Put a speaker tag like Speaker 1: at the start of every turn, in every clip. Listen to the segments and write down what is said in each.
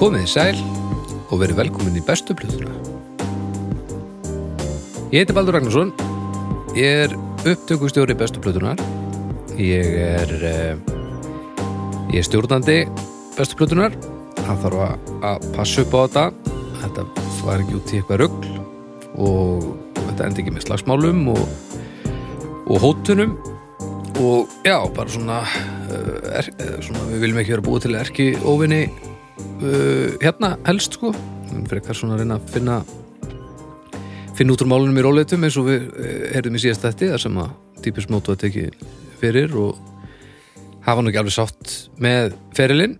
Speaker 1: Komið í sæl og verið velkomin í bestu plöðuna. Ég heiti Baldur Ragnarsson, ég er upptökustjóri bestu plöðunar, ég er, eh, ég er stjórnandi bestu plöðunar, hann þarf að- að passa upp á þetta, þetta var ekki út í eitthvað rugl og þetta endi ekki með slagsmálum og, og hótunum og já, bara svona, eh, er, eh, svona við viljum ekki vera búið til erki óvinni uh, hérna helst sko en frekar svona að reyna að finna finna út úr málunum í róleitum eins og við herðum í síðast þetta þar sem að típis mótu að teki fyrir og hafa nú ekki alveg sátt með ferilinn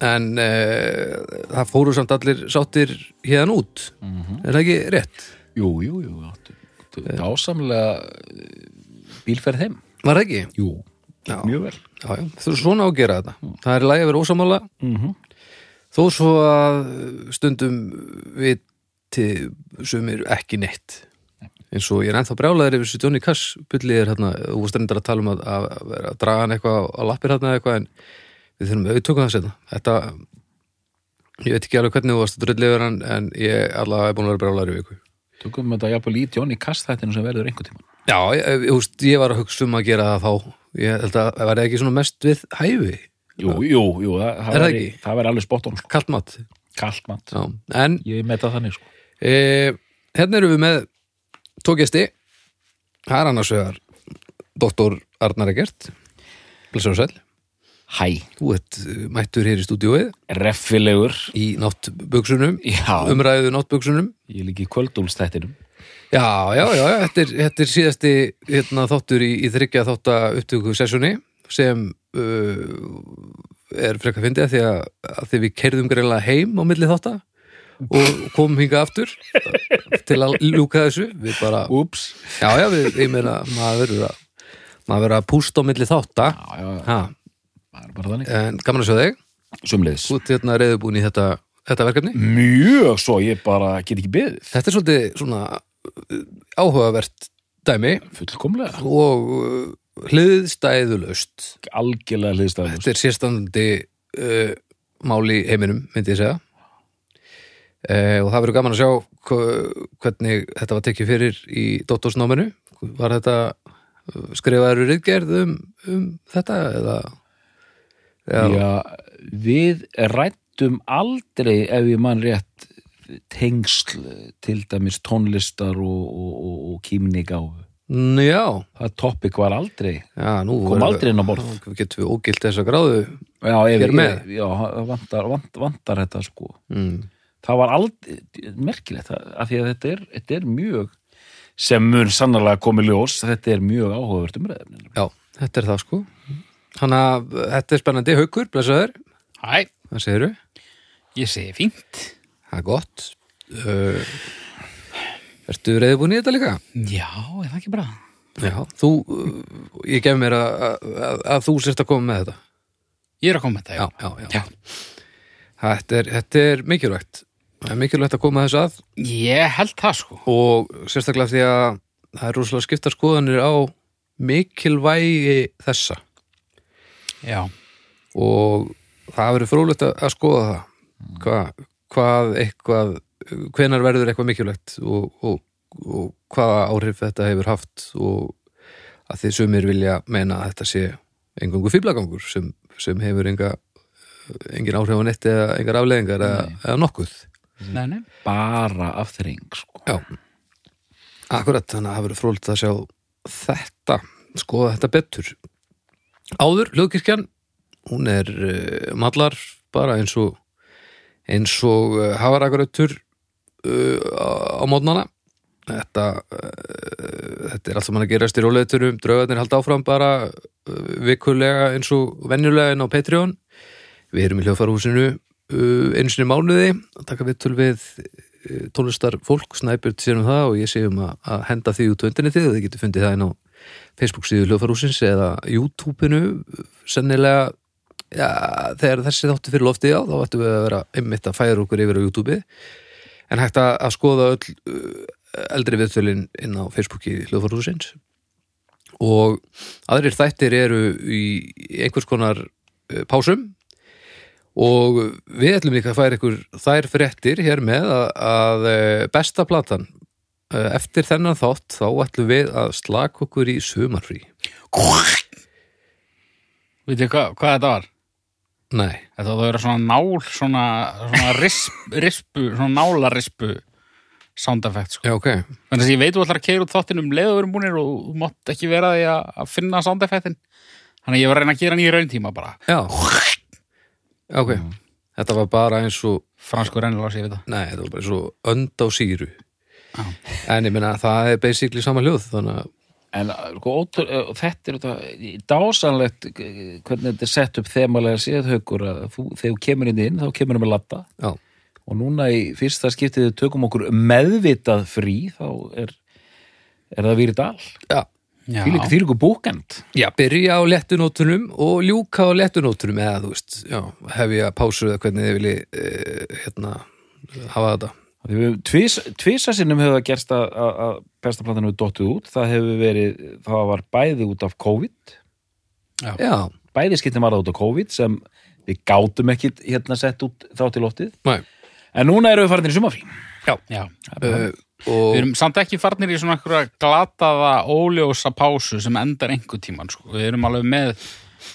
Speaker 1: en uh, það fóru samt allir sáttir hérna út er það ekki rétt?
Speaker 2: Jú, jú, jú, áttu. Dásamlega eh, bílferð heim.
Speaker 1: Var það ekki?
Speaker 2: Jú,
Speaker 1: Já.
Speaker 2: mjög vel.
Speaker 1: Já, já, þú er svona á að gera þetta það er lægi að vera ósamála
Speaker 2: Mm -hmm.
Speaker 1: þó svo að stundum við til sumir ekki neitt eins og ég er ennþá brjálaður yfir þessu Johnny Cash byllið er hérna, þú varst reyndar að tala um að, að, vera að draga hann eitthvað á lappir hérna eitthvað en við þurfum auðtökum það setna þetta, ég veit ekki alveg hvernig þú varst að drullið yfir hann en ég allavega er búin að vera brjálaður yfir ykkur
Speaker 2: Tökum þetta jafnvel í Johnny Kast þættinu sem verður einhvern tímann.
Speaker 1: Já, ég, ég, þú veist, ég var að hugsa um að gera það þá ég held að það var ekki svona mest við hæfi,
Speaker 2: Jú, jú, jú, það,
Speaker 1: Er
Speaker 2: það,
Speaker 1: það
Speaker 2: væri-
Speaker 1: ekki?
Speaker 2: það verður alveg spott on, sko.
Speaker 1: kalt mat
Speaker 2: Kallt mat.
Speaker 1: Já, en
Speaker 2: Ég meta þannig, sko.
Speaker 1: E, hérna erum við með tókjasti Það er annars vegar Dr. Arnar Egert Blessar og sæll
Speaker 2: Hæ,
Speaker 1: Þú ert eh, mættur hér í stúdíóið
Speaker 2: reffilegur.
Speaker 1: í náttbuksunum
Speaker 2: Já,
Speaker 1: umræðu náttbuksunum
Speaker 2: Um- ég lík í kvöldúls þættinum.
Speaker 1: Já, já, já, þetta er, þetta er síðasti hérna, þáttur í, í þryggja þátta upptöku sessjóni sem uh, er frekka fyndið af því að, að því við kerðum greinlega heim á milli þátta og komum hinga aftur til að ljúka þessu við bara
Speaker 2: Úps.
Speaker 1: Já, já, við, ég meina, maður verður að maður verður að pústa á milli þátta
Speaker 2: Já, já,
Speaker 1: ha,
Speaker 2: það er bara þannig.
Speaker 1: en gaman að sjá þig
Speaker 2: Sumliðis.
Speaker 1: þú ert hérna reyðubúin í þetta, þetta
Speaker 2: Mm.
Speaker 1: verkefni
Speaker 2: Mjög svo, ég bara get ekki beðið.
Speaker 1: Þetta er svolítið svona uh, áhugavert dæmi
Speaker 2: Fullkomlega.
Speaker 1: og uh, hliðstæðulaust
Speaker 2: Algjörlega hliðstæðinu.
Speaker 1: Þetta er sérstandi uh, mál í heiminum, myndi ég segja uh, og það verður gaman að sjá hva- hvernig þetta var tekið fyrir í dottorsnáminu var þetta uh, skrifaður rýðgerð um, um þetta eða
Speaker 2: Já.
Speaker 1: já,
Speaker 2: við rættum aldrei ef ég man rétt tengsl til dæmis tónlistar og, og, og, og kýmnigáfu.
Speaker 1: N- Mm, já,
Speaker 2: Það topic var aldrei.
Speaker 1: já nú
Speaker 2: Kom
Speaker 1: verður-
Speaker 2: aldrei inn á borð.
Speaker 1: Nú getum við ógilt þessa gráðu
Speaker 2: Já, ef,
Speaker 1: Hér með.
Speaker 2: ef- já það vantar, vant, vantar þetta sko.
Speaker 1: mm.
Speaker 2: Það var aldrei, merkilegt, það- af því að þetta er, þetta er mjög, sem mun sannarlega komið ljós, þetta er mjög áhugavert umræðum.
Speaker 1: já, þetta er það sko Þannig að uh, þetta er spennandi haukur, blessaður,
Speaker 3: Hæ,
Speaker 1: hvað segirðu?
Speaker 3: ég segi fínt.
Speaker 1: Það er gott uh, Ertu reyðbúin í þetta líka?
Speaker 3: Já, er það ekki bara?
Speaker 1: Já, þú, uh, ég gef mér að, að, að þú sérst að koma með þetta
Speaker 3: Ég er að koma með þetta,
Speaker 1: Já,
Speaker 3: já.
Speaker 1: já, já, Þetta, er, þetta er mikilvægt Það er mikilvægt að koma þess að
Speaker 3: Ég held það sko.
Speaker 1: og sérstaklega af því að það er rosalega skiptar skoðanir á mikilvægi þessa
Speaker 3: Já.
Speaker 1: og það verður frólægt að, að skoða það Hva, hvað eitthvað hvenar verður eitthvað mikilvægt og, og, og hvaða áhrif þetta hefur haft og að þið sumir vilja meina að þetta sé engungu fýblagangur sem, sem hefur enga, engin áhrif á neitt eða engar afleðingar eða, eða nokkuð
Speaker 3: Nei, nei.
Speaker 2: Bara af þreng, sko.
Speaker 1: Já, akkurat þannig að það verður frólægt að sjá þetta, skoða þetta betur Áður, hljóðkirkjan hún er uh, mallar bara eins og eins og uh, hafaragrautur uh, á á mótnana þetta, uh, þetta er allt sem hann að gerast í róleiturum, draugarnir halda áfram bara uh, vikulega eins og venjulega inn á Patreon við erum í hljófarhúsinu uh, einu sinni í mánuði að taka viðtöl við uh, tónlistar fólk, snæpjörn sér um það og ég sé um að, að henda því út á internetið og þið getur fundið það inn á Facebook síðu hljófarhúsins eða YouTube-inu sennilega já, þegar þessi þáttu fyrir loftið á þá ættum við að vera einmitt að færa okkur yfir á YouTube en hægt að, að skoða öll uh, eldri viðtölin inn á Facebooki hljófarhúsins og eh, aðrir þættir eru í í einhvers konar uh, pásum og við ætlum líka að færa ykkur þær fréttir hér með að, að eh, besta platan eh, eftir þennan þátt þá ætlum við að slaka okkur í sumarfrí
Speaker 3: Veit þið hvað, hvað þetta var?
Speaker 1: Nei,
Speaker 3: Þetta var að vera svona nál, svona, svona risp, rispu, svona nálarispu sound effect, sko.
Speaker 1: já ok
Speaker 3: Þannig að ég veit þú ætlar að keira út þáttinn um leið og verum búinir og þú mátt ekki vera því að að finna sound effectin. Þannig að ég var að reyna að gera hann í rauntíma bara.
Speaker 1: Já, ok Þetta var bara eins og
Speaker 3: Franskur rennilás, ég veit það.
Speaker 1: Nei, þetta var bara eins og önd á síru En ég meina, það er basically sama hljóð Þannig að,
Speaker 2: En sko, ótrú, eh, þetta er þetta, dásanlegt eh, hvernig þetta er sett upp þemalega séð haukur að þú, þegar þú kemur inn inn þá kemur hann með labba
Speaker 1: já,
Speaker 2: og núna í fyrsta skiptið við tökum okkur meðvitað frí þá er, er það virðið all
Speaker 1: já
Speaker 3: Já.
Speaker 2: Þvílíku, þvílíku búkend
Speaker 1: Já, byrja á lettunótunum og ljúka á lettunótunum eða þú veist, já, hef ég að pásu eða hvernig þið vilji eh, hérna, hafa þetta
Speaker 2: Af því við- Tvis, Tvisa sinnum hefur það gerst að, að, að besta platan hefur dottið út það hefur verið, það var bæði út af COVID
Speaker 1: Já,
Speaker 2: bæði skiptin var það út af COVID sem við gátum ekki hérna sett út þá til loftið
Speaker 1: næ,
Speaker 2: en núna erum við farin í sumafrí
Speaker 3: Já.
Speaker 1: uh,
Speaker 3: Við
Speaker 1: og
Speaker 3: erum samt ekki farnir í svona einhverja glataða, óljósa pásu sem endar einhver tíman, sko. Við erum alveg með,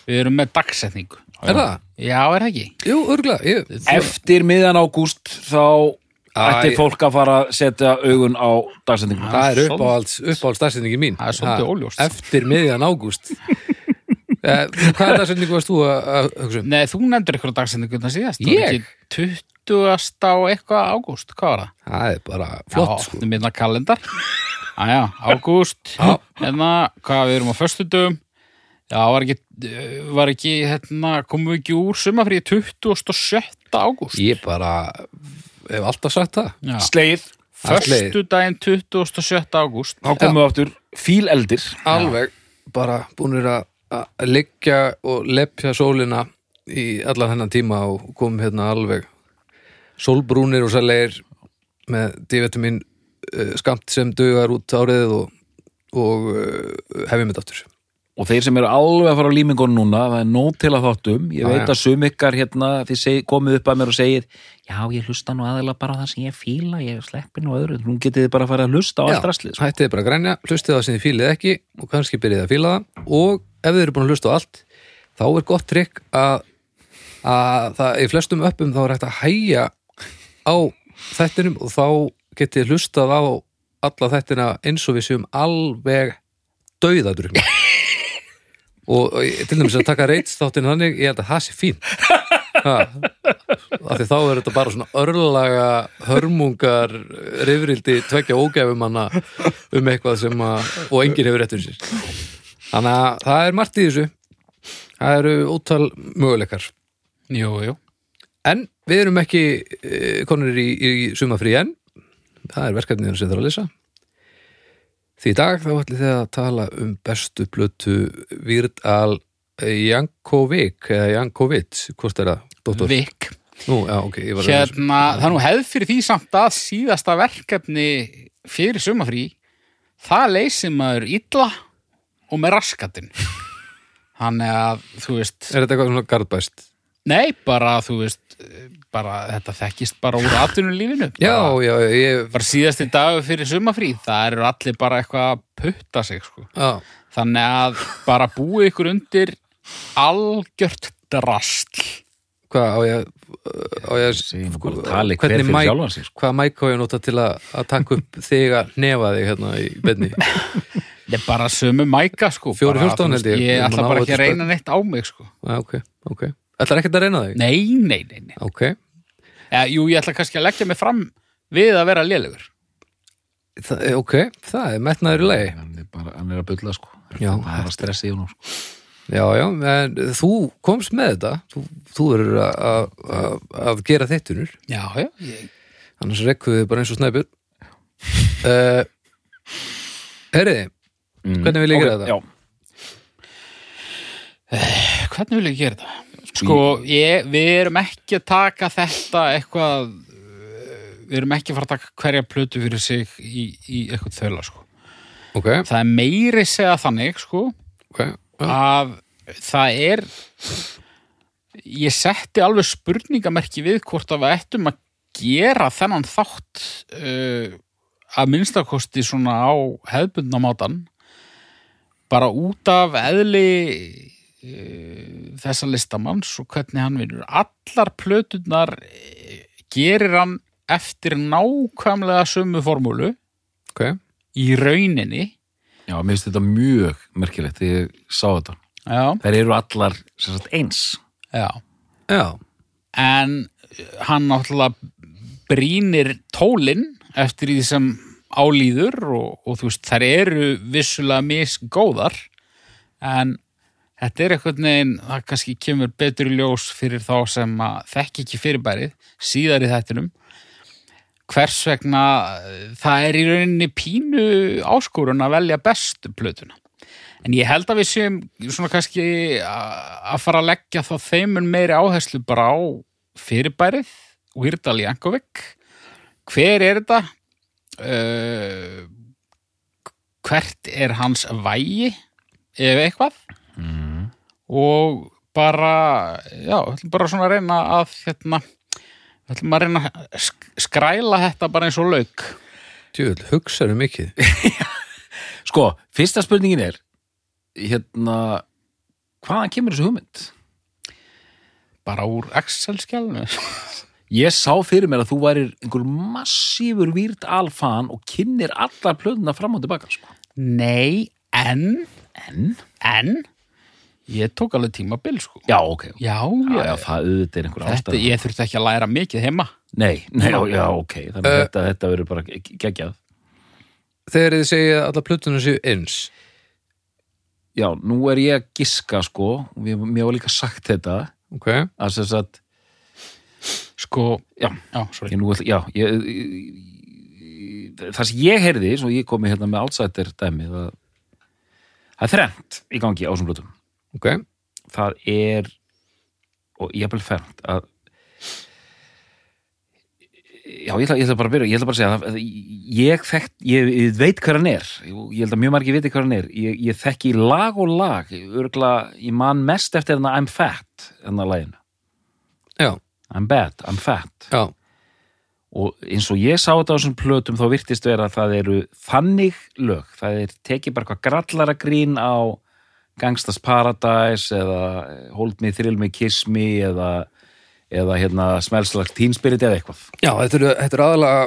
Speaker 3: við erum með dagsetningu.
Speaker 1: er það?
Speaker 3: Já, er það ekki?
Speaker 1: Jú, örgulega, ég
Speaker 2: Eftir miðan ágúst þá ættir
Speaker 1: Æ.
Speaker 2: fólk að fara að setja augun á dagsendingum.
Speaker 1: Það er
Speaker 3: svolítið-
Speaker 1: uppáhalds, uppáhalds dagsetningi mín
Speaker 3: Það er svolítið
Speaker 1: Ha,
Speaker 3: óljóst.
Speaker 1: Eftir miðjan ágúst eh, Hvað dagsetningu varst þú að að hugsa um?
Speaker 3: Nei, þú nefndir einhverja dagsetningu þannig síðast. Það var
Speaker 1: Ég?
Speaker 3: ekki 20. og eitthvað ágúst, hvað var það?
Speaker 1: Það er bara flott,
Speaker 3: já,
Speaker 1: sko
Speaker 3: sko. Minna kalendar. Æja, ágúst, hérna, hvað við erum á föstudum. Já, var ekki, var ekki, hérna, komum við ekki úr sumafrið 27. ágúst.
Speaker 1: Ég bara hef alltaf sagt það
Speaker 3: Já,
Speaker 2: Sleið,
Speaker 1: Allir-
Speaker 3: föstudaginn 27. ágúst.
Speaker 2: þá komum við aftur fíleldir.
Speaker 1: alveg bara búinir að að liggja og lepja sólina í allan hennan tíma og kom hérna alveg sólbrúnir og sæleir með divitamin uh, skamt sem dugar út áriðið og, og uh, hefjum þetta aftur
Speaker 2: Og þeir sem eru alveg að fara á límingun núna, það er nóg til að þáttum. Ég
Speaker 1: Já,
Speaker 2: veit
Speaker 1: já.
Speaker 2: að sum ykkar hérna, þið seg, komið upp að mér og segir já, ég hlusta nú aðeila bara á það sem ég fíla, ég sleppi nú öðru. Nú getið þið bara að fara að hlusta á allt rastlið. sko.
Speaker 1: hættið bara að grænja, hlustið það sem þið fílið ekki og kannski byrjið að fíla það og ef þið eru búin að hlusta á allt þá er gott trikk að, að það, í flestum öppum þá er hægt að hæja á þættinum og þá getið þið hlustað á alla þættina eins og við séum alveg dauðadrugna og, og ég- til dæmis að taka reits þáttinn þannig, ég held að það sé fín ha, af því þá er þetta bara svona örlaga hörmungar rifrildi tvekja ógæfumanna um eitthvað sem að og enginn hefur rétt um sér þannig að það er margt í þessu það eru ótal möguleikar
Speaker 3: Jú, jú.
Speaker 1: en við erum ekki e, konur í, í sumafrí enn það er verkefniðan sem þarf að lýsa því í dag þá ætlum þið að tala um bestu blötu Virdal Jankovic eða Jankovic, hvort er það? Dóttor?
Speaker 3: Vik.
Speaker 1: Nú, já, ok, ég var að-
Speaker 3: Hérna, það er nú hefð fyrir því samt að síðasta verkefni fyrir sumafrí, það leysir maður illa og með raskatinn. Þannig að, þú veist,
Speaker 1: Er þetta eitthvað svona garðbæst?
Speaker 3: nei, bara, þú veist, bara, þetta þekkist bara úr atvinnulífinu.
Speaker 1: Já,
Speaker 3: Bara,
Speaker 1: já, ég
Speaker 3: bara síðasti dagur fyrir sumafrí, það eru allir bara eitthvað að putta sig, sko.
Speaker 1: já,
Speaker 3: Þannig að bara búið ykkur undir algjört drastl.
Speaker 1: Hvað á ég á ég
Speaker 2: Segjum bara að tala Sko, hver
Speaker 1: hvernig
Speaker 2: fyrir
Speaker 1: mæk
Speaker 2: sjálfan sig, sko.
Speaker 1: hvaða mæk á ég að nota til að, að taka upp þig að nefa þig hérna í benni
Speaker 3: Þetta er bara sömu mæka, sko.
Speaker 1: 414
Speaker 3: Bara, þú veist,
Speaker 1: held ég.
Speaker 3: Ég
Speaker 1: Ég
Speaker 3: ætla
Speaker 1: man á
Speaker 3: bara ekki að
Speaker 1: þetta
Speaker 3: reyna neitt á mig, sko.
Speaker 1: Ah, ok, ok Ætlar ekkert að reyna þig?
Speaker 3: Nei, nei, nei, nei.
Speaker 1: Ok,
Speaker 3: Eða, jú, ég ætla kannski að leggja mig fram við að vera lélegur.
Speaker 1: það, ok, það er metnaður í lei
Speaker 2: Hann er bara, hann er að bulla, sko.
Speaker 1: Já.
Speaker 2: Hann er að stressa í hún, sko.
Speaker 1: Já, já, en þú komst með þetta þú, þú verður að- að að- að gera þitt unur
Speaker 3: Já, já. Ég,
Speaker 1: annars rekkuðu þið bara eins og snæpjur uh, Herriði,
Speaker 2: Mm.
Speaker 1: hvernig vil ég gera
Speaker 2: Ok,
Speaker 1: þetta?
Speaker 2: Já,
Speaker 3: hvernig vil ég gera þetta? Sko, ég, við erum ekki að taka þetta eitthvað, eh, við erum ekki að fara að taka hverja plötu fyrir sig í, í eitthvað þöla, sko.
Speaker 1: Ok,
Speaker 3: Það er meiri segja þannig, sko,
Speaker 1: ok, já,
Speaker 3: að það er ég setti alveg spurningamerki við hvort að við ættum að gera þennan þátt uh, að minnstakosti svona á hefðbundna mátan bara út af eðli uh, þessa listamanns og hvernig hann vinnur allar plöturnar eh, gerir hann eftir nákvæmlega sömu formúlu
Speaker 1: ok,
Speaker 3: í rauninni
Speaker 2: Já, mér finnst þetta mjög merkilegt þegar ég sá þetta.
Speaker 3: já,
Speaker 2: Þær eru allar sem sagt, eins.
Speaker 3: já
Speaker 1: já,
Speaker 3: en hann náttúrulega brínir tólin eftir því sem álýður og, og þú veist, þær eru vissulega misgóðar en þetta er eitthvað neginn það kannski kemur betur í ljós fyrir þá sem að þekki ekki fyrirbærið síðar í þættinum hvers vegna eh, það er í rauninni pínu áskorun að velja bestu plötuna En ég held að við séum svona kannski a- að fara að leggja þá þeimun meiri áherslu bara á fyrirbærið, Weirdal Jankovic. Hver er þetta? Uh, hvert er hans vægi, ef eitthvað? Og bara, já, við ætlum bara svona að reyna að, hérna, við ætlum að reyna að sk- skræla þetta bara eins og lauk.
Speaker 1: djúvel, hugsaðu mikið
Speaker 2: Sko, fyrsta spurningin er, hérna, hvaðan kemur þessu hugmynd?
Speaker 3: Bara úr Excel-skjálnu.
Speaker 2: Ég sá fyrir mér að þú værir einhver massífur výrt alfan og kynnir allar plöðuna fram og tilbaka, sko.
Speaker 3: Nei, en...
Speaker 2: En?
Speaker 3: En ég tók alveg tímabil sko.
Speaker 2: Já, ok. Já,
Speaker 3: Já,
Speaker 2: já,
Speaker 3: já,
Speaker 2: það auðvitað er einhver
Speaker 3: þetta,
Speaker 2: ástæða.
Speaker 3: ég þurfti ekki að læra mikið heima.
Speaker 2: Nei, nei, já, já, ok. Þannig að
Speaker 1: Uh,
Speaker 2: þetta, þetta verður bara ge- geggjað.
Speaker 1: þegar þið segja að alla plötunar séu eins
Speaker 2: Já, nú er ég að giska, sko, og við- mér var líka sagt þetta,
Speaker 1: ok,
Speaker 2: að sem sagt,
Speaker 3: Sko,
Speaker 2: Já.
Speaker 3: já, sorry.
Speaker 2: ég nú, ætla- já, ég, ég- það sem ég heyrði, svo ég komi hérna með outsider dæmi, það, það er þrennt í gangi á þessum blötum.
Speaker 1: ok,
Speaker 2: Það er, og ég er bara fermt að, já, ég ætla, ég ætla bara að byrja, ég ætla bara að segja að ég, þekkt, ég, ég veit hver hann er, ég held að mjög margir viti hver hann er, ég, ég þekki lag og lag, örgla, ég man mest eftir hennar I'm fat, hennar laginu,
Speaker 1: já,
Speaker 2: I'm bad, I'm fat.
Speaker 1: já
Speaker 2: og eins og ég sá þetta á þessum plötum þá virtist vera að það eru þannig lög, það er tekið bara hvað grallara grín á Gangstas Paradise eða Hold Me, Thrill Me, Kiss Me eða, eða hérna smelslagt Teen Spirit eða eitthvað
Speaker 1: já, þetta eru þetta er aðalega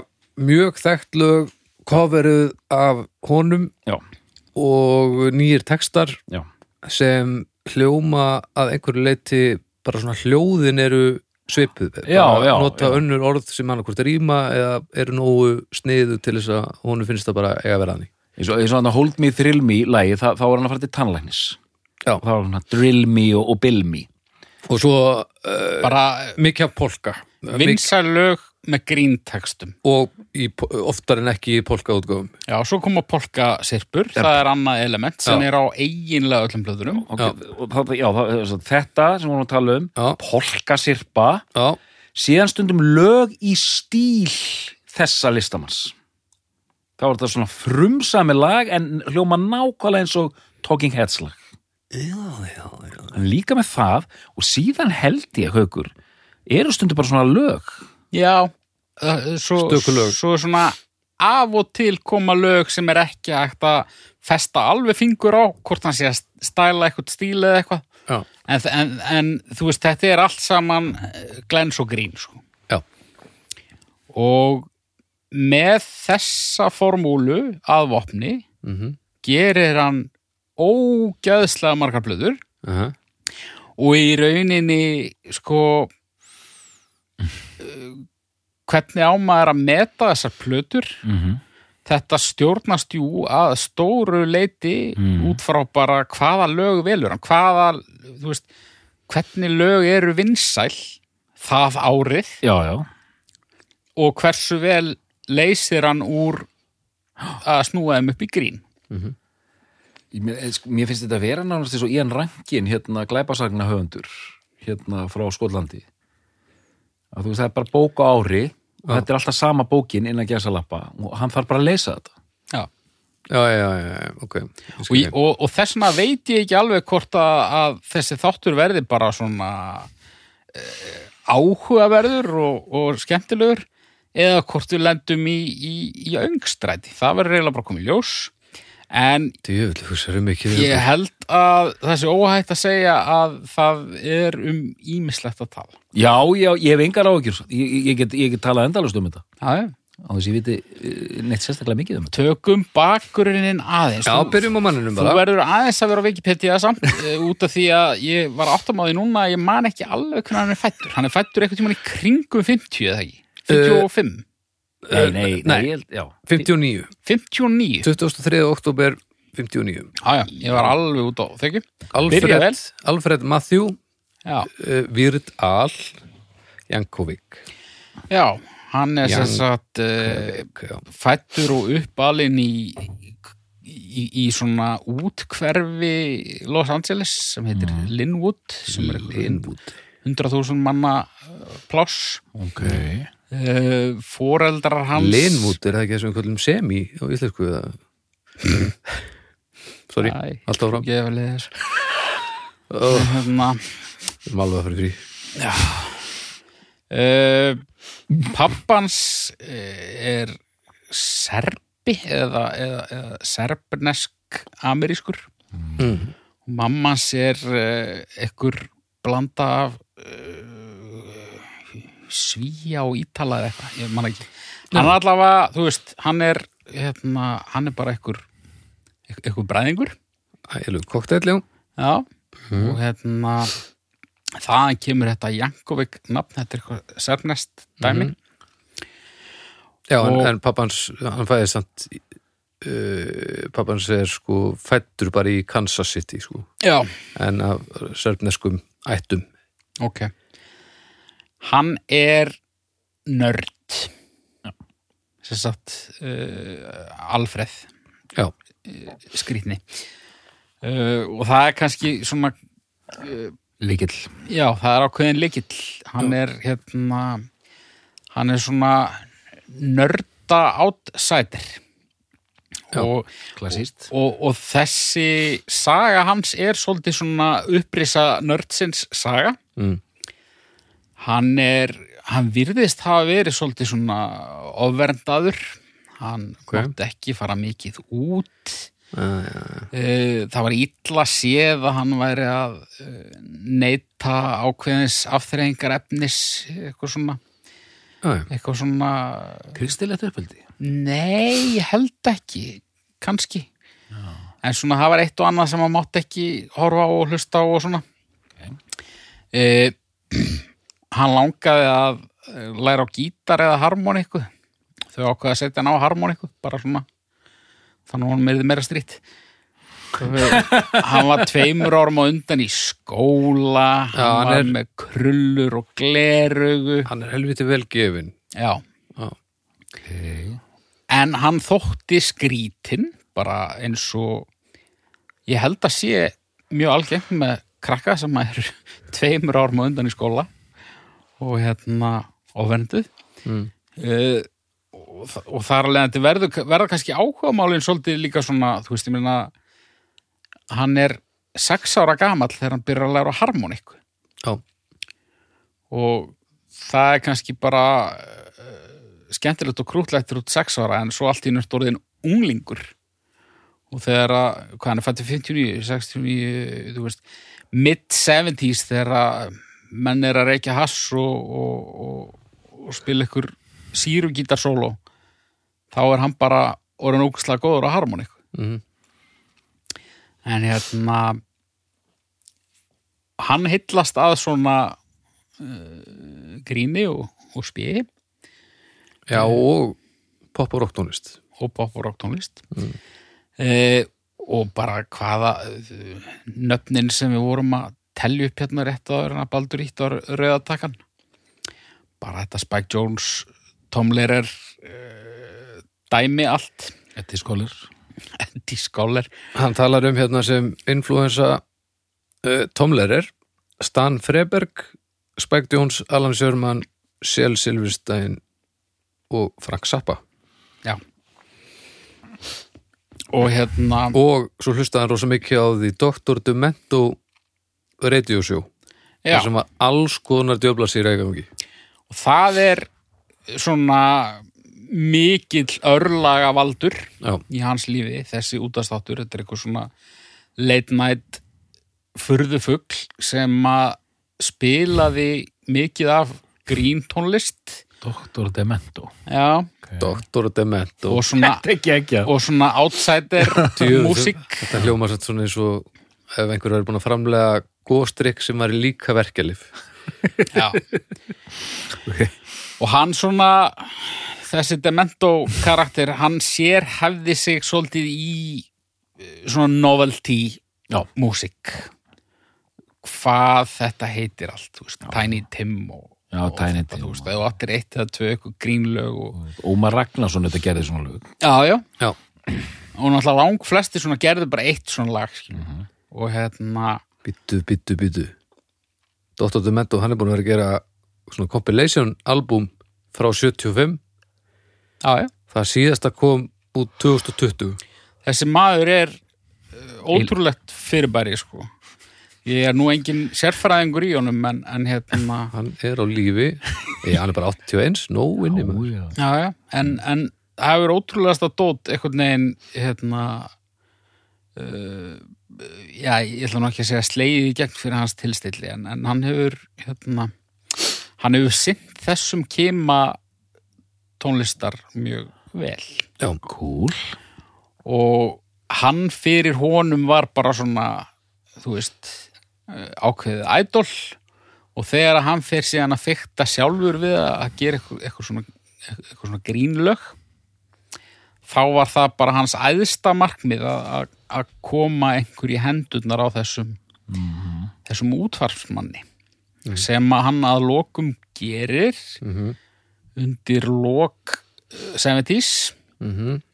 Speaker 1: mjög þekkt lög coveruð af honum
Speaker 2: Já,
Speaker 1: og nýjir textar
Speaker 2: já,
Speaker 1: sem hljóma að einhverju leiti bara svona hljóðin eru svipuð bara
Speaker 2: Já, já,
Speaker 1: nota
Speaker 2: já.
Speaker 1: önnur orð sem hann hvort rýma eða eru nógu sniðu til þess að honum finnst það bara eiga að vera hann
Speaker 2: eins og, eins og hann að Hold Me, Thrill Me lægi, það, þá var hann að fara til tannlæknis
Speaker 1: Já.
Speaker 2: þá var hann að Drill Me og, og Bill Me
Speaker 1: og svo uh,
Speaker 3: Bara
Speaker 1: mikið af polka Mik-
Speaker 3: vinsæl lög með gríntextum.
Speaker 1: og í, po- oftar en ekki í polka útgóðum
Speaker 3: Já, svo koma polka sirpur, það er annað element sem
Speaker 1: Já.
Speaker 3: er á eiginlega öllum blöðurum.
Speaker 2: og, og, það- já það, það- þetta sem hann að tala um
Speaker 1: Já.
Speaker 2: Polkasirpa
Speaker 1: já,
Speaker 2: síðan stundum lög í stíl þessa listamanns þá er þetta svona frumsami lag en hljóma nákvæmlega eins og Talking Heads lag já, já, já. líka með það og síðan held ég haukur eru stundum bara svona lög
Speaker 3: Já, eh, svo,
Speaker 1: Stöku lög.
Speaker 3: svo svona af og til koma lög sem er ekki hægt að festa alveg fingur á hvort hann sé að stæla eitthvað stíl eða eitthvað.
Speaker 1: já,
Speaker 3: En, en, en þú veist, þetta er allt saman eh, glens og grín, sko.
Speaker 1: já,
Speaker 3: Og með þessa formúlu að vopni
Speaker 1: mm -hmm.
Speaker 3: gerir hann ógæðslega margar blöður og í rauninni, sko, eh, hvernig á maður að meta þessar plöður?
Speaker 2: mm -hmm.
Speaker 3: Þetta stjórnast jú að stóru leiti
Speaker 2: Mm.
Speaker 3: út frá bara hvaða lög velur hann, hvaða, þú veist, hvernig lög eru vinsæl það árið
Speaker 2: já, já,
Speaker 3: og hversu vel leysir hann úr að snúa þeim upp í grín
Speaker 2: Ég- Mér, eh, sko, mér finnst þetta að vera náttúrulega svo Ian Rankin, hérna glæpasagna höfundur hérna frá Skotlandi að þú veist það er bara bók á ári og þetta er alltaf sama bókin innan gæsalappa og hann þarf bara að leysa þetta
Speaker 3: Já.
Speaker 1: já, já, já, já, ok Ég
Speaker 3: Og,
Speaker 1: skil
Speaker 3: ég-
Speaker 1: þig.
Speaker 3: og, og þess vegna veit ég ekki alveg hvort að, að þessi þáttur verði bara svona eh, áhugaverður og, og skemmtilegur eða hvort við lendum í, í, í öngstræti. Það verður eiginlega bara komið ljós. En
Speaker 1: Djöfull, hugsaðu mikið
Speaker 3: ég held að það sé óhætt að segja að það er um ímislegt að tala.
Speaker 2: Já, já, ég hef engar áhyggjur. Ég, ég- ég, get, ég get talað endalust um þetta.
Speaker 3: Já, já.
Speaker 2: Á þess ég viti eh, neitt sérstaklega mikið um þetta.
Speaker 3: Tökum bakgrunnin aðeins.
Speaker 1: Já,
Speaker 3: Þú-
Speaker 1: byrjum á manninum
Speaker 3: Þú
Speaker 1: bara
Speaker 3: verður aðeins að vera á Wikipedia samt eh, út af því að ég var áttamáði núna að ég man ekki alveg hvernig hann er fættur. Hann er fættur eitthvað tímann í kringum 50 eða ekki? 55?
Speaker 1: Eh,
Speaker 2: Nei, nei, nei,
Speaker 1: nei.
Speaker 2: ég held, já.
Speaker 1: 59,
Speaker 3: 59?
Speaker 1: 23. oktober 59
Speaker 3: Jájá, ég var alveg út á þekju. Byrja vel.
Speaker 1: Alfred, Alfred Matthew
Speaker 3: Já,
Speaker 1: uh, Vird Al Jankovic
Speaker 3: já hann er
Speaker 1: Jan-
Speaker 3: sem sagt uh,
Speaker 1: Já.
Speaker 3: fættur og uppalinn í, í, í svona útkverfi Los Angeles sem heitir Linwood sem er eitthvað
Speaker 1: Mhm. Linwood
Speaker 3: 100.000 manna eh, pláss.
Speaker 2: Ok.
Speaker 3: uh, foreldrar hans
Speaker 1: Linwood, er það ekki það sem við kallum semi á íslensku eða Sorry,
Speaker 3: Æ,
Speaker 1: allt áfram Oh.
Speaker 3: ég hef leið þess
Speaker 1: Við
Speaker 3: hérna
Speaker 1: erum alveg að fara í frí
Speaker 3: uh, pappans uh, er serbi eða, eða, eða serbnesk amerískur
Speaker 1: Mm.
Speaker 3: mammans er uh, ekkur blanda af uh, svíja og ítala eða eitthvað, ég man ekki hann er allavega, þú veist, hann er hérna, hann er bara ekkur ekkur bræðingur
Speaker 1: Ælu kokteil, já
Speaker 3: Já, og hérna þaðan kemur þetta Jankovic nafn, þetta er eitthvað sérnest dæmi.
Speaker 1: Já, en,
Speaker 3: Og-
Speaker 1: en pappans, hann fæðir samt uh, pappans er sko fættur bara í Kansas City sko,
Speaker 3: Já,
Speaker 1: en af serbneskum ættum
Speaker 3: ok. Hann er nörd. Sem sagt uh, Alfreð
Speaker 1: Já,
Speaker 3: skrýtni. Uh, og það er kannski svona eh,
Speaker 2: Líkill.
Speaker 3: Já, það er ákveðin lykill. Hann er hérna, hann er svona nörda outsider.
Speaker 1: Já,
Speaker 3: og,
Speaker 2: klassískt.
Speaker 3: Og, og, og þessi saga hans er svolítið svona upprisa nördsins saga.
Speaker 1: Mm.
Speaker 3: Hann er, hann virðist hafa verið svolítið svona ofverndaður. Hann
Speaker 1: Ok.
Speaker 3: mátti ekki fara mikið út.
Speaker 1: uh, já.
Speaker 3: Eh, það var illa séð að hann væri að eh, neyta ákveðins afþreyingar efnis eitthvað svona,
Speaker 1: Já, já.
Speaker 3: eitthvað svona
Speaker 2: Kristilegt uppeldi.
Speaker 3: nei, ég held ekki kannski en svona það var eitt og annað sem hann mátt ekki horfa á og hlusta á og svona okay. hann langaði að eh, læra á gítar eða harmoniku þau ákveði að setja hann á harmoniku bara svona þannig að hann meirði meira strýtt hann var tveimur árum á undan í skóla hann,
Speaker 1: Já, hann
Speaker 3: var
Speaker 1: er-
Speaker 3: með krullur og glerugu
Speaker 1: Hann er helviti velgefin
Speaker 3: já
Speaker 1: Já,
Speaker 3: en hann þótti skrítin bara eins og ég held að sé mjög algengt með krakka sem er tveimur árum á undan í skóla og hérna ofenduð
Speaker 1: Mm.
Speaker 3: uh, og, þa- og þar alveg þetta verður, verður kannski áhugamálin svolítið líka svona, þú veist, ég meina hann er sex ára gamall þegar hann byrjar að læra á harmoniku
Speaker 1: já,
Speaker 3: og það er kannski bara uh, skemmtilegt og krútlegt út sex ára en svo allt í nört orðin unglingur og þegar að, hvað hann er fættið 59, 69, þú veist mid-70s þegar að menn er að reykja hass og, og, og, og spila ykkur sírugítarsóló þá er hann bara orðin ógustlega góður á harmonik
Speaker 1: mm.
Speaker 3: en hérna hann hillast að svona uh, gríni og, og spí
Speaker 1: já og pop og rock tónlist
Speaker 3: og pop og rock tónlist uh, og bara hvaða uh, nöfnin sem við vorum að telja upp hérna rétt á hérna Baldur Ítt á rauðatakan bara þetta Spike Jones Tomlerer uh, dæmi allt
Speaker 2: Þetta er skólar.
Speaker 3: Andy Scholler
Speaker 1: Hann talar um hérna sem influensa uh, tomlerir Stan Freberg, Spike Jones, Alan Sjörman, Sjell Silverstein og Frank Zappa
Speaker 3: já og hérna
Speaker 1: og svo hlustaði hann rosa mikið á því Dr. Demento Radio Show
Speaker 3: Já.
Speaker 1: þar sem að alls konar djöfla sér eiga gangi
Speaker 3: og það er svona mikill örlaga valdur
Speaker 1: Já,
Speaker 3: í hans lífi, þessi útastáttur þetta er eitthvað svona late night furðufugl sem að spilaði mikið af gríntónlist
Speaker 2: Doktor Demento
Speaker 3: já,
Speaker 1: Doktor Demento
Speaker 3: og svona,
Speaker 2: Ekki ekki
Speaker 3: og svona outsider
Speaker 1: Djöfull,
Speaker 3: músík
Speaker 1: Þetta hljóma satt svona eins og ef einhver er búin að framlega góstrykk sem var líka verkelif
Speaker 3: Já. Og hann svona, þessi Demento karakter, hann sér hefði sig svolítið í eh, svona novelty
Speaker 2: Já.
Speaker 3: músík. Hvað þetta heitir allt, þú veist, Tiny Tim og,
Speaker 2: Já,
Speaker 3: og
Speaker 2: Tiny
Speaker 3: þetta,
Speaker 2: Tim
Speaker 3: þú
Speaker 2: og-
Speaker 3: veist, eða áttir eitt eða tvö eitthvað grínlög og...
Speaker 2: Ómar Ragnarsson þetta gerði svona lög
Speaker 3: Já, já.
Speaker 1: Já,
Speaker 3: Og náttúrulega lang flesti svona gerðu bara eitt svona lag, skiljum. Og hérna,
Speaker 1: býttu, býttu, býttu Doktor Demento, hann er búin að vera að gera svona compilation album frá 75
Speaker 3: já, já.
Speaker 1: Það síðasta kom út 2020
Speaker 3: þessi maður er uh, ótrúlegt fyrirbæri sko. ég er nú engin sérfræðingur í honum en, en hérna
Speaker 1: Hann er á lífi Ég, hann er bara 81, no inni maður.
Speaker 2: já.
Speaker 3: já, já, en, en það hefur ótrúlegasta dót einhvern veginn hérna uh, já, ég ætla nú ekki að segja slegið í gegn fyrir hans tilstilli en, en hann hefur hérna hann hefur sinnt þessum kema tónlistar mjög vel
Speaker 1: Já,
Speaker 2: Cool
Speaker 3: og hann fyrir honum var bara svona þú veist eh, ákveðið ædol og þegar að hann fyrir síðan að fykta sjálfur við að að gera eitthvað, eitthvað, svona, eitthvað svona grínlög þá var það bara hans æðsta markmið að, að- að koma einhverju hendurnar á þessum þessum útvarfsmanni sem að hann að lokum gerir undir lok eh, 70s
Speaker 1: Mhm.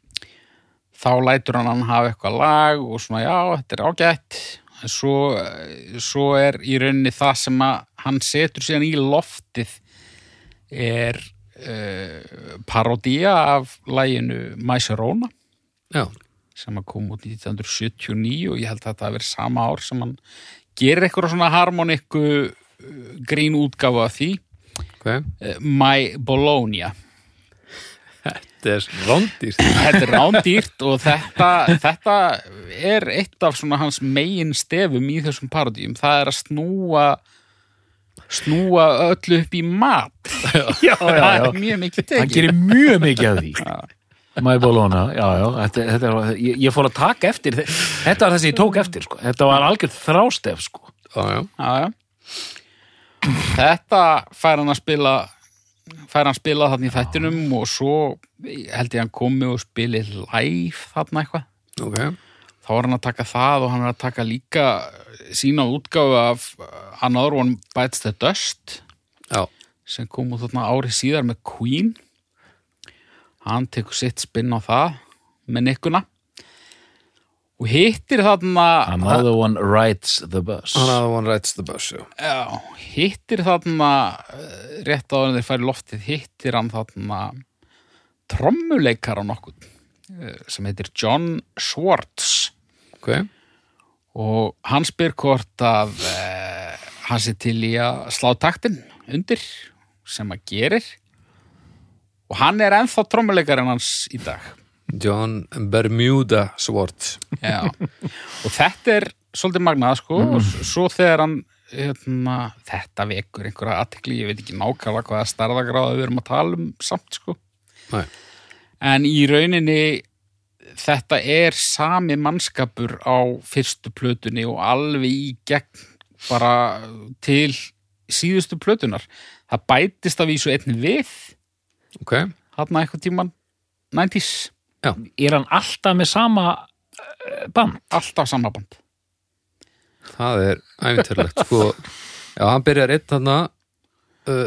Speaker 3: þá lætur hann hann hafa eitthvað lag og svona já, þetta er ágætt en svo, svo er í rauninni það sem að hann setur síðan í loftið er uh, parodía af laginu My Sharona
Speaker 1: já,
Speaker 3: sem að kom út 1979 og ég held að þetta að vera sama ár sem hann gerir eitthvað svona harmoniku eh, grín útgáfa af því
Speaker 1: ok
Speaker 3: eh, My Bologna
Speaker 1: Þetta er rándýrt
Speaker 3: þetta er rándýrt og þetta, þetta er eitt af svona hans megin stefum í þessum parodíum það er að snúa snúa öllu upp í mat
Speaker 2: Já, já,
Speaker 3: það
Speaker 2: já
Speaker 3: er mjög mikið
Speaker 2: Hann
Speaker 3: tekið
Speaker 2: gerir mjög mikið að því My Bologna, já, já þetta, þetta er, ég, ég fór að taka eftir þe- Þetta var það sem ég tók eftir, sko Þetta var algjörð þrástef, sko
Speaker 1: Já, já,
Speaker 3: já, já. þetta fær hann að spila fær hann að spila þarna í þættinum og svo held ég hann komi og spili live þarna eitthvað
Speaker 1: ok
Speaker 3: þá var hann að taka það og hann er að taka líka sína útgáfu af uh, Another One Bites the Dust
Speaker 1: Já,
Speaker 3: sem kom út þarna ári síðar með Queen hann tekur sitt spinn á það með nikkuna og hittir þarna
Speaker 2: Another one rides the bus
Speaker 1: another one rides the bus, já
Speaker 3: já, hittir þarna eh, rétt áður en þeir færi loftið hittir hann þarna trommuleikar á nokkuð sem heitir John Schwartz
Speaker 1: Ok,
Speaker 3: og hann spyr hvort að uh, hann sé til í að slá taktin undir sem að gerir og hann er ennþá trommuleikarinn hans í dag
Speaker 1: John Bermuda Swartz
Speaker 3: Já. og þetta er svolítið magnað sko og s- svo þegar hann hérna, þetta vekur einhverja aðtekli, ég veit ekki nákvæmlega hvaða starðagráða við erum að tala um samt sko
Speaker 1: Nei,
Speaker 3: en í rauninni þetta er sami mannskapur á fyrstu plötunni og alveg í gegn bara til síðustu plötunar það bætist að vísu einn við
Speaker 1: ok
Speaker 3: hann eitthvað tíman 90s,
Speaker 2: Er hann alltaf með sama eh, band?
Speaker 3: alltaf samaband
Speaker 1: Það er ævintýrlegt, sko Já, hann byrjar einn þarna uh,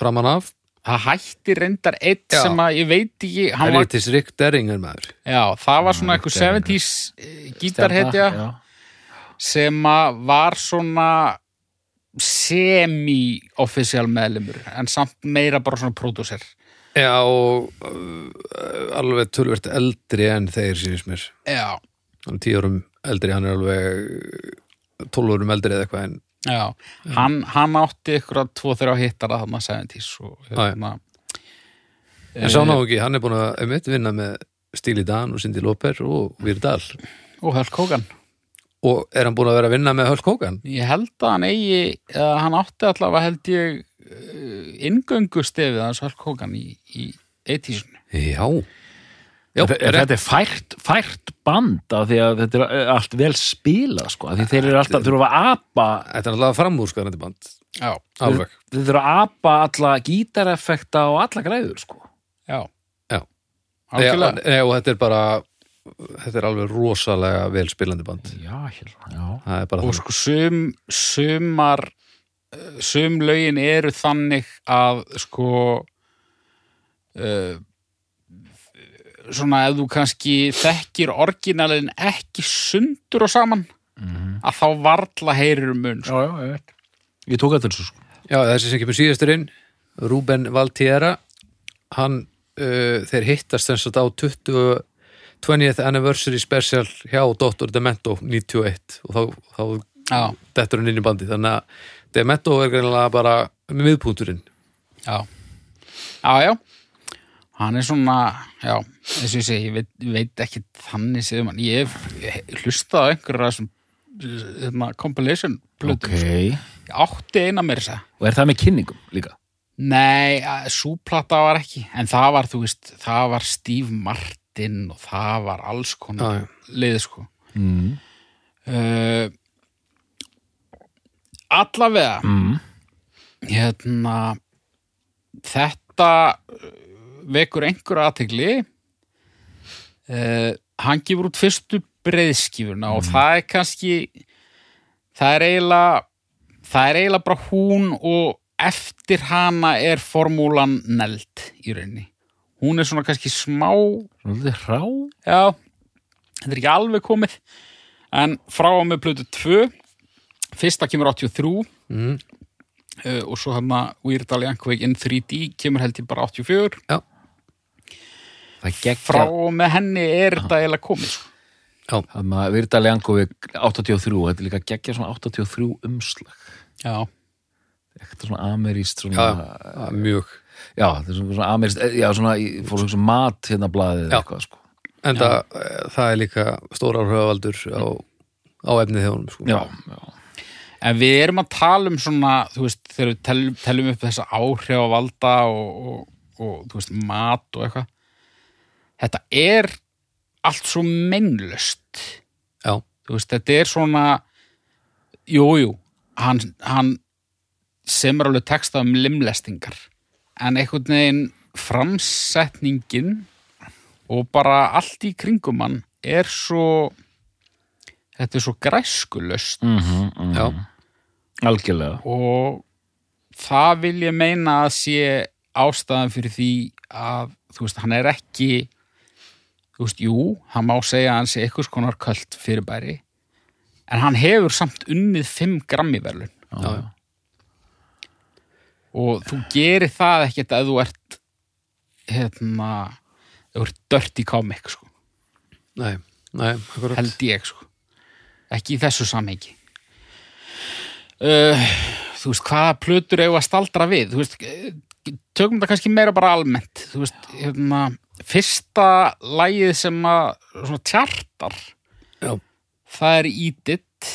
Speaker 1: framan af
Speaker 3: það hætti reyndar einn
Speaker 1: Já.
Speaker 3: sem að ég veit ekki hann var,
Speaker 1: Helvitis Rick Derringer maður
Speaker 3: já, það var svona eitthvað
Speaker 2: Stjarna.
Speaker 3: 70s eh, gítarhetja
Speaker 2: Já.
Speaker 3: sem að var svona semi-official meðlumur en samt meira bara svona pródúser
Speaker 1: Já, og uh, alveg tölvert eldri en þeir sínist mér
Speaker 3: Já,
Speaker 1: Hann er tíu uh, árum eldri, hann er alveg 12 árum eldri eða eitthvað en
Speaker 3: Já, hann, hann átti ykkur að tvo þeirra hittara þarna 70s og
Speaker 1: já.
Speaker 3: hérna,
Speaker 1: En sá ná ekki, hann er búin að um vinna með Stíli Dan og Cindy Lóper og Virdal
Speaker 3: og Hulk Hogan
Speaker 1: og er hann búin að vera að vinna með Hulk Hogan?
Speaker 3: ég held að hann eigi að hann átti allavega held ég ingöngu stefið hans Hulk Hogan í, í 80s-inu
Speaker 1: Já, já,
Speaker 2: Þe-
Speaker 1: rétt.
Speaker 2: þetta er fært, fært band af því að þetta er eh, allt vel spilað sko, af því þeir eru alltaf þurfa að apa
Speaker 1: þetta er alltaf framúrskarandi band
Speaker 3: Já,
Speaker 1: Alveg,
Speaker 2: þeir þurfa að apa alla gítareffekta og alla græður sko
Speaker 3: já,
Speaker 1: já
Speaker 3: algjörlega
Speaker 1: Nei, nei, og þetta er bara þetta er alveg rosalega vel spilandi band
Speaker 2: Já, hérna, já
Speaker 1: það er bara
Speaker 3: og
Speaker 1: þannig
Speaker 3: sko sum, sumar eh, sum lögin eru þannig að sko uh, svona ef þú kannski þekkir orginalin ekki sundur og saman að þá varla heyrir um mun sko.
Speaker 2: Já, já, ég veit Ég tók eftir þessu sko
Speaker 1: Já, þessi sem kemur síðastur inn Ruben Valtiera hann, uh, þeir hittast þess að á 20, 20th anniversary special hjá Dr. Demento 91 og þá, þá
Speaker 3: Já,
Speaker 1: dettur hann inn í bandi þannig að Demento er greinlega bara miðpunturinn
Speaker 3: já Já, já Hann er svona, já, eins og ég segi ég veit, ég veit ekki þannig séðum hann ég hef hlustað á einhverja þessum hérna, compilation plötum sko. Ég átti eina mér þess að
Speaker 2: Og er það með kynningum líka?
Speaker 3: Nei, að- sú plata var ekki en það var, þú veist, það var Steve Martin og það var alls
Speaker 1: Já,
Speaker 3: konar
Speaker 1: já.
Speaker 3: liði sko
Speaker 2: Mm.
Speaker 3: uh, Allavega
Speaker 2: Mm.
Speaker 3: hérna þetta uh, vekur einhver aðtegli uh, hann gefur út fyrstu breiðskifuna og það er kannski það er eiginlega það er eiginlega bara hún og eftir hana er formúlan neld í rauninni hún er svona kannski smá
Speaker 2: Svona lítið hrá
Speaker 3: já, þetta er ekki alveg komið en frá og með plötu 2 fyrsta kemur 83
Speaker 1: mm.
Speaker 3: uh, og svo hann að Weird Al Yankovic in 3D kemur held ég bara 84
Speaker 2: Það
Speaker 3: frá og með henni er þetta eiginlega komið sko.
Speaker 2: Það maður virðar Ljankovík 83 Þetta er líka geggja svona 83 umslag
Speaker 3: já,
Speaker 2: Ekkert svona ameríst svona,
Speaker 1: Já, já, mjög
Speaker 2: Já, þetta er svona, svona ameríst Já, svona, ég fór svona mat hérna blaðið
Speaker 1: Já.
Speaker 2: eitthvað, sko.
Speaker 1: en það, það er líka stóra áhrifavaldur á, á efnið hjá honum sko.
Speaker 2: Já, já
Speaker 3: en við erum að tala um svona þú veist, þegar við teljum, teljum upp þessa áhrif og valda og, og, og þú veist, mat og eitthvað þetta er allt svo mennlöst
Speaker 1: já,
Speaker 3: þú veist, þetta er svona jújú jú, hann, hann semur alveg texta um limlestingar en einhvern veginn framsetningin og bara allt í kringum hann er svo þetta er svo græskulöst
Speaker 2: mm -hmm,
Speaker 1: já,
Speaker 2: Algjörlega
Speaker 3: og það vil ég meina að sé ástæðan fyrir því að þú veist, hann er ekki þú veist, jú, hann má segja að hann sé einhvers konar kvöld fyrirbæri en hann hefur samt unnið 5 gramm í verðlun
Speaker 1: já, já.
Speaker 3: og þú gerir það ekkert að þú ert hérna þú ert dört í komik sko,
Speaker 1: Nei, nei, akkurat
Speaker 3: held ég sko ekki í þessu samhengi uh, þú veist hvaða plötur eigum að staldra við þú veist, eh, tökum þetta kannski meira bara almennt þú veist, hérna fyrsta lagið sem að svona tjartar
Speaker 1: Já.
Speaker 3: það er íditt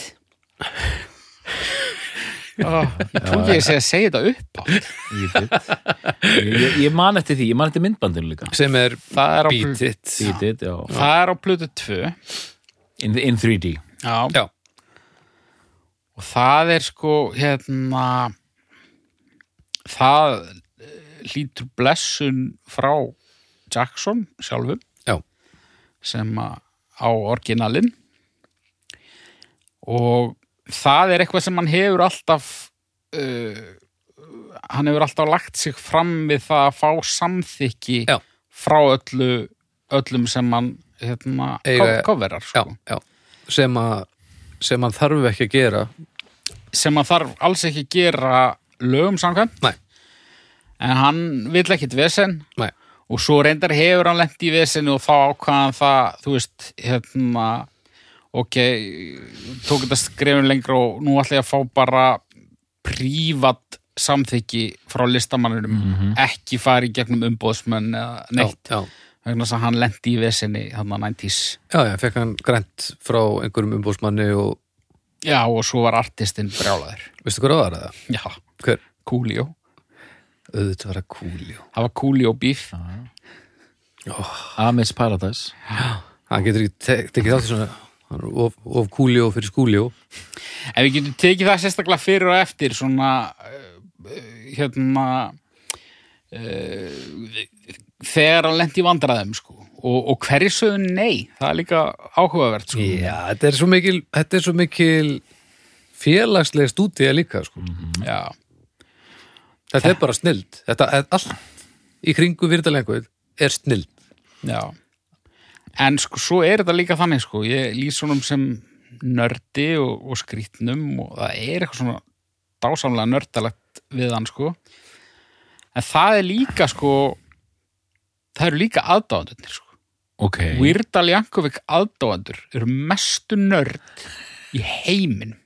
Speaker 3: oh, ég trúi ekki að segja, segja þetta upp á
Speaker 2: ég, ég, ég man eftir því, ég man eftir myndbandinu líka
Speaker 1: sem er
Speaker 3: það er á plötu-
Speaker 1: Beat It
Speaker 2: Beat it, já
Speaker 3: Það er á plötu 2
Speaker 2: in, in 3D
Speaker 3: Já.
Speaker 1: Já,
Speaker 3: og það er sko hérna það eh, hlýtur blessun frá Jackson sjálfum
Speaker 1: Já.
Speaker 3: sem að á orginalinn og það er eitthvað sem hann hefur alltaf uh, hann hefur alltaf lagt sig fram við það að fá samþykki
Speaker 1: Já.
Speaker 3: frá öllu öllum sem hann hérna,
Speaker 1: Eiga-
Speaker 3: coverar
Speaker 1: já,
Speaker 3: sko.
Speaker 1: já sem að sem hann þarf ekki að gera
Speaker 3: sem að þarf alls ekki að gera lögum samkvæmt
Speaker 1: Nei.
Speaker 3: en hann vill ekkit vesen
Speaker 1: Nei.
Speaker 3: og svo reyndar hefur hann lent í vesenu og þá ákvaðan það, þú veist, hérna ok, tók þetta skrefin lengra og nú ætla ég að fá bara prívat samþykki frá listamanninum ekki fara í gegnum umbóðsmenn eða neitt,
Speaker 1: já,
Speaker 3: vegna þess að hann lendi í vesinni þarna 90s
Speaker 1: já, já, fekk hann grænt frá einhverjum umbúsmanni og
Speaker 3: já og svo var artistinn brjálaður
Speaker 1: veistu hver áðar það?
Speaker 3: já,
Speaker 1: Hver?
Speaker 3: Coolio,
Speaker 1: Auðvitað var að kúljó
Speaker 3: það var Coolio beef
Speaker 2: Amis Paradise
Speaker 1: Hann getur ekki te tekið þátt í svona hann er of, of kúljó fyrir skúljó
Speaker 3: En við getum tekið það sérstaklega fyrir og eftir svona eh, hérna uh, þegar hann lenti í vandræðum sko. og, og hverju sögðu nei það er líka áhugavert sko.
Speaker 1: Já, Mm. þetta er svo mikil, þetta er svo mikil félagslega stúdíja líka sko.
Speaker 3: Já.
Speaker 1: Þetta er bara snild Þetta er allt í kringu virðalenguð er snild
Speaker 3: Já. En sko, svo er þetta líka þannig sko. ég lýs honum sem nördi og, og skrýtnum og það er eitthvað svona dásamlega nördalegt við hann sko. en það er líka sko, það eru líka aðdáðunir sko.
Speaker 2: Ok
Speaker 3: Weirdal Jankovic aðdáðandur eru mestu nörd í heiminum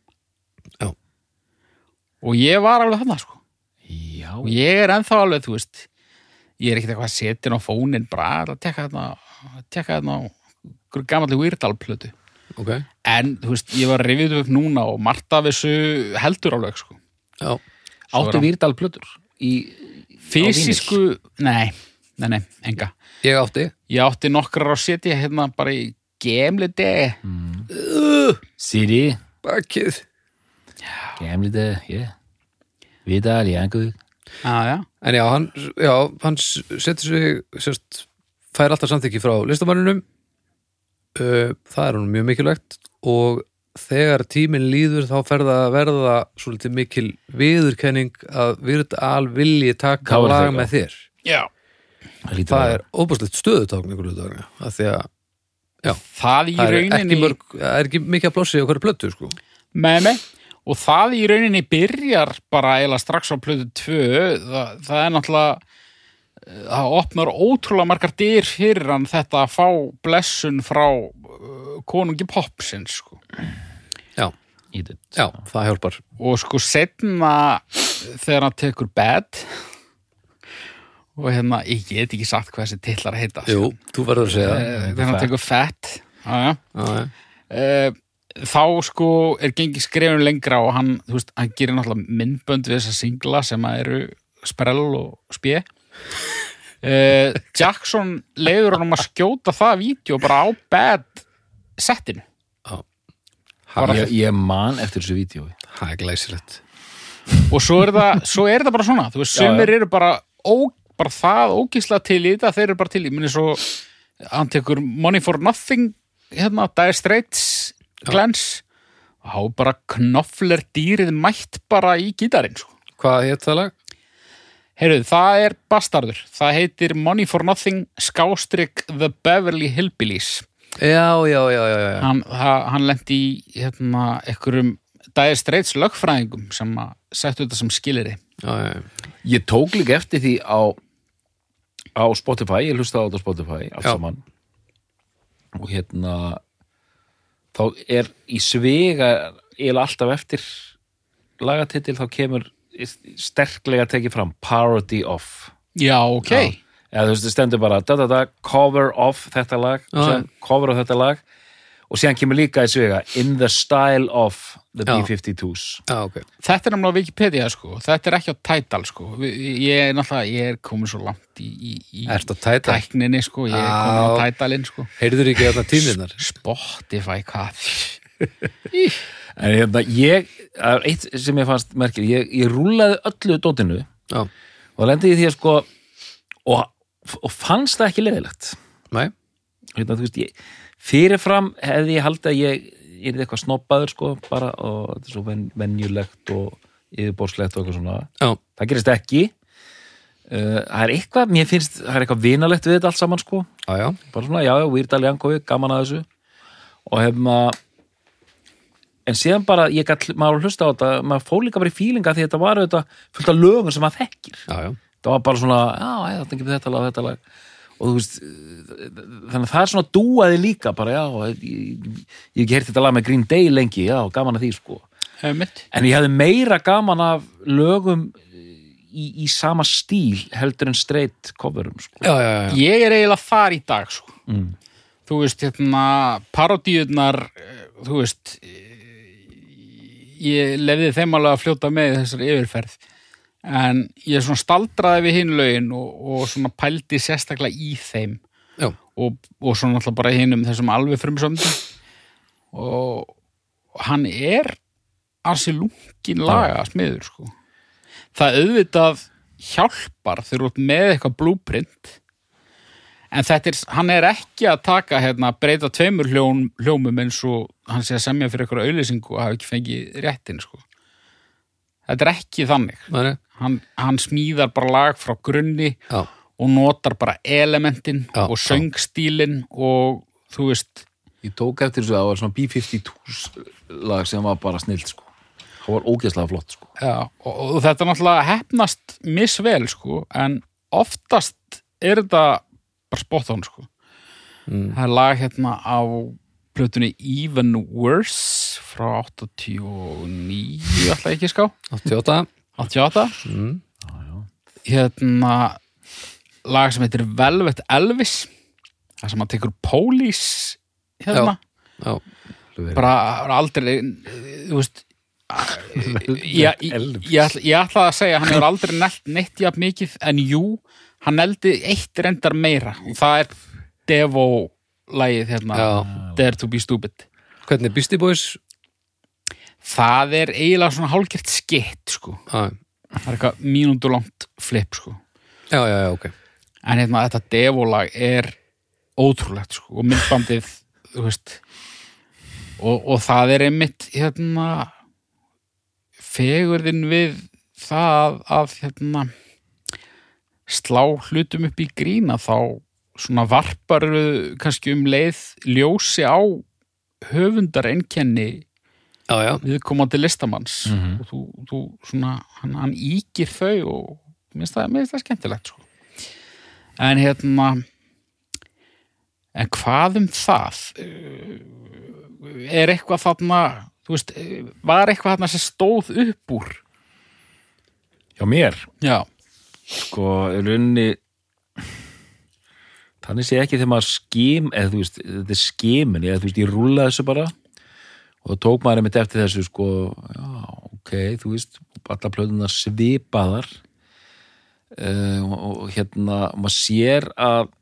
Speaker 1: Já.
Speaker 3: og ég var alveg þannig sko.
Speaker 2: Já
Speaker 3: og ég er ennþá alveg, þú veist ég er ekkert eitthvað að setja hann á fónin bara "Ætla að tekka þarna tekka þarna á einhverju gamalli Weirdal plötu
Speaker 1: okay.
Speaker 3: en, þú veist, ég var rifið upp núna og Marta vissu heldur alveg sko.
Speaker 1: Já,
Speaker 2: Áttu Výrdal plötur í
Speaker 3: fysisku, nei, nei, nei, enga
Speaker 1: ég átti
Speaker 3: ég átti nokkrar að setja hérna bara í gemli degi
Speaker 2: Siri
Speaker 1: Bakið
Speaker 2: Gemlite, yeah Výrdal, Jankovík
Speaker 3: ah, já,
Speaker 1: En já, hann, já, hann s- setur sig sérst, fær alltaf samþykki frá listamanninum uh, það er hann mjög mikilvægt og þegar tíminn líður þá fer það að verða svolítið mikil viðurkenning að virðal vilji taka
Speaker 2: Það var
Speaker 1: lag
Speaker 2: það, já.
Speaker 1: með þér
Speaker 3: já
Speaker 1: það er óbúslegt stöðutákn ykkur hluta vegna, af því að
Speaker 3: það í
Speaker 1: það er
Speaker 3: rauninni
Speaker 1: ekki, mörg, það er ekki mikið að blossi á hverju plötu sko.
Speaker 3: Nei, nei. og það í rauninni byrjar bara eiginlega strax á plötu 2 það, það er náttúrulega eh, það opnar ótrúlega margar dyr fyrir hann þetta að fá blessun frá uh, konungi popsins sko.
Speaker 1: já,
Speaker 2: Ídut
Speaker 1: já, það hjálpar
Speaker 3: og sko setna þegar hann tekur bed og hérna ég get ekki sagt hvað þessi titlar heita sko.
Speaker 1: Jú, þú verður að segja
Speaker 3: Eh,
Speaker 1: það
Speaker 3: þegar hann
Speaker 2: Fat.
Speaker 3: tekur fett aðja
Speaker 1: Já, já.
Speaker 3: Eh, þá sko er gengið skrefum lengra og hann, þú veist, hann gerir náttúrulega myndbönd við þessa singla sem að eru sprell og spje uh, Jackson leiður hann um að skjóta það vídeo bara á bad settinu
Speaker 1: það
Speaker 2: ég,
Speaker 1: er-
Speaker 2: ég man eftir þessu vídeo
Speaker 1: það er glæsilegt
Speaker 3: og svo er það, svo er það bara svona þú veist,
Speaker 2: Já, já.
Speaker 3: sumir eru bara, ó, bara það ógísla til í þetta, þeir eru bara til í minni svo, hann tekur Money for Nothing, hérna, Dire Straits glens og há bara knoffler dýrið mætt bara í gítarinn, sko
Speaker 1: Hvað hétt það lag?
Speaker 3: Heyrðu, það er bastardur. Það heitir Money for Nothing skástrík The Beverly Hillbillies.
Speaker 1: Já, já, já, já, já.
Speaker 3: Hann, ha- hann lendi í hérna, einhverjum Dire Straits lögfræðingum sem að settu þetta sem skiliri.
Speaker 1: já, já, já.
Speaker 2: Ég tók líka eftir því á á Spotify, ég hlusta á þetta á Spotify allt
Speaker 1: Já.
Speaker 2: saman og hérna þá er í svega eða alltaf eftir lagatitil þá kemur sterklega tekið fram parody of
Speaker 3: Já, ok.
Speaker 2: eða þú veist, það stendur bara da, da, da, cover of þetta lag
Speaker 1: Já.
Speaker 2: og síðan cover of þetta lag og síðan kemur líka í svega in the style of the
Speaker 1: Já.
Speaker 2: B-52s
Speaker 1: Já, ok.
Speaker 3: Þetta er náttúrulega Wikipedia, sko. Þetta er ekki á Tidal, sko. Vi- Ég er náttúrulega, ég er komin svo langt í, í, í
Speaker 1: Ertu að tæta?
Speaker 3: tækninni, sko. Ég er komin á
Speaker 1: Já.
Speaker 3: Tidalinn, sko.
Speaker 1: Heyrður ekki hérna þarna tíminnar?
Speaker 3: Spotify, hvað?
Speaker 2: En hérna, ég, það er eitt sem ég fannst merkir, ég, ég rúlaði öllu dótinu
Speaker 1: Já,
Speaker 2: og lendi í því að sko og, og fannst það ekki leðilegt
Speaker 1: næ,
Speaker 2: hérna, þú veist, ég, fyrirfram hefði ég haldið að ég er eitthvað snoppaður sko, bara, og þetta er svo ven, venjulegt og yfirborslegt og eitthvað svona
Speaker 1: já,
Speaker 2: það gerist ekki uh, það er eitthvað, mér finnst, það er eitthvað vinalegt við þetta allt saman sko,
Speaker 1: já, já,
Speaker 2: bara svona, já, já, Weirdal Jankovi, gaman að þessu og hefna en síðan bara, ég gætt, maður var að hlusta á þetta maður fór líka bara í fílinga því þetta var auðvitað fullt af lögum sem maður þekkir
Speaker 1: já, já.
Speaker 2: það var bara svona, já, ég, þetta er ekki þetta lag, þetta lag og þú veist þannig að það er svona dúaði líka bara já, ég, ég, ég hef ekki heyrt þetta lag með Green Day lengi, já, gaman að því sko
Speaker 3: Einmitt.
Speaker 2: En ég hefði meira gaman af lögum í, í sama stíl heldur en straight coverum sko.
Speaker 1: já, já, já.
Speaker 3: Ég er eiginlega þar í dag sko. Þú veist, hérna, parodíunar þú veist eh, ég lefði þeim alveg að fljóta með í þessari yfirferð en ég svona staldraði við hinn lögin og, og svona pældi sérstaklega í þeim
Speaker 1: Já.
Speaker 3: og, og svona alltaf bara hinn um þessum alveg frumsöndum og hann er ansi lungin laga smiður sko. það auðvitað hjálpar þegar þú ert með eitthvað blúprint en þetta er, hann er ekki að taka hérna, breyta tveimur hljón, hljómum eins og hann sé að semja fyrir eitthvað auðlýsingu og hafa ekki fengið réttin sko. þetta er ekki þannig
Speaker 1: Nei, nei.
Speaker 3: hann, hann smíðar bara lag frá grunni
Speaker 1: já.
Speaker 3: og notar bara elementin
Speaker 1: Já,
Speaker 3: og
Speaker 1: já.
Speaker 3: söngstílin og þú veist
Speaker 2: Ég tók eftir þessu að það var svona B-52 lag sem var bara snilt sko. Það var ógeðslega flott sko.
Speaker 3: Já, og, og þetta er náttúrulega hefnast misvel, sko, en oftast er þetta bara spot on, sko.
Speaker 1: Mm.
Speaker 3: Það er lag hérna á plötunni Even Worse frá 89, alltaf ekki ská,
Speaker 1: 88
Speaker 3: 88.
Speaker 1: mm.
Speaker 3: Hérna lag sem heitir Velvet Elvis, það sem hann tekur Police, hérna.
Speaker 1: Já. já,
Speaker 3: bara aldrei þú veist ég, ég, ég, ætla- ég ætlaði að segja að hann hefur aldrei nelt neitt jafn mikið en jú, hann neldi eitt reyndar meira og það er Devo lagið hérna
Speaker 1: já.
Speaker 3: Dare to be stupid
Speaker 1: Hvernig Beastie Boys?
Speaker 3: það er eiginlega svona hálgert skitt sko,
Speaker 1: Já,
Speaker 3: það er eitthvað mínúndu langt flip sko,
Speaker 1: já, já, já, ok
Speaker 3: en hérna þetta Devo lag er ótrúlegt sko, og myndbandið þú veist og, og það er einmitt hérna fegurðin við það að hérna slá hlutum upp í grína þá svona varparu kannski um leið ljósi á höfundar einkenni
Speaker 1: Já, já,
Speaker 3: viðkomandi listamanns og þú, þú svona, hann, hann íkir þau og minnst það, minnst það skemmtilegt sko. en hérna en hvað um það Eh, er eitthvað þarna þú veist, eh, var eitthvað þarna sem stóð upp úr
Speaker 4: Já, mér.
Speaker 3: já,
Speaker 2: Sko, í rauninni þannig sé ekki þegar maður skim eða þú veist, þetta er skimin eða þú veist, ég rúla þessu bara og það tók maður einmitt eftir þessu sko, já, ok, þú veist alla plöðuna svipaðar uh, og, og hérna maður sér að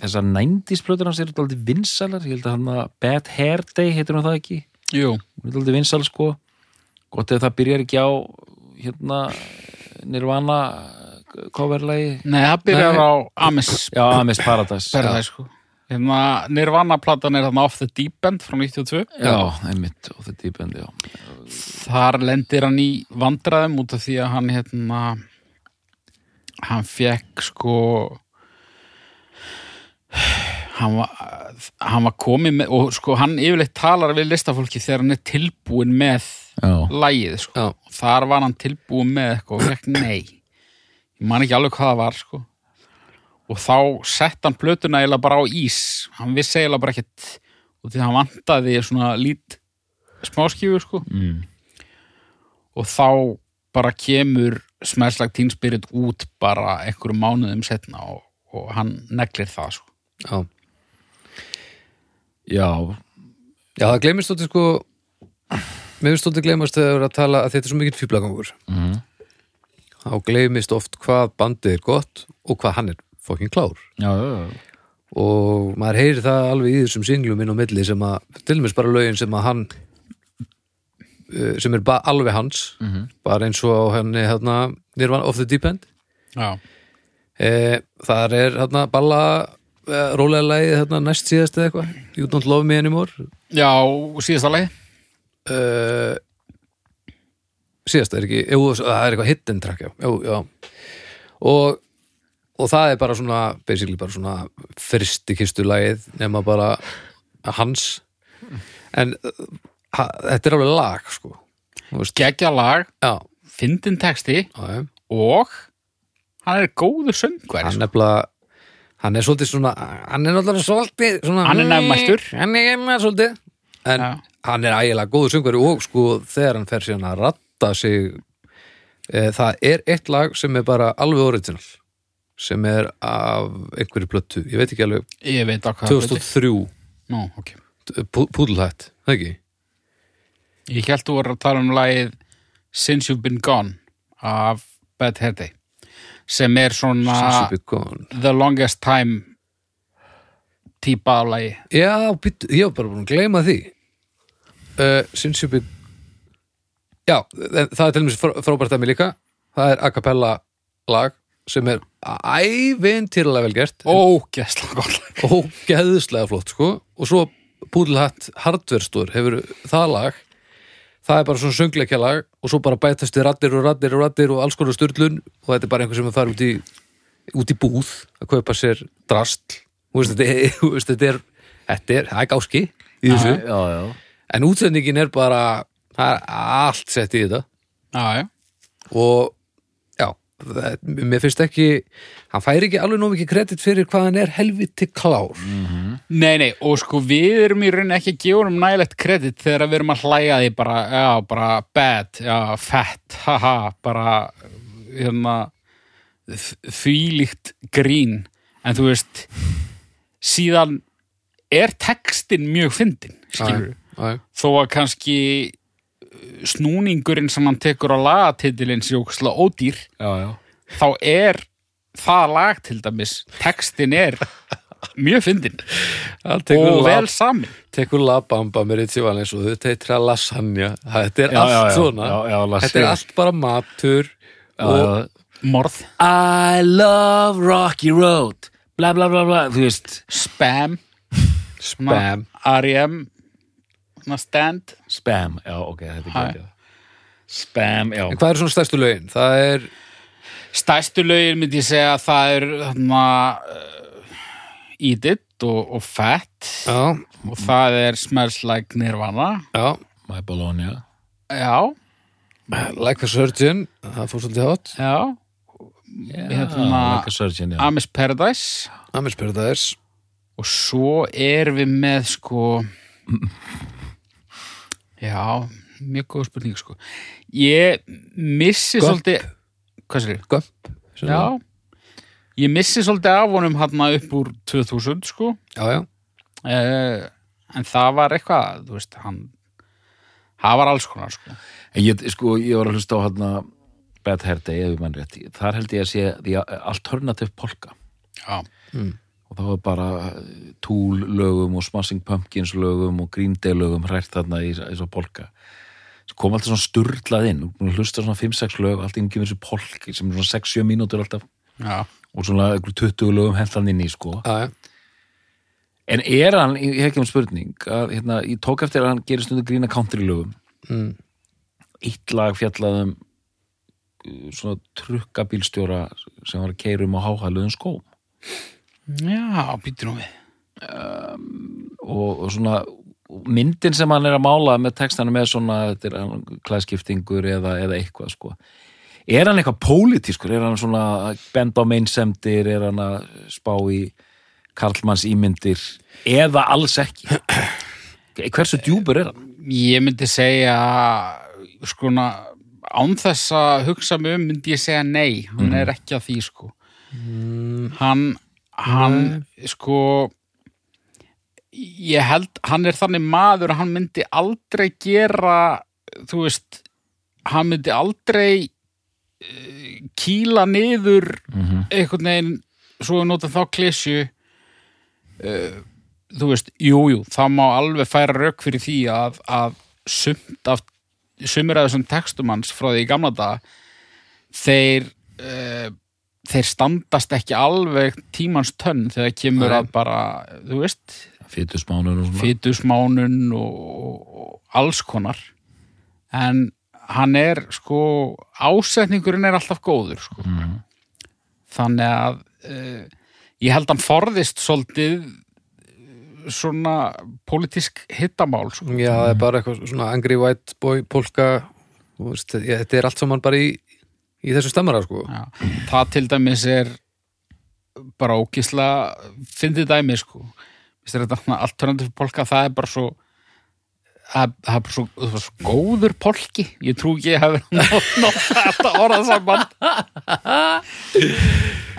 Speaker 2: þessar nændisplöður hans eru alltaf vinsalar, ég held að hann að Bad Hair Day heitir hann það ekki
Speaker 3: jú
Speaker 2: hún er aldrei vinsal sko gott ef það byrjar ekki á hérna Nirvana eh, coverlagi
Speaker 3: nei, það byrjar
Speaker 1: Nei.
Speaker 3: á Amis
Speaker 2: já, Amis Paradise
Speaker 3: Paradise, sko. hérna, Nirvana platan er þarna Off the Deep End frá 92
Speaker 2: já, já einmitt og þetta íbendi já.
Speaker 3: þar lendir hann í vandræðum út af því að hann hérna hann fekk sko hann var, hann var komið með og sko hann yfirleitt talar við listafólki þegar hann er tilbúin með
Speaker 2: já,
Speaker 3: lægið sko
Speaker 1: Já.
Speaker 3: og þar var hann tilbúin með eitthvað og fekk nei ég man ekki alveg hvað það var sko og þá sett hann plötuna eiginlega bara á ís hann vissi eiginlega bara ekkert og því að hann vantaði svona lít smáskífu sko
Speaker 2: mm.
Speaker 3: og þá bara kemur smerslag Teen Spirit út bara einhverjum mánuðum setna og, og hann neglir það sko.
Speaker 1: Já,
Speaker 2: já,
Speaker 1: já það gleymist þótti sko Mér finnst þótti gleymast þegar við erum að tala að þetta er svo mikill fýblagangur mm. Þá gleymist oft hvað bandið er gott og hvað hann er fókin klár
Speaker 2: já, já, já.
Speaker 1: og maður heyri það alveg í þessum singlum inn á milli sem að, til dæmis bara lögin sem að hann eh, sem er ba- alveg hans bara eins og á henni hérna Nirvana of the Deep End
Speaker 3: Já.
Speaker 1: eh, þar er hérna balla eh, rólega lagið hérna næst síðast eða eitthvað You Don't Love Me Anymore
Speaker 3: Já, og síðasta leið
Speaker 1: eh, síðast er ekki jú, það er eitthvað hidden track já, jú, já. og og það er bara svona, basically bara svona fyrsti kistulagið nema bara hans en uh, ha, þetta er alveg lag sko Þú veist,
Speaker 3: geggja lag,
Speaker 1: já,
Speaker 3: fyndin texti
Speaker 1: já, já.
Speaker 3: og hann er góðu söngver
Speaker 1: hann
Speaker 3: sko.
Speaker 1: nefnilega Hann er svolítið svona, hann er náttúrulega svolítið svona,
Speaker 3: Hann er nefnmæltur.
Speaker 1: Hann er nefnmæltur svolítið En
Speaker 3: Já.
Speaker 1: hann er ægilega góður söngveri og sko þegar hann fer síðan að ratta sig e, Það er eitt lag sem er bara alveg original sem er af einhverju plötu, ég veit ekki alveg
Speaker 3: Ég veit á hvað
Speaker 1: 2003,
Speaker 3: Nú, ok
Speaker 1: eh, Pú- púdlhætt, það ekki?
Speaker 3: Ég held þú voru að tala um lagið Since You've Been Gone af Bad Hair Day sem er svona
Speaker 1: Since You've Been Gone.
Speaker 3: The Longest Time típa af lagi
Speaker 1: Já, býttu, ég var bara búin að gleyma því uh, Since you be Já, en það er til mér frábært að mér líka Það er a cappella lag sem er ævintýralega vel gert
Speaker 3: Ógæsla gott lag
Speaker 1: og geðislega flott sko og svo Púdlhatt Hardverstur hefur það lag það er bara svona söngleikja lag og svo bara bætast við raddir og raddir og raddir og alls konar styrlun og þetta er bara einhver sem er farið út í, út í búð að kaupa sér drastl og veist, þetta, er, þú veist, þetta er þetta er, það er gáski í þessu
Speaker 2: Já, já.
Speaker 1: en útsendingin er bara það er allt sett í þetta
Speaker 3: Já, já,
Speaker 1: og já, það- mér finnst ekki hann fær ekki alveg nóg mikið kredit fyrir hvað hann er helviti klár
Speaker 3: Nei, nei, og sko við erum í rauninni ekki að gefa um nægilegt kredit þegar við erum að hlæja því bara, já, bara bad, já, fat, haha, bara, hérna, fýlíkt grín, en þú veist, síðan er textin mjög fyndin, skilur
Speaker 1: Æ, æ.
Speaker 3: þó að kannski uh, snúningurinn sem hann tekur á lagatitilinn sé ókslega ódýr,
Speaker 2: já, já.
Speaker 3: þá er það lag til dæmis, textin er mjög fyndin
Speaker 1: Hann
Speaker 3: og
Speaker 1: tekur
Speaker 3: vel
Speaker 1: vel
Speaker 3: samin
Speaker 1: tekur labamba með Ritchie Valens og þau teitra lasagna þetta er
Speaker 2: Já,
Speaker 1: allt
Speaker 2: já, já.
Speaker 1: svona
Speaker 2: Já, já, lasagna.
Speaker 1: þetta er allt bara matur og
Speaker 2: Og-
Speaker 3: morð,
Speaker 2: I love Rocky Road bla bla bla bla, þú veist
Speaker 3: spam
Speaker 1: spam
Speaker 3: R.E.M. svona stand
Speaker 2: Spam, já, ok, þetta
Speaker 3: Hæ.
Speaker 2: er ekki Spam, já
Speaker 1: en hvað eru svona stærstu lögin? það er
Speaker 3: stærstu lögin myndi ég segja að það er þarna uh, Eat It og, og Fat
Speaker 1: já,
Speaker 3: og það er Smells Like Nirvana
Speaker 1: já,
Speaker 2: My Bologna
Speaker 3: já,
Speaker 1: Like a Surgeon það fór svolítið hátt
Speaker 3: já
Speaker 2: Ah,
Speaker 3: hérna
Speaker 2: like a surgeon, já
Speaker 3: Amish Paradise
Speaker 1: Amish Paradise
Speaker 3: og svo er við með sko já, mjög góð spurning sko ég missi
Speaker 1: Gump.
Speaker 3: svolítið hvað sér ég?
Speaker 1: Gump sem er-
Speaker 3: Já, ég missi svolítið af honum hann upp úr 2000 sko
Speaker 1: já, já,
Speaker 3: eh, en það var eitthvað, þú veist, hann það var alls konar sko
Speaker 2: En Ég, sko, ég var að hlusta á hérna Bad Hair Day, ef ég mann rétt Þar held ég að sé því að alternative polka
Speaker 3: Já,
Speaker 2: og það var bara Tool lögum og Smashing Pumpkins lögum og Green Day lögum hrært þarna í þess að polka svo kom alltaf svona sturlað inn og hlusta svona 5-6 lög, allt inn kemur þessu polki sem er svona 6-7 mínútur alltaf
Speaker 3: já,
Speaker 2: og svona einhver 20 lögum hentan inn í sko
Speaker 1: já, já.
Speaker 2: en er hann, ég hef ekki um spurning að, hérna, ég tók eftir að hann gerir stundu grína country lögum
Speaker 1: Mm.
Speaker 2: eitt lag fjallaðum uh, svona trukkabílstjóra sem var að keira um á háhæluðum skóm
Speaker 3: já, býtur nú við
Speaker 2: og, og svona myndin sem hann er að mála með textanum er svona þetta er hann klæðskiptingur eða, eða eitthvað sko. er hann eitthvað pólitískur er hann svona að benda á meinsemdir er hann að spá í karlmanns ímyndir eða alls ekki hversu djúpur er hann?
Speaker 3: Ég myndi segja sko na, án þess að hugsa mig um myndi ég segja nei, hann er ekki að því sko hann hann sko ég held, hann er þannig maður að hann myndi aldrei gera þú veist hann myndi aldrei eh, kýla niður einhvern veginn, svo við notum þá klesju uh, þú veist, jú, jú, það má alveg færa rauk fyrir því að, að sumt af, sumir af þessum textum hans frá því í gamla daga þeir uh, þeir standast ekki alveg tímans tönn þegar kemur
Speaker 1: Nei.
Speaker 3: að bara, þú veist
Speaker 2: fytusmánur og svona
Speaker 3: fytusmánun og, og, og alls konar en hann er sko ásetningurinn er alltaf góður sko. þannig að uh, ég held hann forðist svolítið eh, svona pólitísk hittamál sko.
Speaker 1: Já, það er bara eitthvað svona angry white boy polka og veist, ég, þetta er allt saman bara í, í þessu stemmara sko.
Speaker 3: Já. það til dæmis er bara ókísla fyndið dæmi sko Mér finnst þetta alternativ polka það er bara svo það það er bara svo, það var svo góður polki ég trú ekki að ég hafi nátt þetta orðað saman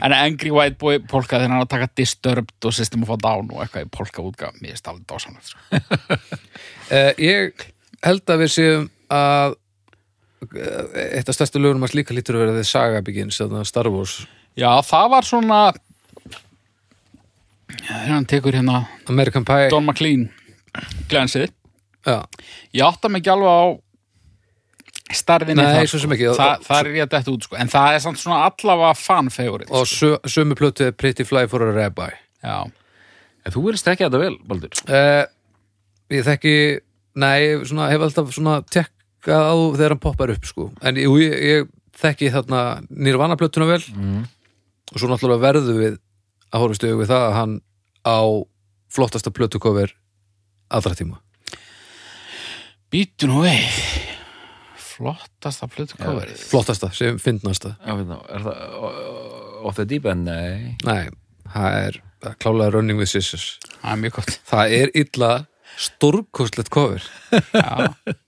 Speaker 3: en Angry White Boy polka þegar hann er að taka Disturbed og System of a Down og eitthvað í polka útgaf mér finnst alveg dásamlega sko.
Speaker 1: Eh, ég held að við séum að eh, eitt af stærstu lögurum að slíka lítur að vera þið Saga Begins, þarna Star Wars
Speaker 3: já það var svona þegar hann tekur hérna
Speaker 1: American Pie
Speaker 3: Don McLean glansið
Speaker 1: Já,
Speaker 3: ég átta mig ekki alveg á starfinni
Speaker 1: Nei,
Speaker 3: þar, sko.
Speaker 1: svo sem ekki.
Speaker 3: Þa, þar er ég að detta út sko. en það er samt svona allavega fan favorite sko.
Speaker 1: og sö, sömu plötu er Pretty Fly for a Rabbi
Speaker 3: já,
Speaker 2: En þú verðist ekki þetta vel, Baldur.
Speaker 1: uh, Ég þekki Nei, svona, hef alltaf svona tekkað á þegar hann poppar upp sko. en jú, ég, ég þekki þarna Nirvana plötuna vel og svo náttúrulega verðum við að horfast í augu við það að hann á flottasta plötukofir allra tíma
Speaker 3: býtu nú við flottasta plötukoverið
Speaker 1: flottasta sem finnast
Speaker 2: Já, við þá, er það off the deep end? Nei.
Speaker 1: Nei, það er það er klálega Running with Scissors
Speaker 3: það er mjög gott
Speaker 1: Það er illa stórkostlegt cover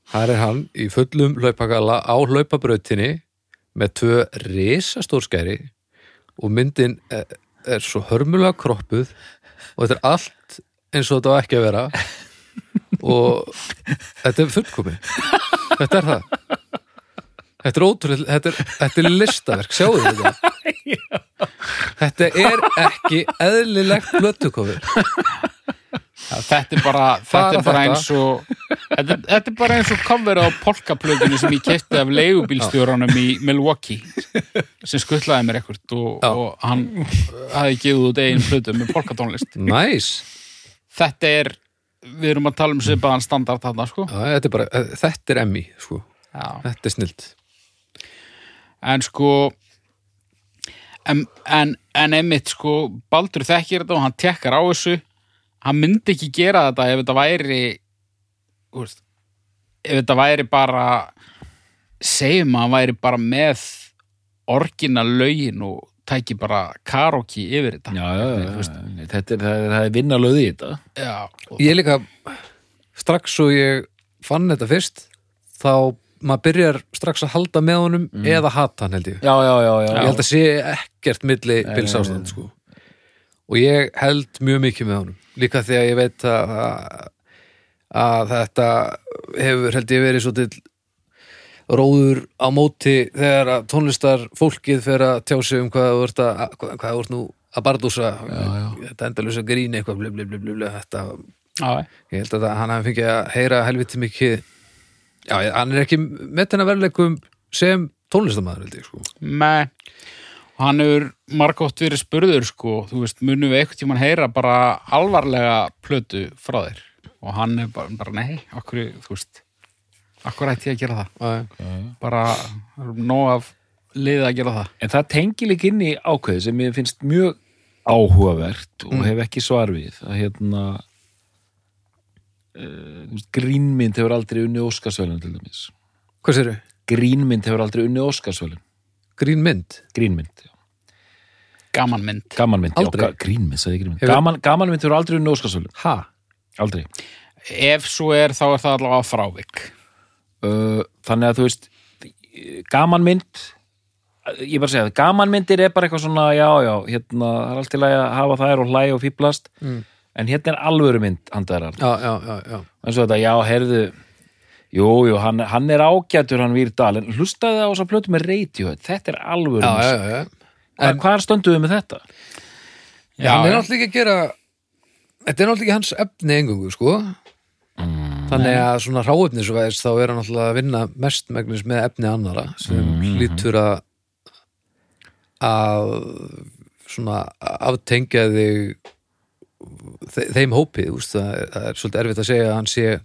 Speaker 1: Þar er hann í fullum hlaupakala á hlaupabrautinni með tvö risastórskæri og myndin er, er svo hörmulega kroppuð og þetta er allt eins og þetta var ekki að vera og þetta er fullkomi Þetta er það Þetta er ótrúlega, þetta er, þetta er listaverk, sjáðu þetta Þetta er ekki eðlilegt blöttukofir
Speaker 3: Já, þetta er bara, þetta
Speaker 1: Bara
Speaker 3: er bara
Speaker 1: þetta.
Speaker 3: eins og þetta, þetta er bara eins og coverið á polkaplötunni sem ég kefti af leigubílstjóranum í Milwaukee sem skuttlaði mér ekkert og,
Speaker 1: Já.
Speaker 3: og hann hafði gefið út eigin plötu með polkatónlist
Speaker 1: Næs nice.
Speaker 3: þetta er, við erum að tala um svipaðan standard þarna sko
Speaker 1: Já, þetta er bara, eh, þetta er emmi, sko.
Speaker 3: Já.
Speaker 1: Þetta er snilt.
Speaker 3: en sko en, en, en einmitt sko Baldur þekkir þetta og hann tekkar á þessu hann myndi ekki gera þetta ef þetta væri þú veist, ef þetta væri bara segjum að hann væri bara með orginal lögin og tæki bara karaoke yfir þetta
Speaker 2: Já, já, já. já. Þetta er, það er, það er vinnalöði í þetta.
Speaker 3: Já, og,
Speaker 1: Ég líka, strax svo ég fann þetta fyrst, þá maður byrjar strax að halda með honum eða hata hann, held ég.
Speaker 2: Já, já, já, já.
Speaker 1: Ég held að sé ekkert milli Bills ástand, sko. Og ég held mjög mikið með honum. Líka þegar ég veit að, að, að þetta hefur, held ég, verið svo til róður á móti þegar að tónlistar fólkið fer að tjá sig um hvað þú ert að hvað, hvað þú ert nú að bardúsa þetta endalösa grín eitthvað blub, blub, blub, blub, blub, þetta,
Speaker 3: já,
Speaker 1: ég held að það- hann hafi fengið að heyra helviti mikið já, ég- hann er ekki metin að verðleikum sem tónlistamæður held ég sko
Speaker 3: Nei, og hann hefur margótt verið spurður sko, þú veist, munum við eitthvað tímann heyra bara alvarlega plötu frá þér og hann er bara, bara nei, okkur, þú veist, okkur ætti ég að gera það, bara það er nóg af liðið að gera það.
Speaker 2: En það tengi líka inn í ákveði sem ég finnst mjög áhugavert
Speaker 1: Mm.
Speaker 2: og hef ekki svar við að hérna uh, grínmynd hefur aldrei unni Óskarsvölun til dæmis
Speaker 1: Hvað sérðu?
Speaker 2: grínmynd hefur aldrei unni Óskarsvölun
Speaker 1: Grín mynd?
Speaker 2: grínmynd, já.
Speaker 3: Gaman mynd.
Speaker 2: gamanmynd
Speaker 1: Aldrei.
Speaker 2: já, ga- grínmynd, sagði ég grínmynd
Speaker 1: Hefur-
Speaker 2: Gaman, gamanmynd hefur aldrei unni Óskarsvölun,
Speaker 1: Ha?
Speaker 2: aldrei
Speaker 3: Ef svo er, þá er það allavega frávik.
Speaker 2: uh, þannig að þú veist gamanmynd ég bara segja það, gamanmyndir er bara eitthvað svona já, já, hérna, það er allt til að hafa þær og hlæja og fýblast
Speaker 1: Mm.
Speaker 2: en hérna er alvöru mynd handaðar
Speaker 1: Já, já, já, já.
Speaker 2: eins og þetta, já, heyrðu jú, jú, hann, hann er ágætur hann Výrdal, en hlustaði á þess að plötu með Radiohead, þetta er alvöru
Speaker 1: Já, já,
Speaker 2: músík.
Speaker 1: já, já.
Speaker 2: Hva- Hvar stönduðu við með þetta?
Speaker 3: Já,
Speaker 1: Hann er náttúrulega ekki að gera Þetta er náttúrulega ekki hans efni engungu, sko
Speaker 3: Mm.
Speaker 1: Þannig að svona ráefnisvæðis þá er hann náttúrulega að vinna mestmegnis með efni annara sem
Speaker 3: Mhm.
Speaker 1: lítur að að svona aftengja þig þe- þeim hópi, þú veist, það er, það er svolítið erfitt að segja að hann sé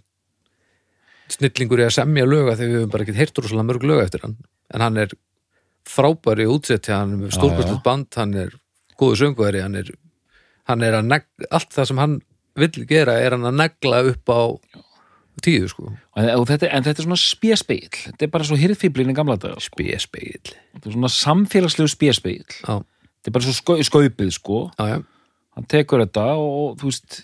Speaker 1: snillingur í að semja löga þegar við höfum bara ekkert heyrt rosalega mörg löga eftir hann en hann er frábæri útsett hann er með stórkvöldslut band, hann er góðu söngveri, hann er, hann er að neg, allt það sem hann vill gera er hann að negla upp á tíu sko
Speaker 2: En, og þetta? En þetta er svona spjæspegill, þetta er bara svo hirðfýblin í gamla dag,
Speaker 1: BS-beigil
Speaker 2: þetta er svona samfélagslegu spjæspegill
Speaker 1: Já,
Speaker 2: þetta er bara svo skau, skaupið sko
Speaker 1: já, já,
Speaker 2: hann tekur þetta og, og þú veist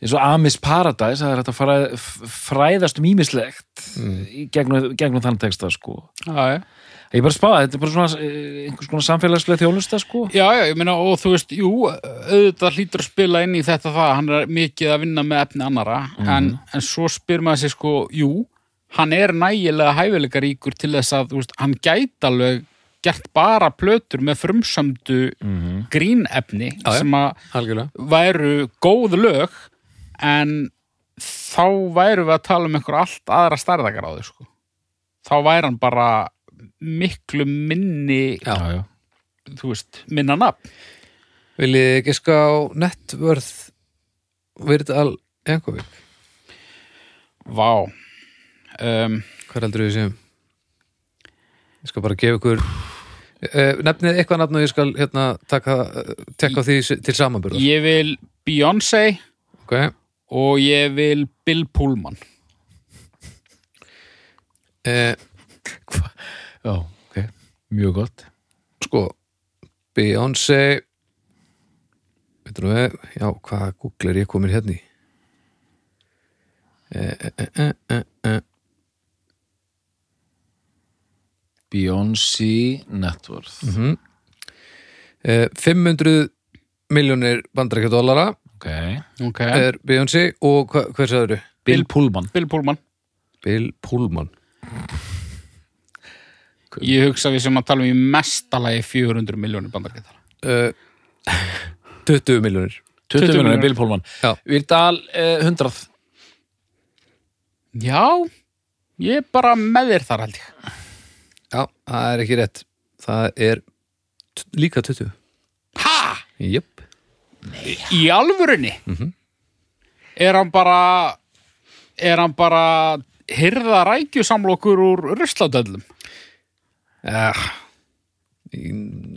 Speaker 2: eins og Amis Paradise það er hægt að fara, f- fræðast um ímislegt mm. gegnum, gegnum þann texta sko
Speaker 3: já, já.
Speaker 2: ég er bara að spá, þetta er bara svona eh, einhvers konar samfélagslega þjónusta sko
Speaker 3: Já, já, ég meina, og þú veist, jú, auðvitað hlýtur að spila inn í þetta það, hann er mikið að vinna með efni annara,
Speaker 1: Mhm.
Speaker 3: en, en svo spyr maður sér sko, jú, hann er nægilega hæfileikaríkur til þess að, þú veist, hann gæti alveg gert bara plötur með frumsamdu grínefni
Speaker 1: Mhm. Já, já.
Speaker 3: sem að
Speaker 1: algjörlega
Speaker 3: væru góð lög, en þá væru við að tala um einhver allt aðra stærðakar á þau, sko. Þá væri hann bara miklu minni,
Speaker 1: Já.
Speaker 2: já, já.
Speaker 3: þú veist, minna nafn.
Speaker 1: Viljið þið giska á nettvörð Virdal Jankovic?
Speaker 3: Vá um,
Speaker 1: Hvað heldur við séum? Ég skal bara gefa ykkur uh, Nefnið eitthvað nafn og ég skal hérna taka, uh, tekka því s- til samanbyrða
Speaker 3: Ég vil Beyoncé
Speaker 1: Ok,
Speaker 3: og ég vil Bill Pullman
Speaker 1: uh,
Speaker 2: já, ok, mjög gott
Speaker 1: sko Beyoncé Veitum við, já, hvað Google er ég komin hérna í?
Speaker 2: Beyoncé Networth
Speaker 1: Mhm. Uh, 500 miljónir bandarækja dollara
Speaker 2: ok,
Speaker 3: okay.
Speaker 1: er Beyoncé og hva, hvers aðru?
Speaker 2: Bill Pullman
Speaker 3: Eh, Bill Pullman
Speaker 1: Bill Pullman
Speaker 3: Ég hugsa við sem að tala um í mestalagi 400 miljónir bandargetara
Speaker 1: uh, 20 miljónir
Speaker 2: 20
Speaker 3: milljónir.
Speaker 2: miljonir Bill Pullman
Speaker 1: Já.
Speaker 2: Virdal eh, 100
Speaker 3: Já, ég er bara með þér þar held ég
Speaker 1: Já, það er ekki rétt Það er t- líka 20
Speaker 3: Ha?
Speaker 1: Jöp
Speaker 3: Í alvörunni? Er hann bara er hann bara hirða rækjusamlokur úr rusladöllum Eh,
Speaker 1: ja. Í-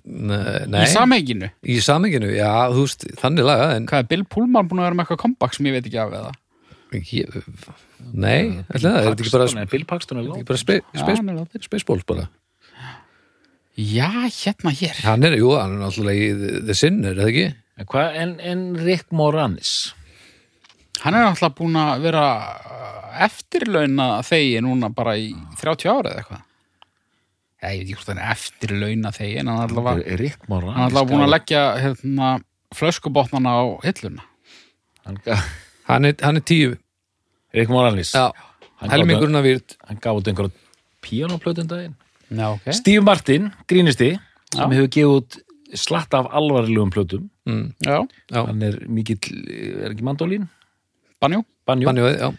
Speaker 1: ne- Nei
Speaker 3: í samhenginu?
Speaker 1: Í samenginu, já, þú veist, þannig laga en
Speaker 3: Hvað er Bill Pullman búin að vera með eitthvað comeback sem ég veit ekki af eða?
Speaker 1: ég, Nei, ætla það, er þetta ekki bara,
Speaker 2: Paxton er- Bill Paxton er
Speaker 1: ekki
Speaker 2: lág
Speaker 1: bara spe,
Speaker 3: Já,
Speaker 1: spe,
Speaker 3: hann er látinn.
Speaker 1: Spaceballs bara
Speaker 3: Já, hérna hér
Speaker 1: Hann er, jú, hann er náttúrulega í The- The Sinner, eða ekki?
Speaker 2: En hvað- en, en Rick Moranis
Speaker 3: Hann er alltaf búin að vera uh, eftirlauna þegi núna bara í 30 ára eða eitthvað. Já, ég veit ekki hvort hann er eftirlauna þegi en hann er alltaf,
Speaker 2: Rick Moranis
Speaker 3: hann er alltaf búin að
Speaker 2: gaf-
Speaker 3: leggja hérna, flöskubotnana á hilluna.
Speaker 2: hann gaf-
Speaker 1: Hann er, hann er tíu
Speaker 2: Rick Moranis
Speaker 1: Já,
Speaker 2: Hann
Speaker 1: helmingurinn af výrt
Speaker 2: hann gaf út einhverja píanoplötu um daginn
Speaker 1: Eh?
Speaker 3: Já, ok.
Speaker 2: Steve Martin, grínisti sem hefur gefið út slatta af alvarlegum plötum
Speaker 3: Já,
Speaker 1: Mm, Já.
Speaker 2: hann er mikill, eh, er ekki mandólin
Speaker 3: banjú.
Speaker 2: banjó,
Speaker 1: Banjóið, já,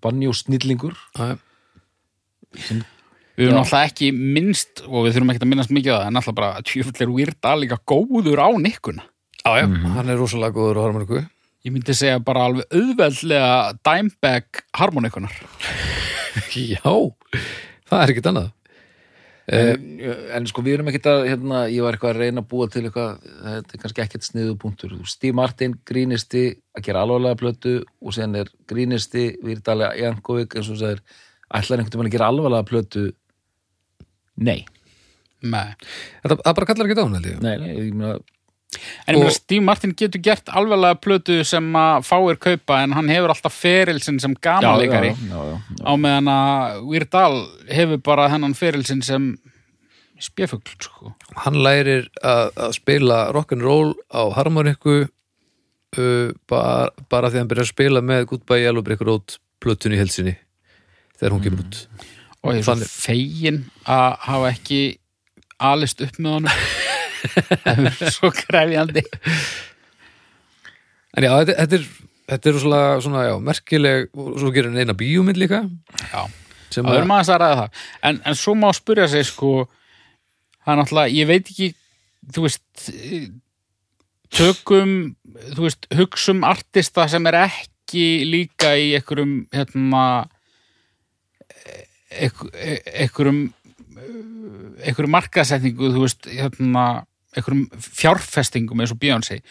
Speaker 2: banjó snillingur
Speaker 1: já, já.
Speaker 3: Við erum alltaf ekki minnst, og við þurfum ekki að minnast mikið á það, en alltaf bara tjöfullir výrda líka góður á nikkuna.
Speaker 1: Já, já, hann er rosalega góður á harmoniku
Speaker 3: Ég myndi segja bara alveg auðveldlega dimebag harmonikunar.
Speaker 1: Já, það er ekkert annað
Speaker 2: en, en sko við erum ekkert að hérna, ég var eitthvað að reyna að búa til eitthvað þetta er kannski ekkert sniðu punktur Steve Martin, grínisti, að gera alvarlega plötu og sen er grínisti Virdali Jankovic eins og sagðir ætlar einhvern veginn að gera alvarlega plötu nei,
Speaker 3: Nei.
Speaker 1: Þetta það bara kallar ekkert á hann, held ég
Speaker 2: nei, nei ég meina,
Speaker 3: En ég meina
Speaker 1: Og-
Speaker 3: Steve Martin getur gert alveglega plötu sem að fáir kaupa en hann hefur alltaf feril sinn sem gamanleikari
Speaker 2: já, já, já.
Speaker 3: á meðan að Weird Al hefur bara hennan feril sinn sem spjöfugl sko.
Speaker 1: hann lærir að, að spila rock'n'roll á harmoniku uh, bara, bara því að hann byrjar að spila með Goodbye Yellow Brick Road plötun í helsinni þegar hún kemur út
Speaker 3: og ég er svo
Speaker 1: Þannig-
Speaker 3: fegin að hafa ekki alist upp með honum það er svo krefjandi
Speaker 1: en já, þetta, þetta er þetta er svona, svona já, merkileg og svo gerir hann eina bíómynd líka
Speaker 3: Já.
Speaker 1: sem
Speaker 3: Það
Speaker 1: að,
Speaker 3: er maður að ræða það. En, en svo má spyrja sig, sko, það er náttúrulega, ég veit ekki, þú veist, eh, tökum, þú veist, hugsum artista sem er ekki líka í einhverjum, hérna, eh, einhver- eh, einhverjum, eh, einhverjum markasetningu, þú veist, hérna, einhverjum fjárfestingum eins og Beyoncé.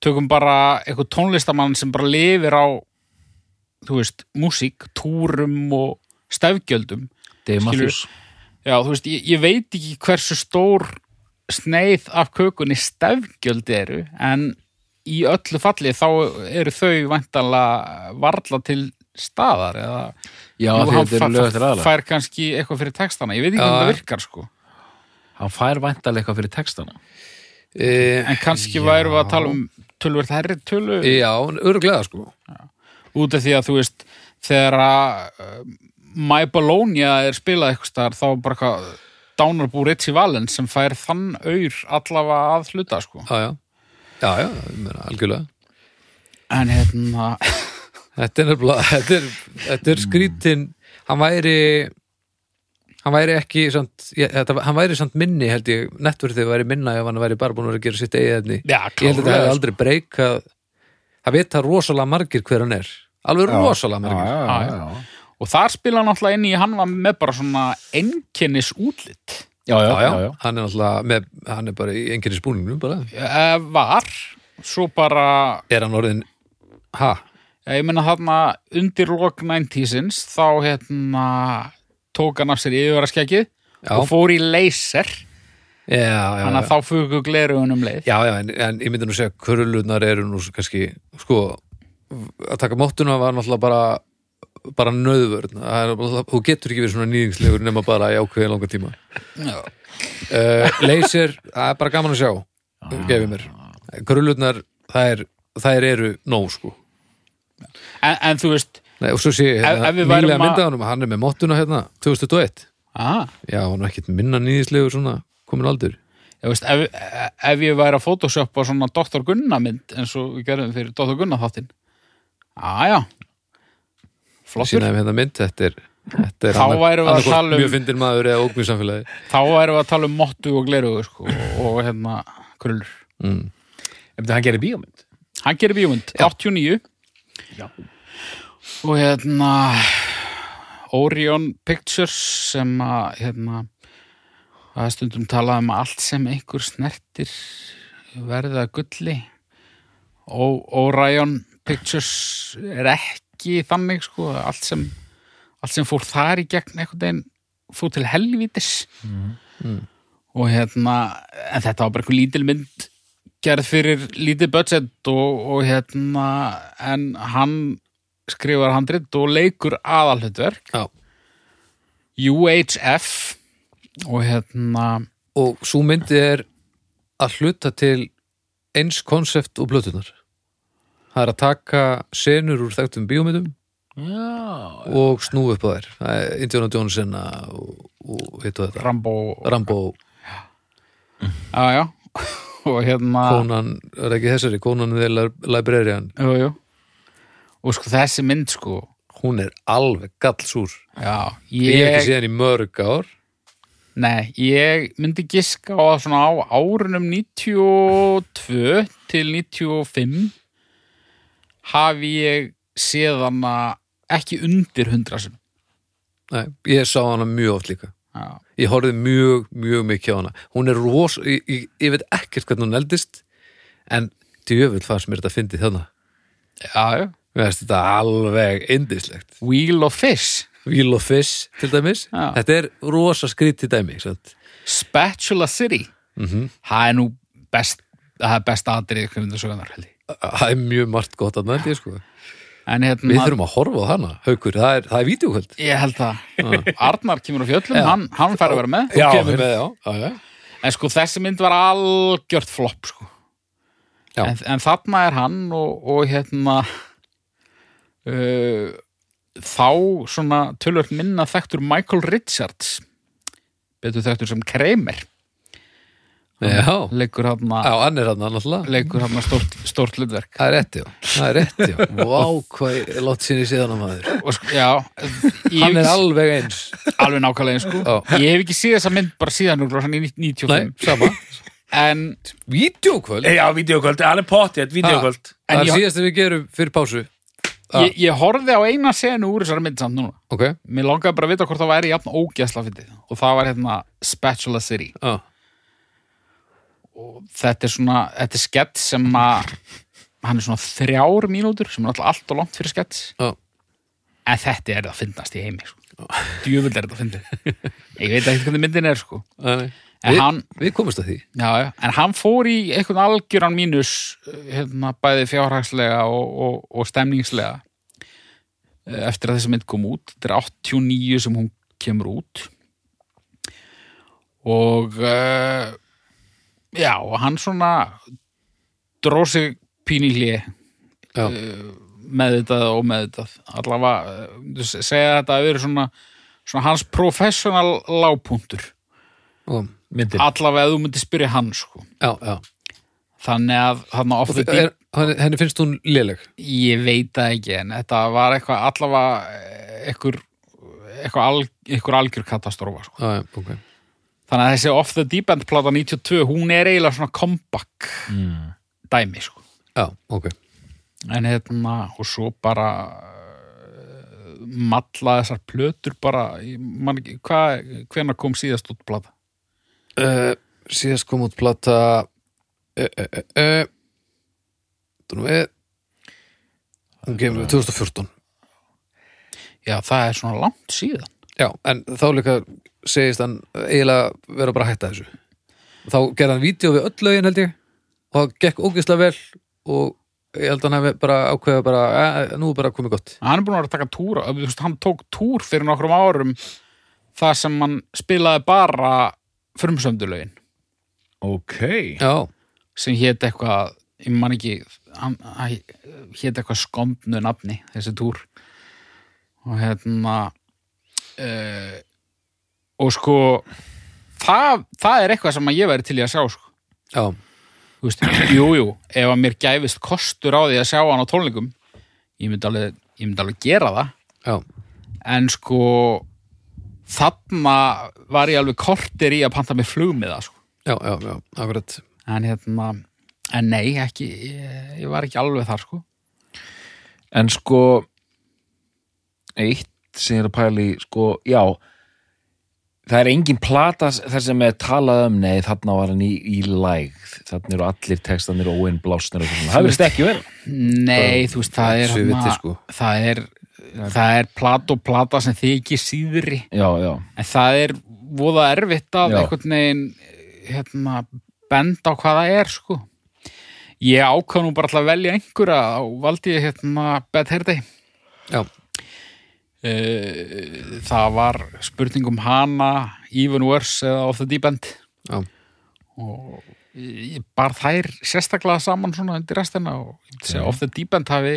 Speaker 3: Tökum bara einhver tónlistamann sem bara lifir á þú veist, músík, túrum og stefgjöldum
Speaker 2: Dave
Speaker 3: Skilur-
Speaker 2: Matthews
Speaker 3: Já, þú veist, ég, ég veit ekki hversu stór sneið af kökunni stefgjöld eru en í öllu falli þá eru þau væntanlega varla til staðar eða
Speaker 2: Já,
Speaker 3: Jú,
Speaker 2: því
Speaker 3: hann
Speaker 2: þetta eru
Speaker 3: fa-
Speaker 2: lög eftir aðra.
Speaker 3: fær kannski eitthvað fyrir textana ég veit ekki
Speaker 1: Já.
Speaker 3: hvernig það virkar sko
Speaker 2: Hann fær væntalega eitthvað fyrir textana.
Speaker 1: e,
Speaker 3: en kannski værum við að tala um tölvert herri tölu
Speaker 2: E-
Speaker 1: eh, Já, örglega sko
Speaker 3: út af því að þú veist þegar að uh, My Bologna er spilað eitthvað staðar þá bara hvað dánarbú Ritchie Valens sem fær þann aur allavega að hluta sko
Speaker 1: Já, já, já, já ég meina, algjörlega
Speaker 3: en hérna
Speaker 1: Þetta er nefnilega, þetta er, þetta er skrítin Hann væri Hann væri ekki samt, ég, þetta, Hann væri samt minni held ég Nettvörðið væri minna ef hann væri bara búin að vera að gera sitt eigið efni Ég
Speaker 3: já,
Speaker 1: held að þetta hefði
Speaker 3: klárlega, sko.
Speaker 1: aldrei breykað Það vita rosalega margir hver hann er Alveg rosalega margir
Speaker 4: já,
Speaker 3: já, og þar spila hann alltaf inn í hann var með bara svona einkennis útlit
Speaker 4: já, já,
Speaker 1: já, já,
Speaker 4: já, já.
Speaker 1: hann er náttúrulega með, hann er bara í einhverjum spúningnum bara.
Speaker 3: Eh, var svo bara,
Speaker 1: er hann orðin ha,
Speaker 3: eh, ég meina þarna undir lok 90s þá hérna tók hann af sér yfirvaraskjækið
Speaker 1: Já.
Speaker 3: og fór í laser
Speaker 1: já, já, já.
Speaker 3: þannig að þá fugu glerugunum leið
Speaker 1: já, já en, en ég myndi nú segja körlunar eru nú svo kannski sko, að taka móttuna var náttúrulega bara bara nöðvörn Það er náttúrulega- þú getur ekki verið svona nýðingslegur nema bara í ákveðin langa tíma uh, leysir, það er bara gaman að sjá gefið mér
Speaker 3: Ah.
Speaker 1: körlunar, þær, þær eru nóg sko
Speaker 3: en, en þú veist
Speaker 1: Nei, og svo sé ég hérna,
Speaker 3: Ef- ef við værum
Speaker 1: nýlega
Speaker 3: að-
Speaker 1: myndaðanum, hann er með móttuna hérna 2001
Speaker 3: ah,
Speaker 1: Já, hann er ekkert minna nýðislegur svona komin aldur.
Speaker 3: ég veist ef, ef ég væri að photoshoppa svona Dr. Gunna mynd eins og við gerum fyrir Dr. Gunna þáttinn aðja flottur
Speaker 1: Sýnaði með þetta hérna mynd, þetta er, þetta er
Speaker 3: Þá værum við að
Speaker 1: annaðhvort
Speaker 3: tala um-
Speaker 1: mjög fyndin maður eða ógmið samfélagi.
Speaker 3: þá erum við að tala um mottu og glerugu sko, og hérna krullur
Speaker 4: Ef þetta hann gerir bíómynd.
Speaker 3: hann gerir bíómynd, 89
Speaker 4: Já.
Speaker 3: og hérna Orion Pictures sem að hérna það er stundum talað um að allt sem einhver snertir verða að gulli og Orion Pictures er ekki þannig sko, allt sem, allt sem fór þar í gegn einhvern veginn fór til helvítis og hérna en þetta var bara einhver lítil mynd gerð fyrir lítið budget og, og hérna en hann skrifar handrit og leikur aðalhutverk
Speaker 1: Já,
Speaker 3: UHF og hérna
Speaker 1: og svo myndi er að hluta til eins konsept og blötunar. Það er að taka senur úr þekktum bíómyndum
Speaker 4: Já.
Speaker 1: og snúi upp á þær. Það er Indiana Jones senna og, og hitt og þetta.
Speaker 3: Rambo
Speaker 1: Rambo,
Speaker 3: já, já. og hérna
Speaker 1: konan, er ekki þessari, konan við lib- librarian,
Speaker 3: jú, jú. og sko þessi mynd sko
Speaker 1: hún er alveg gallsúr.
Speaker 3: já,
Speaker 1: Ég hef
Speaker 3: ég,
Speaker 1: ekki séð hann í mörg ár.
Speaker 3: nei, ég myndi giska á að svona á árunum 92 til 95 hafi ég séð hana ekki undir 100 sem
Speaker 1: Nei, ég sá hana mjög oft líka.
Speaker 3: já,
Speaker 1: ég horfði mjög, mjög mikið á hana hún er ros, ég, ég, ég veit ekkert hvernig hún eldist en djöfull fannst mér þetta fyndið þarna
Speaker 3: já, já.
Speaker 1: mér finnst þetta alveg indislegt
Speaker 3: Wheel of Fish
Speaker 1: Wheel of Fish til dæmis
Speaker 3: Já.
Speaker 1: þetta er rosa skrítið dæmi ekki sant?
Speaker 3: Spatula City
Speaker 1: Mhm.
Speaker 3: það er nú best það er best aðrið kvindarsögunar held ég
Speaker 1: það er mjög margt gott að nætti sko.
Speaker 3: en hérna,
Speaker 1: við þurfum að horfa á hana, haukur það er, það er vídeokvöld
Speaker 3: ég held það Arnar kemur á fjöllum, hann, hann fær að vera með
Speaker 1: Ah. já,
Speaker 4: hérna.
Speaker 1: með, já, já, já.
Speaker 3: en sko þessi mynd var algjört flopp sko.
Speaker 1: Já.
Speaker 3: en, en þarna er hann og, og hérna uh, þá svona tölvöld minna þekktur Michael Richards betur þekktur sem Kramer
Speaker 1: Já.
Speaker 3: leikur hann
Speaker 1: já, hann er hann náttúrulega
Speaker 3: leikur hann stórt, stórt hlutverk
Speaker 1: það er rétt, já, það er rétt, já vá, hvað ég látt sinni síðan að maður
Speaker 3: og sko, já ég
Speaker 1: hann
Speaker 3: hef
Speaker 1: er
Speaker 3: ekki-
Speaker 1: alveg eins
Speaker 3: alveg nákvæmlega eins, sko
Speaker 1: Já.
Speaker 3: ég hef ekki séð þessa mynd bara síðan úr hann í 95
Speaker 1: Nei, sama,
Speaker 3: en
Speaker 1: vídeokvöld
Speaker 4: Já, videokvöld, hann er pottið, videokvöld.
Speaker 3: En
Speaker 1: Það er
Speaker 3: ég-
Speaker 1: síðast sem við gerum fyrir pásu
Speaker 3: ég, ég horfði á eina senu úr þessari mynd samt núna
Speaker 1: Ok,
Speaker 3: mér langaði bara að vita hvort það væri jafn ógæsla fyndið og það var hérna Spatula City
Speaker 1: já,
Speaker 3: þetta er svona, þetta er skett sem að hann er svona þrjár mínútur sem er alltaf allt og langt fyrir skett
Speaker 1: já,
Speaker 3: en þetta er það að fyndast í heimi sko. djöfull er þetta að fyndið ég veit ekki hvernig myndin er sko
Speaker 1: nei, nei.
Speaker 3: En
Speaker 1: Við-
Speaker 3: hann,
Speaker 1: Við komumst að því
Speaker 3: já, já, en hann fór í einhvern algjöran mínus hérna, bæði fjárhagslega og, og, og stemningslega eh, eftir að þessi mynd kom út þetta er 89 sem hún kemur út og uh, já, og hann svona dró sig pín í hlið
Speaker 1: Já,
Speaker 3: meðvitað og meðvitað allavega, eh, segja þetta að vera svona, svona hans professional lágpuntur,
Speaker 1: og,
Speaker 4: myndir
Speaker 3: allavega ef þú myndir spyrja hann sko,
Speaker 1: já, já.
Speaker 3: þannig að þarna
Speaker 1: Og
Speaker 3: ofta
Speaker 1: þi- er, hann- henni finnst hún léleg
Speaker 3: ég veit það ekki en þetta var eitthvað allavega eh, einhver eitthvað alg, einhver algjör katastrófa sko.
Speaker 1: Já, já, ok
Speaker 3: þannig að þessi off the deep end plata 92, hún er eiginlega svona comeback
Speaker 2: Ah. Mm.
Speaker 3: dæmi sko
Speaker 1: Já, ok
Speaker 3: en hérna og svo bara uh, malla þessar plötur bara ég man ekki, hvað, hvenær kom síðast út blada?
Speaker 1: uh, Síðast kom út plata uh, uh, uh, uh. Þú nú við Hún kemur 2014
Speaker 3: Já, það er svona langt síðan
Speaker 1: Já, en þá líka segist hann eiginlega vera bara að hætta þessu Þá gerði hann vídeo við öll lögin held ég og það gekk ógeðslega vel og ég held að hann hefði bara ákveða bara, eh, nú er bara komið gott
Speaker 3: hann er búin að vera að taka túra þú veist, hann tók túr fyrir nokkrum árum það sem hann spilaði bara frumsöndulögin
Speaker 4: ok
Speaker 1: Já,
Speaker 3: sem hét eitthvað ég man ekki, hann, hann hét eitthvað skondnu nafni, þessi túr og hérna uh, og sko það, það er eitthvað sem að ég væri til í að sjá sko.
Speaker 1: já,
Speaker 3: Þú veist, jú, jú, ef að mér gæfist kostur á því að sjá hann á tónleikum ég myndi alveg, ég myndi alveg gera það
Speaker 1: já,
Speaker 3: en sko þarna var ég alveg kortir í að panta mér flug með það sko.
Speaker 1: já, já, já, akkurat
Speaker 3: en hérna en nei, ekki, ég, ég var ekki alveg þar sko.
Speaker 4: en sko eitt sem ég er að pæla í sko, já það er engin plata þar sem er talað um nei, þarna var hann í, í lægð þarna eru allir textanir óinn blásnir og svona, það verðist ekki verið
Speaker 3: nei, þú veist, það er
Speaker 1: Þessu
Speaker 3: hérna,
Speaker 1: viti, sko.
Speaker 3: það er það er plat og plata sem þykir síðri
Speaker 4: já, já,
Speaker 3: en það er voða erfitt að
Speaker 4: Já.
Speaker 3: einhvern veginn hérna, benda á hvað það er sko. ég ákvað nú bara alltaf að velja einhverja og valdi ég hérna Bad Hair Day
Speaker 1: Já,
Speaker 3: Eh, það var spurning um hana Even Worse eða Off the Deep End
Speaker 1: já,
Speaker 3: og ég bar þær sérstaklega saman svona undir restina og ég myndi segja Off the Deep End hafi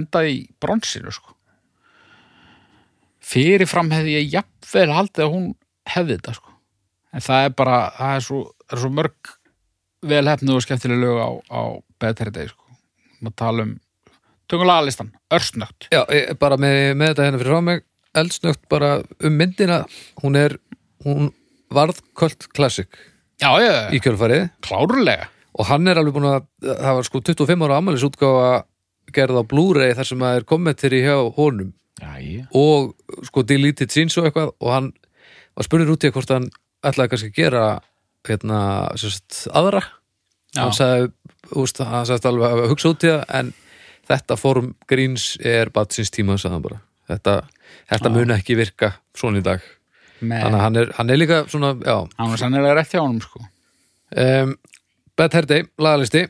Speaker 3: endað í bronsinu sko fyrirfram hefði ég jafnvel haldið að hún hefði þetta sko en það er bara, það er svo, það er svo mörg velhefnu og skemmtileg lög á, á betri deg sko maður tala um tungulagalistan, örsnögt
Speaker 1: já ég, bara með, með þetta hérna fyrir frá mig eldsnögt bara um myndina hún er, hún varð kvöld klassik
Speaker 3: já, já, já,
Speaker 1: í kjölfarið
Speaker 3: klárlega
Speaker 1: og hann er alveg búin að, það var sko 25 ára ammælis útgáfa gerð á Blu-ray þar sem að er kommentari hjá honum
Speaker 4: já,
Speaker 1: og sko deleted scenes og eitthvað og hann var spurður út í að hvort hann ætlaði kannski að gera hérna, sem sagt, aðra
Speaker 3: Já.
Speaker 1: hann sagði, úst, hann sagði alveg að hugsa út í það en þetta form gríns er bara síns tíma sagði hann bara, þetta, þetta mun ekki virka svona í dag þannig
Speaker 3: Nei,
Speaker 1: að hann er, hann er líka svona, já
Speaker 3: hann var sannilega rétt hjá honum sko.
Speaker 1: um, Bad Hair Day, lagalisti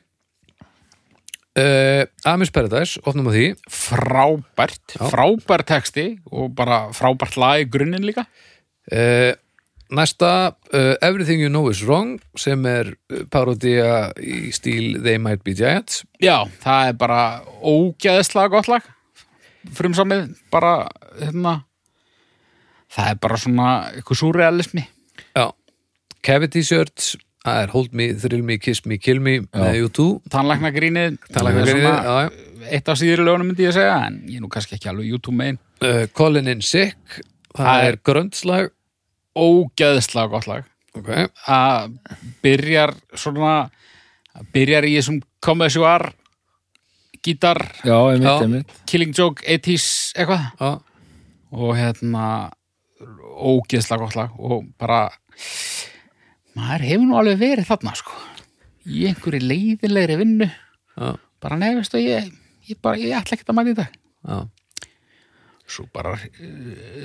Speaker 1: uh, Amis Paradise opnum á því,
Speaker 3: Frábært, frábær texti og bara frábært lag í grunninn líka
Speaker 1: uh, næsta uh, Everything You Know Is Wrong sem er parodía í stíl They Might Be Giants
Speaker 3: Já, það er bara ógæðislega gott lag frumsamið, bara hérna það er bara svona eitthvað súrealismi
Speaker 1: já. Cavity Shirts það er Hold Me, Thrill Me, Kiss Me, Kill Me með U2
Speaker 3: tannlækna grínið
Speaker 1: Tannlæknagrínið, já, já.
Speaker 3: eitt af síður lögunum myndi ég að segja en ég er nú kannski ekki alveg YouTube megin
Speaker 1: uh, Colin in Sick
Speaker 3: Það
Speaker 1: það
Speaker 3: er-
Speaker 1: er gröndslag
Speaker 3: ógæðislega gott lag
Speaker 1: okay.
Speaker 3: að byrjar svona byrjar í þessum komessjóar gítar,
Speaker 4: já, einmitt,
Speaker 1: Já.
Speaker 4: einmitt
Speaker 3: killing joke, 80s eitthvað
Speaker 1: já,
Speaker 3: og hérna ógeðslega gott lag og bara maður hefur nú alveg verið þarna sko í einhverju leiðinlegri vinnu
Speaker 1: já,
Speaker 3: bara nefnist og ég ég, bara, ég ætla ekkert að mæta í dag eh,
Speaker 1: já.
Speaker 3: svo bara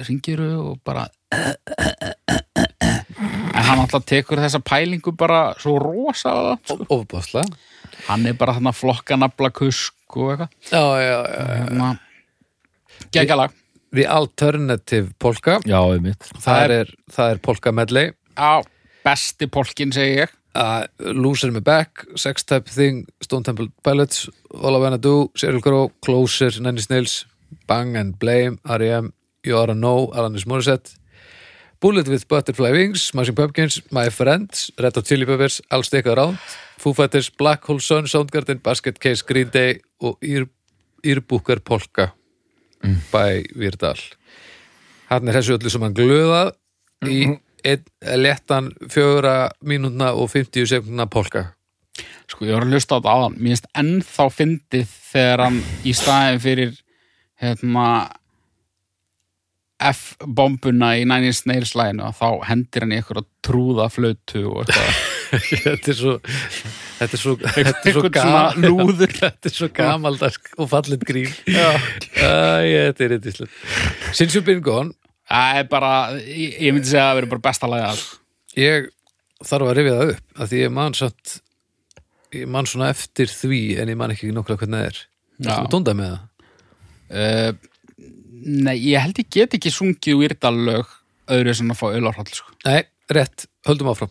Speaker 3: ringiru og bara en hann alltaf tekur þessa pælingu bara svo rosa langt, sko.
Speaker 1: Ofbáslega
Speaker 3: hann er bara þannig að flokka nafla kusk og eitthvað
Speaker 1: Já, já, já
Speaker 3: hérna, geggalag
Speaker 1: The Alternative Polka
Speaker 4: Já, einmitt.
Speaker 1: Það er, það er Polka medley
Speaker 3: á besti polkin segi ég
Speaker 1: uh, Loser Me Back, Sex Type Thing Stone Temple Pilots, All I Wanna Do Sheryl Crow, Closer, Nanny Snails Bang and Blame, R.E.M. You Are A Know, Alanis Morissette Bullet With Butterfly Wings, Smashing Pumpkins My Friends, Red Hot Chili Peppers All Stick Around, Foo Fighters, Black Hole Sun Soundgarden, Basket Case, Green Day og Ear, Earbooker Polka Mm. by Virdal hann er þessu öllu sem hann glöðað í einn lettan fjögura mínúna og 50 sekundna polka
Speaker 3: sko ég var að hlusta á þetta áðan mér finnst ennþá fyndið þegar hann í staðin fyrir hérna F-bombuna í Nine Inch Nails læginu og þá hendir hann í eitthvað trúða flötu og eitthvað
Speaker 1: þetta er svo þetta er svo, þetta er svo,
Speaker 3: Einhvern svona
Speaker 1: gamal,
Speaker 3: lúður
Speaker 1: þetta er svo gamaldask og fallit grín Æ, þetta er eitthvað Since You've Been Gone
Speaker 3: það er bara, ég, ég myndi segja að það verður bara besta lægja
Speaker 1: ég þarf að rifja það upp að því ég man satt ég man svona eftir því en ég man ekki nokkla hvernig það er
Speaker 3: Já.
Speaker 1: þú tóndað með það
Speaker 3: uh, nei, ég held ég get ekki sungið úr þetta lög öðru sem að fá auðlarhald sko.
Speaker 1: Nei, rétt, höldum áfram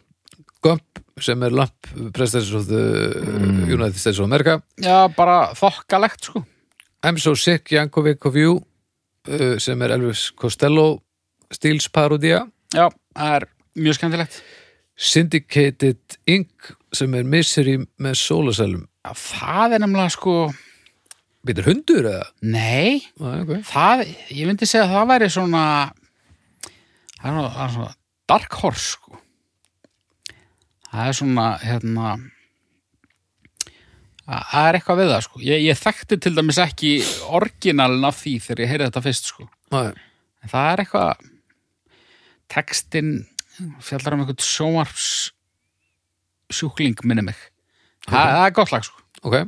Speaker 1: Gump, sem er lamp Presidents of the
Speaker 3: Mm.
Speaker 1: United States of America
Speaker 3: já, bara þokkalegt sko.
Speaker 1: I'm So Sick, Jankovic of You uh, sem er Elvis Costello Steels parodía
Speaker 3: já, það er mjög skemmtilegt
Speaker 1: Syndicated Inc sem er Misery með sólasælum
Speaker 3: Já, það er nefnilega sko
Speaker 1: Býtur hundur eða?
Speaker 3: nei,
Speaker 1: Ah, okay.
Speaker 3: það, ég myndi segja að það væri svona það er svona, það er svona dark horse sko. það er svona hérna að- það er eitthvað við það sko. ég, ég þekkti til dæmis ekki orginalin af því þegar ég heyrði þetta fyrst sko.
Speaker 1: Nei,
Speaker 3: en það er eitthvað textin fjallar um eitthvað sjónvarps sjúkling minni mig það, það er gott lag sko.
Speaker 1: ok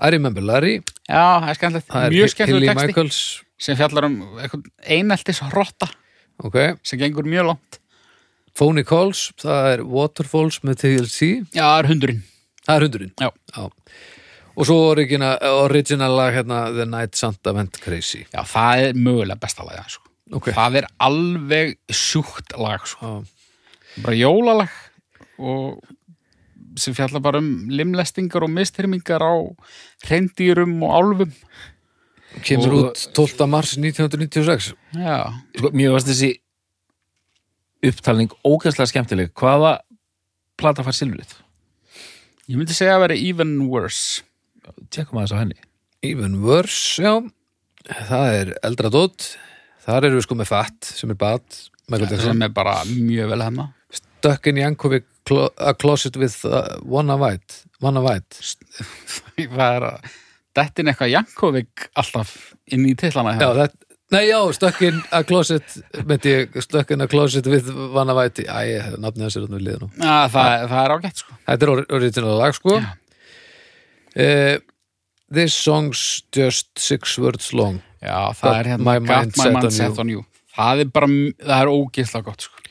Speaker 1: I Remember Larry
Speaker 3: já, það er skemmtilegt,
Speaker 1: það er
Speaker 3: mjög skemmtilegt
Speaker 1: Hilly
Speaker 3: texti
Speaker 1: Michaels
Speaker 3: sem fjallar um einhvern eineltis hrotta
Speaker 1: ok
Speaker 3: sem gengur mjög langt
Speaker 1: Phony Calls, það er Waterfalls með TLC
Speaker 3: Já, það er hundurinn
Speaker 1: Það er hundurinn
Speaker 3: Já.
Speaker 1: Og svo origina, original lag hérna The Night Santa Went Crazy
Speaker 3: Já, það er mögulega besta lagið hans, sko.
Speaker 1: Ok.
Speaker 3: Það er alveg sjúkt lag sko.
Speaker 1: Já.
Speaker 3: bara jólalag og sem fjallar bara um limlestingar og mistyrmingar á hreindýrum og álfum
Speaker 1: Kemur
Speaker 3: Og-
Speaker 1: út 12. mars 1996
Speaker 3: Já,
Speaker 4: Sko, mér varst þessi upptalning ógæslega skemmtileg. Hvaða plata fær silfrið?
Speaker 3: ég myndi segja að vera even worse
Speaker 4: Tjekkum aðeins á henni.
Speaker 1: Even Worse, já Það er eldra dót Þar eru við sko með Fat sem er Bat Michael Jackson
Speaker 3: sem er bara mjög vel hérna. hennar
Speaker 1: Stuck in Jankovic clo A Closet with uh, One of White One of White
Speaker 3: Það er að dettin eitthvað Jankovic alltaf inn í titlana hérna.
Speaker 1: Já, það Nei, já, Stuck in a Closet myndi ég Stuck in a Closet with One of White Æ, nafnið hans er hann við liða nú
Speaker 3: Já, það, það er ágætt sko
Speaker 1: Þetta er or- original lag sko uh, This song's just six words long
Speaker 3: Já, það
Speaker 1: Got
Speaker 3: er hérna
Speaker 1: my
Speaker 3: Got
Speaker 1: mind
Speaker 3: my
Speaker 1: set
Speaker 3: mind
Speaker 1: on
Speaker 3: set
Speaker 1: you.
Speaker 3: on you Það er bara, það er ógeðslega gott sko.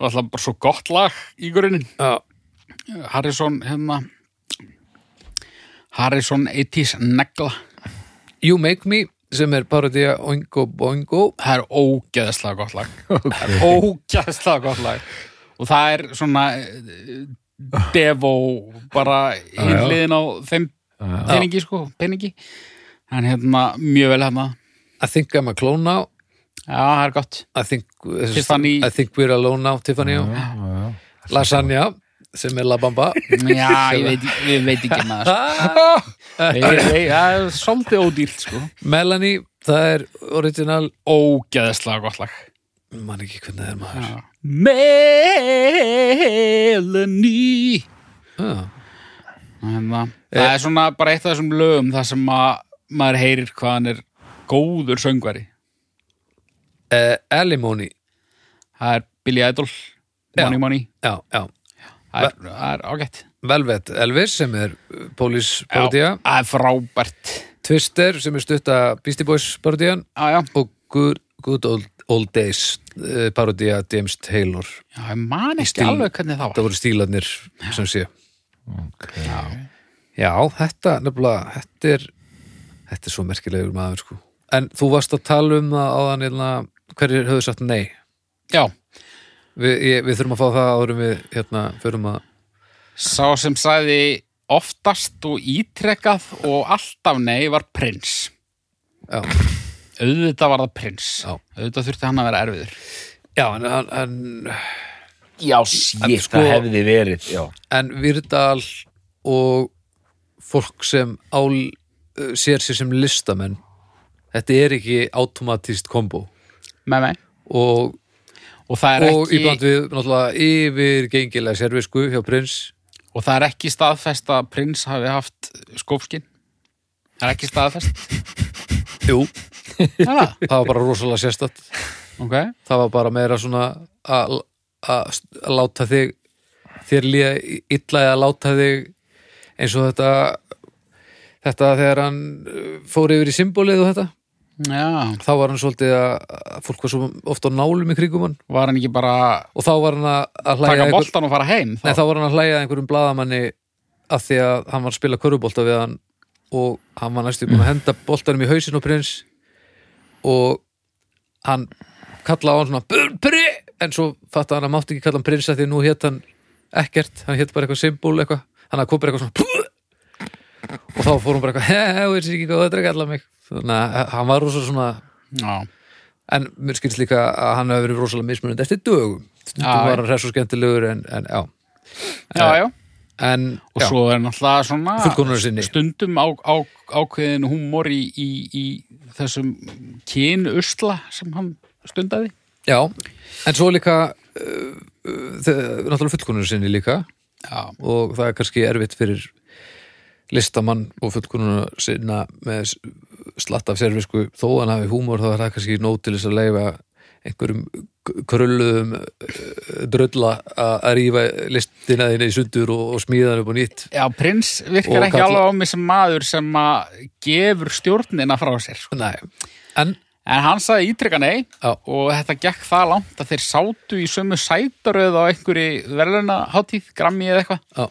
Speaker 3: og alltaf bara svo gott lag í grunin
Speaker 1: Já.
Speaker 3: Harrison hérna Harrison 80s negla
Speaker 1: You Make Me sem er parodía Oingo Boingo
Speaker 3: Það er ógeðslega gott lag Það er ógeðslega gott lag og það er svona eh, devo bara hinliðin á þeim peningi sko, peningi en hérna, mjög vel hérna
Speaker 1: I Think I'm a Clone Now
Speaker 3: Já, það er gott
Speaker 1: I Think,
Speaker 3: Tiffany.
Speaker 1: I think We're Alone Now Tiffany já. Lasagna sem er La Bamba
Speaker 3: Já, ég veit, ég veit ekki maður
Speaker 1: Ah.
Speaker 3: Nei, nei, það er svolítið ódýrt sko
Speaker 1: Melanie, það er original
Speaker 3: Ógeðslega gott lag
Speaker 1: mann ekki hvernig það er maður já.
Speaker 3: Melanie
Speaker 1: Já.
Speaker 3: Hérna. Það er svona bara eitt af þessum lögum þar sem að maður heyrir hvað hann er góður söngvari
Speaker 1: Uh, Alimony
Speaker 3: Það er Billy Idol, Money Money
Speaker 1: já, já.
Speaker 3: Það er, það er ágætt
Speaker 1: Velvet Elvis sem er uh, Police parodía
Speaker 3: Það er frábært
Speaker 1: Twister sem er stutt að Beastie Boys parodían
Speaker 3: Já, já,
Speaker 1: og Good, Good Old, old Days uh, parodía James Taylor
Speaker 3: Já, ég man ekki
Speaker 1: Stíl-
Speaker 3: alveg hvernig það
Speaker 1: það
Speaker 3: var.
Speaker 1: voru stílarnir sem sé
Speaker 4: okay.
Speaker 1: Já, þetta nefnilega, þetta er þetta er svo merkilegur maður sko En þú varst að tala um það áðan hérna, hverjir höfðu sagt nei
Speaker 3: Já,
Speaker 1: Við, ég, við þurfum að fá það áðurum við hérna, förum að
Speaker 3: sá sem sagði oftast og ítrekkað og alltaf nei var prins.
Speaker 1: Já.
Speaker 3: Auðvitað var það prins.
Speaker 1: Já.
Speaker 3: Auðvitað þurfti hann að vera erfiður.
Speaker 1: Já, en, en, en
Speaker 4: já, sítt,
Speaker 1: En sko-
Speaker 4: það hefði verið já,
Speaker 1: en Virdal og fólk sem ál, uh, sér sér sem listamenn þetta er ekki automatist kombo
Speaker 3: Með mig.
Speaker 1: og,
Speaker 3: Og það er
Speaker 1: og
Speaker 3: ekki...
Speaker 1: íblant við náttúrulega yfirgengilega servisku hjá prins
Speaker 3: Og það er ekki staðfest að prins hafi haft skópskinn. Það er ekki staðfest.
Speaker 1: Jú,
Speaker 3: Það er það.
Speaker 1: það var bara rosalega sérstætt
Speaker 3: Ok.
Speaker 1: það var bara meira svona að að láta þig þér líða illa eða láta þig eins og þetta þetta þegar hann uh, fór yfir í symbolið og þetta
Speaker 3: Já.
Speaker 1: þá var hann svolítið að að fólk var svo oft á nálum í krigum hann
Speaker 3: Var hann ekki bara að
Speaker 1: og þá var hann að- að hlæja
Speaker 3: taka
Speaker 1: að einhver,
Speaker 3: boltan og fara heim?
Speaker 1: nei, þá var hann að hlæja að einhverjum blaðamanni að því að hann var að spila körfubolta við hann og hann var næstu búin að henda boltanum í hausin og prins og hann kallaði á hann svona "Br- pri, en svo fattaði hann að mátti ekki kalla hann prins að því að nú hétt hann ekkert, hann hétt bara eitthvað symbol eitthvað, hann kom bara eitthvað svona "Pú!" og þá fór hann bara eitthvað hei, þú veist ekki hvað þetta er að kalla mig þannig að eh, hann var rosa svona
Speaker 3: Já.
Speaker 1: en mér skilst líka að hann hefur verið rosalega mismunandi eftir dögum stundum
Speaker 3: Já,
Speaker 1: var hann hress og skemmtilegur en, en já,
Speaker 3: Já,
Speaker 1: Eh,
Speaker 3: já.
Speaker 1: en
Speaker 3: Og svo er náttúrulega svona
Speaker 1: fullkonunar sinni
Speaker 3: stundum á, á, ákveðin húmor í, í, í þessum kynusla sem hann stundaði.
Speaker 1: já, en svo líka uh, uh, þe- náttúrulega fullkonunar sinni líka
Speaker 3: Já.
Speaker 1: og það er kannski erfitt fyrir listamann og fullkonunar sinna með s- slatt af servisku þó hann hafi húmor þá er það kannski nóg til þess að leifa einhverjum k- krulluðum uh, drölla að að rífa listina þínu í sundur og, og smíða hann upp á nýtt
Speaker 3: Já, prins virkar
Speaker 1: Og
Speaker 3: ekki
Speaker 1: kalla-
Speaker 3: alveg á mig sem maður sem að gefur stjórnina frá sér. sko.
Speaker 1: Nei, en
Speaker 3: En hann sagði ítrykka nei
Speaker 1: Já.
Speaker 3: og þetta gekk það langt að þeir sátu í sömu sætaröð á einhverju verðlunaháttíð, grammi eða eitthvað
Speaker 1: Já.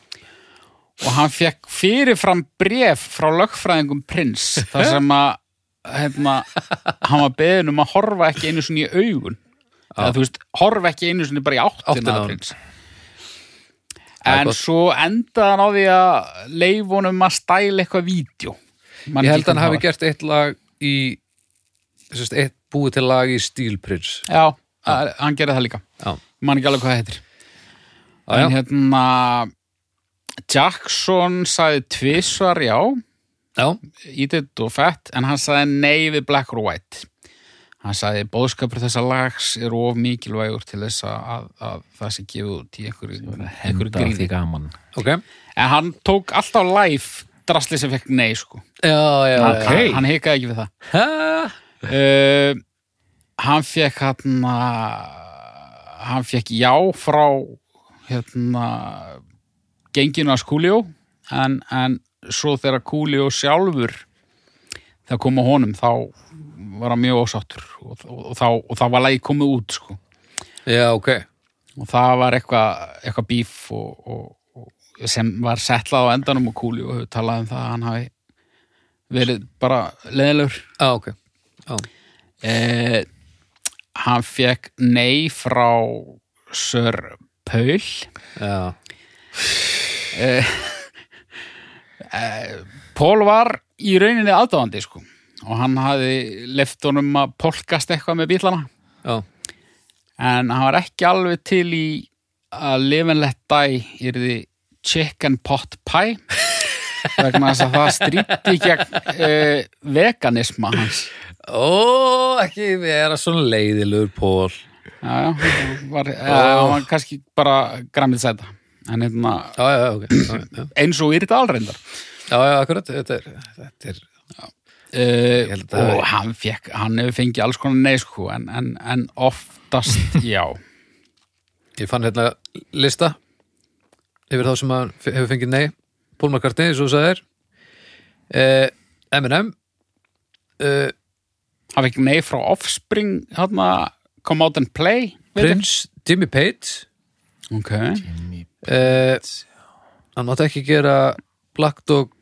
Speaker 3: og hann fekk fyrirfram bref frá lögfræðingum prins þar sem að hérna, hann var beðin um að horfa ekki einu sinni í augun eða þú veist, horfa ekki einu sinni bara í
Speaker 1: Áttina
Speaker 3: áttina
Speaker 1: að
Speaker 3: að prins
Speaker 1: er
Speaker 3: en
Speaker 1: gott.
Speaker 3: svo endaði hann á því að leif honum að stæla eitthvað vídeo Man
Speaker 1: Ég
Speaker 3: ekki
Speaker 1: held að hann hafi
Speaker 3: hvernig það var.
Speaker 1: gert eitt lag í sérst, eitt búið til lag í stílprins
Speaker 3: já, að- hann gerði það líka
Speaker 1: Já,
Speaker 3: man ekki alveg hvað það heitir
Speaker 1: Já, já.
Speaker 3: en hérna Jackson sagði tvisvar já,
Speaker 1: já,
Speaker 3: eat it og fett en hann sagði nei við black or white hann sagði bóðskapur þessa lags er of mikilvægur til þess að, að, að það sé gefið út í einhverju, einhverju
Speaker 4: henda því
Speaker 3: gríni
Speaker 4: gaman
Speaker 1: ok Já,
Speaker 3: en hann tók alltaf live drasli sem fekk nei sko
Speaker 1: já,
Speaker 3: hann,
Speaker 1: já
Speaker 3: hann, hann hikaði ekki við það
Speaker 1: Ha?
Speaker 3: uh, hann fekk hérna hann fekk já frá hérna genginu að skúljó en, en svo þegar kúljó sjálfur þegar kom á honum þá var hann mjög ósáttur og, og, og, þá, og þá var lagi komið út sko.
Speaker 1: Já, ok
Speaker 3: og það var eitthvað eitthva bíf og, og, og sem var settlað á endanum og kúljó og hefur talað um það að hann hafi verið bara leðilegur
Speaker 1: Já, ok
Speaker 3: Eh, hann fekk nei frá Sir Paul
Speaker 1: Já,
Speaker 3: Paul var í rauninni aðdáðandi sko og hann hafði left honum að polkast eitthvað með bílana
Speaker 1: já,
Speaker 3: en hann var ekki alveg til í að live and let die yrði chicken pot pie vegna þess að það stríti gegn uh, veganisma hans
Speaker 1: Ó, ekki vera svona leiðilegur pól
Speaker 3: já, já, var, eh, hann var kannski bara græmið sæta en hérna,
Speaker 1: Já, já, já, ok Já, já,
Speaker 3: eins og yrði alreindar
Speaker 1: já, já, akkurat, þetta er, þetta er
Speaker 3: uh,
Speaker 1: held að-
Speaker 3: og hann, fekk, hann hefur fengið alls konar nei sko en, en, en oftast já
Speaker 1: Ég fann hérna lista yfir þá sem að hefur fengið nei Paul McCartney, svo sagði þér eh, Eminem eh,
Speaker 3: hafa ekki nei frá Offspring hérna, Come Out and Play veit ekki.
Speaker 1: Prince, Jimmy Pate
Speaker 3: ok,
Speaker 1: eh, hann mátti ekki gera Black Dog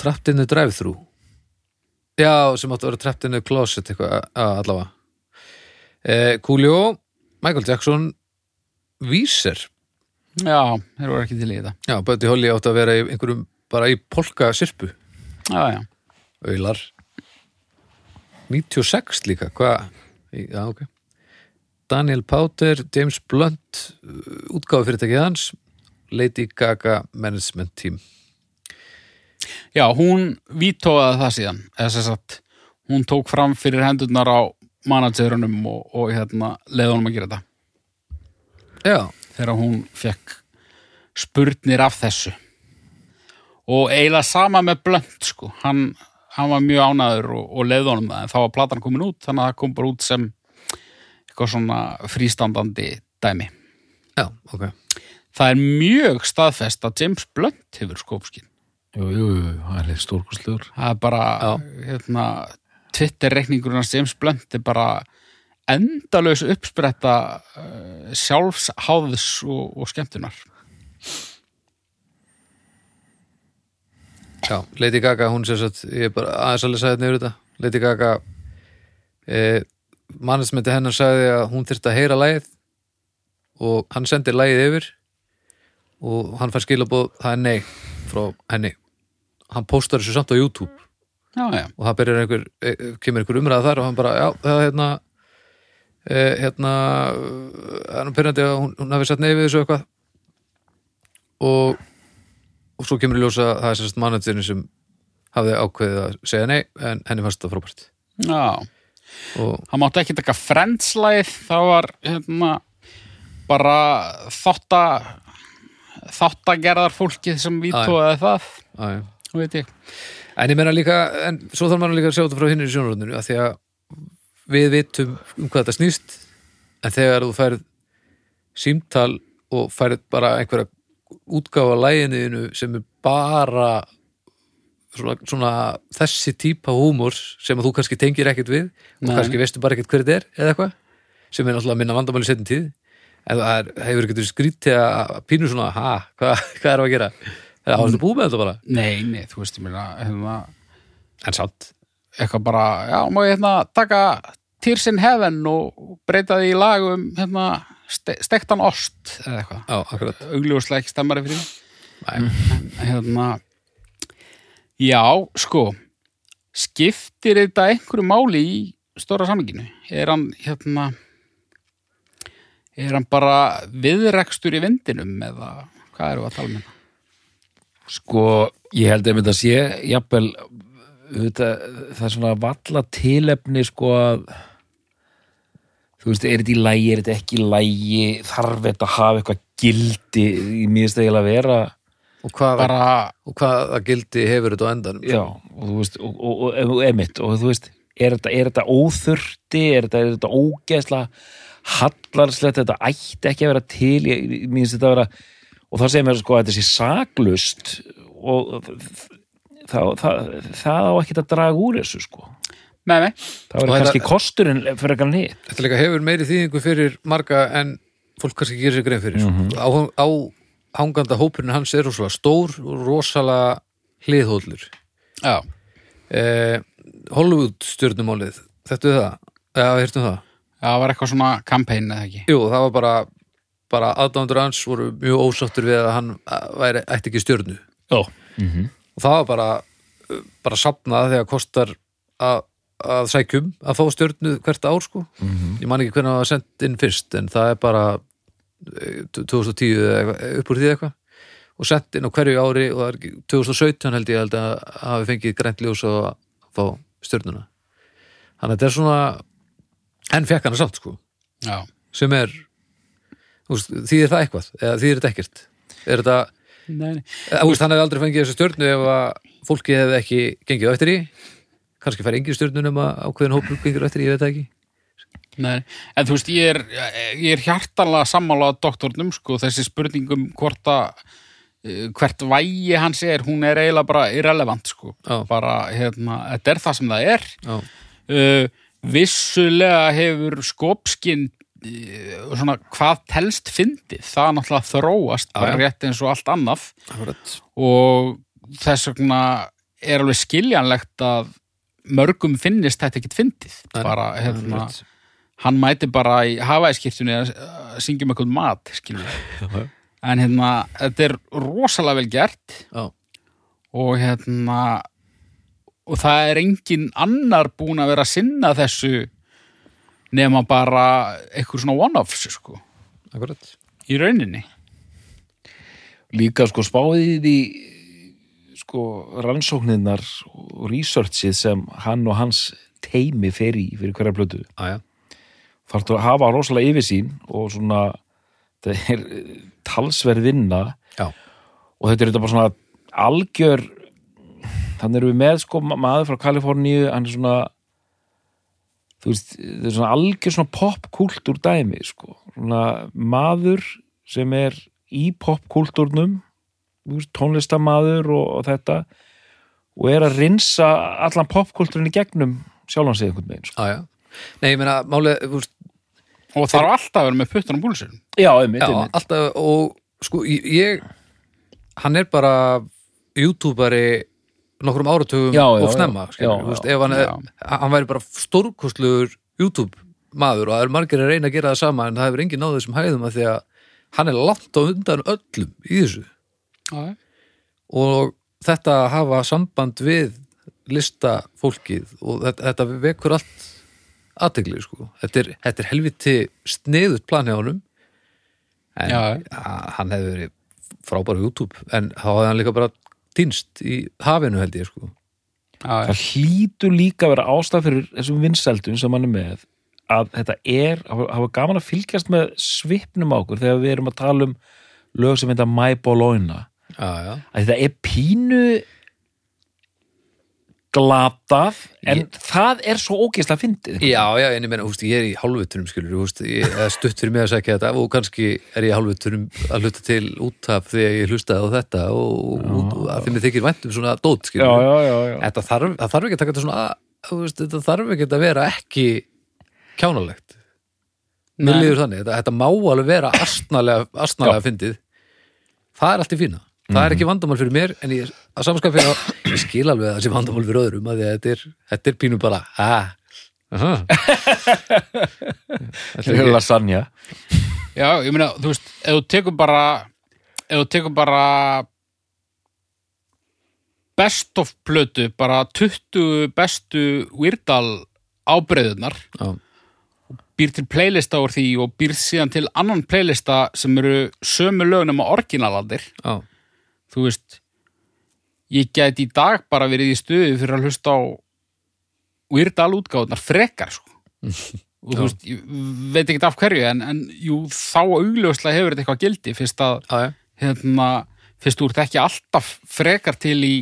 Speaker 1: Trapptinu Drive-Thru já, sem átti að vera Trapptinu Closet eitthvað, að allavega eh, Coolio Michael Jackson Víser,
Speaker 3: já, þeir voru ekki til í þetta
Speaker 1: já, Böti Holly átti að vera í einhverjum, bara í polka sirpu
Speaker 3: já, já,
Speaker 1: Aular 96 líka, hvað já, ok Daniel Powter, James Blunt útgáðu fyrirtækið hans Lady Gaga Management Team
Speaker 3: já hún vítóaði það síðan eða sem sagt, hún tók fram fyrir hendurnar á managerunum og, og hérna, leiðunum að gera þetta
Speaker 1: Já,
Speaker 3: þegar hún fekk spurnir af þessu og eiginlega sama með blönd sko, hann, hann var mjög ánaður og, og leiði honum það en þá var platan komin út þannig að það kom bara út sem eitthvað svona frístandandi dæmi.
Speaker 1: já, ok
Speaker 3: Það er mjög staðfest að James Blunt hefur skópskinn
Speaker 4: Jú, jú, jú, hann er stórkustlegur
Speaker 3: það er bara hérna, Twitter-reikningurinn hans James Blunt er bara endalaus uppspretta uh, sjálfsháðs og, og skemmtunar
Speaker 1: Já, Lady Gaga, hún sér satt ég er bara aðeins alveg sagði þetta yfir þetta Lady Gaga eh, mannsmyndi hennar sagði að hún þyrfti að heyra lagið og hann sendir lagið yfir og hann fær skilabóð það er nei frá henni hann póstar þessu samt á YouTube
Speaker 3: Já, já,
Speaker 1: og það byrjar einhver, eh, kemur einhver umræða þar og hann bara, já, það er hérna eh, hérna eh, hann er pyrrandi að hún, hún hafi sett neyfið þessu eitthvað og og svo kemur í ljósa það er sérst mannendurinn sem hafði ákveðið að segja nei, en henni fannst það frábært
Speaker 3: já
Speaker 1: og
Speaker 3: hann mátti ekki taka frenslæð það var hérna bara þotta þottagerðar fólkið sem vítóaði það,
Speaker 1: aðeim
Speaker 3: þú veit ég
Speaker 1: En ég meina líka, en svo þarf maður líka að sjá þetta frá hinnir í sjónaröndinu, að því að við vitum um hvað þetta snýst en þegar þú færð símtal og færð bara einhverja útgáfa læginniðinu sem er bara svona, svona þessi típa húmor sem að þú kannski tengir ekkert við og
Speaker 3: Nei.
Speaker 1: kannski veistu bara ekkert hver þetta er eða eitthvað sem er náttúrulega minna vandamáli setjum tíð en það er, hefur ekki verið skrítið að pínu svona, ha, hvað, hvað erum við að gera? Það er ástu búið með þetta bara
Speaker 3: nei, nei, þú veist ég mér að hérna,
Speaker 1: en samt,
Speaker 3: eitthvað bara, já, má ég hérna taka Tears in Heaven og breyta því í lag um hérna, ste stektan ost eða eitthvað
Speaker 1: á, akkurat
Speaker 3: augljóslega ekki stemmari fyrir því En, hérna já, sko skiptir þetta einhverju máli í stóra saminginu er hann hérna er hann bara viðrekstur í vindinum eða hvað eru að tala um hérna? með það
Speaker 4: Sko, ég held einmitt að sé jafnvel þetta, það er svona valla tilefni sko að þú veist, er þetta í lægi, er þetta ekki í lægi þarf þetta að hafa eitthvað gildi í mjögst eiginlega að vera
Speaker 1: og hvað,
Speaker 3: bara,
Speaker 1: og hvað að gildi hefur þetta á endanum
Speaker 4: já, og þú veist og, og, og, og emitt, og þú veist er þetta, er þetta óþurfti, er þetta, er þetta ógeðsla hallarslegt, þetta ætti ekki að vera til ég, minnst þetta að vera og það segir mér sko að þetta sé saklust og það, það, það á ekkert að draga úr þessu sko
Speaker 3: með mig
Speaker 4: það
Speaker 1: Og
Speaker 4: verður
Speaker 1: þetta-
Speaker 4: kannski kosturinn fyrir eitthvað nýtt
Speaker 1: þetta líka hefur meiri þýðingu fyrir marga en fólk kannski gerir sér grein fyrir mm -hmm. á, á hanganda hópurinn hans er rosalega stór og rosalega hliðhóllur
Speaker 3: já,
Speaker 1: eh, Hollywood stjörnumálið þetta er það, eða hirtum það
Speaker 3: það var eitthvað svona kampæn eða ekki
Speaker 1: jú, það var bara bara aðdándur hans voru mjög ósáttur við að hann eh, væri, ætti ekki stjörnu
Speaker 3: já,
Speaker 1: og það var bara uh, bara sapnað þegar kostar að, að sækjum að fá stjörnu hvert ár sko ég man ekki hvernig það var sendt inn fyrst en það er bara eh, 2010 eða eitthvað- e, upp úr því eitthvað og sendt inn á hverju ári og það er ekki- 2017 held ég held að hafi fengið grænt ljós og að fá stjörnuna þannig að þetta er svona en fekk hana samt sko
Speaker 3: já.
Speaker 1: sem er þú veist, þýðir það eitthvað eða þýðir þetta ekkert er þetta
Speaker 3: Nei, nei.
Speaker 1: Eða, Eh, Þú veist, hann hefði aldrei fengið þessu stjörnu ef að fólki hefði ekki gengið á eftir í kannski fær engin stjörnu nema ákveðin hópur gengur á eftir í, ég veit það ekki
Speaker 3: Nei, en þú veist, ég er, ég er hjartalega sammála að doktornum, sko, þessi spurningum hvort að eh, hvert vægi hans er, hún er eiginlega bara irrelevant, sko,
Speaker 1: Já.
Speaker 3: bara, hérna, þetta er það sem það er
Speaker 1: Já,
Speaker 3: uh, vissulega hefur skopskinn uh, svona hvað telst fyndið, það er náttúrulega þróast bara rétt eins og allt annað
Speaker 1: Akkurat.
Speaker 3: og þess vegna er alveg skiljanlegt að mörgum finnist þetta ekkit fyndið bara hérna
Speaker 1: Akkurat.
Speaker 3: hann mæti bara í hafæskirtunni að að syngja um eitthvað mat skilur en hérna þetta er rosalega vel gert
Speaker 1: Já.
Speaker 3: og hérna og það er engin annar búin að vera að sinna þessu nema bara eitthvað svona one-offs sko,
Speaker 1: Akkurat.
Speaker 3: í rauninni
Speaker 2: líka sko spáðið í sko rannsóknirnar og researchið sem hann og hans teimi fer í fyrir hverja blötu
Speaker 1: Aja.
Speaker 2: þarf að hafa rosalega yfirsýn og svona það er eh, talsverð vinna
Speaker 1: Já.
Speaker 2: og þetta er þetta bara svona algjör þannig erum við með sko ma- maður frá Kaliforníu hann er svona þú veist, þetta er svona algjör svona popkultúr dæmi sko svona maður sem er í popkultúrnum þú veist, tónlistamaður og, og þetta og er að rinsa allan popkultúrin í gegnum sjálfan sig einhvern veginn sko.
Speaker 1: Aja. Nei, ég meina, málið, þú veist,
Speaker 3: og það er alltaf að vera með puttan á búlisur
Speaker 2: já, einmitt,
Speaker 1: já,
Speaker 2: einmitt.
Speaker 1: alltaf, og sko, ég- ég, hann er bara youtuberi nokkrum áratugum
Speaker 2: Já, já,
Speaker 1: og snemma,
Speaker 2: já.
Speaker 1: skilur,
Speaker 2: Já,
Speaker 1: þú veist, ef hann,
Speaker 3: já.
Speaker 1: hann væri bara stórkostlugur YouTube maður og það eru margir að reyna að gera það sama en það hefur engin náðu þessum hæðum að því að hann er langt á undan öllum í þessu og þetta að hafa samband við listafólkið og þetta, þetta vekur allt aðtegli sko. þetta er, þetta er helviti sniðut planið honum en
Speaker 3: Já.
Speaker 1: a- hann hefði verið frábæra á YouTube en þá hefði hann líka bara týnst í hafinu held ég sko.
Speaker 3: já, já,
Speaker 2: það hlýtur líka að vera ástæð fyrir þessum vinsældum sem hann er með að þetta er, hafa, hafa gaman að fylgjast með svipnum á okkur þegar við erum að tala um lög sem heita My Bologna
Speaker 1: já, já.
Speaker 2: að þetta er pínu glatað en það er svo ógeðslega fyndið
Speaker 1: já, já, en ég meina, húst, ég er í hálfutunum skilur, húst, ég er stutt fyrir mig að segja þetta og kannski er ég í hálfutunum að hluta til út af því að ég hlustaði á þetta og, og, og að því mér þykir vænt um svona dót skilur
Speaker 2: já, já, já.
Speaker 1: þetta þarf, það þarf ekki að taka þetta svona að- þú veist, þetta þarf ekki að vera ekki kjánalegt mér
Speaker 3: Nei.
Speaker 1: líður þannig, þetta, þetta má alveg vera astnalega, astnalega fyndið það er allt í fína, það er ekki vandamál fyrir mér en ég, að samskap fyrir að ég skil alveg að það sé vandamál fyrir öðrum að því að þetta er, þetta er pínu bara ah, aha. Þetta er
Speaker 2: Þetta er
Speaker 1: ekki-
Speaker 2: lasagna
Speaker 3: já, ég meina, þú veist ef þú tekur bara ef þú tekur bara best of plötu bara 20 bestu Weirdal ábreyðunar
Speaker 1: Já.
Speaker 3: býr til playlista úr því og býr síðan til annan playlista sem eru sömu lögnum á orginalandir
Speaker 1: Já,
Speaker 3: þú veist ég gæti í dag bara verið í stuði fyrir að hlusta á Weirdal útgáðunar frekar sko. og þú veist, ég veit ekki af hverju en, en jú, þá augljóslega hefur þetta eitthvað gildi fyrst að
Speaker 1: já, já,
Speaker 3: hérna, fyrst þú ert ekki alltaf frekar til í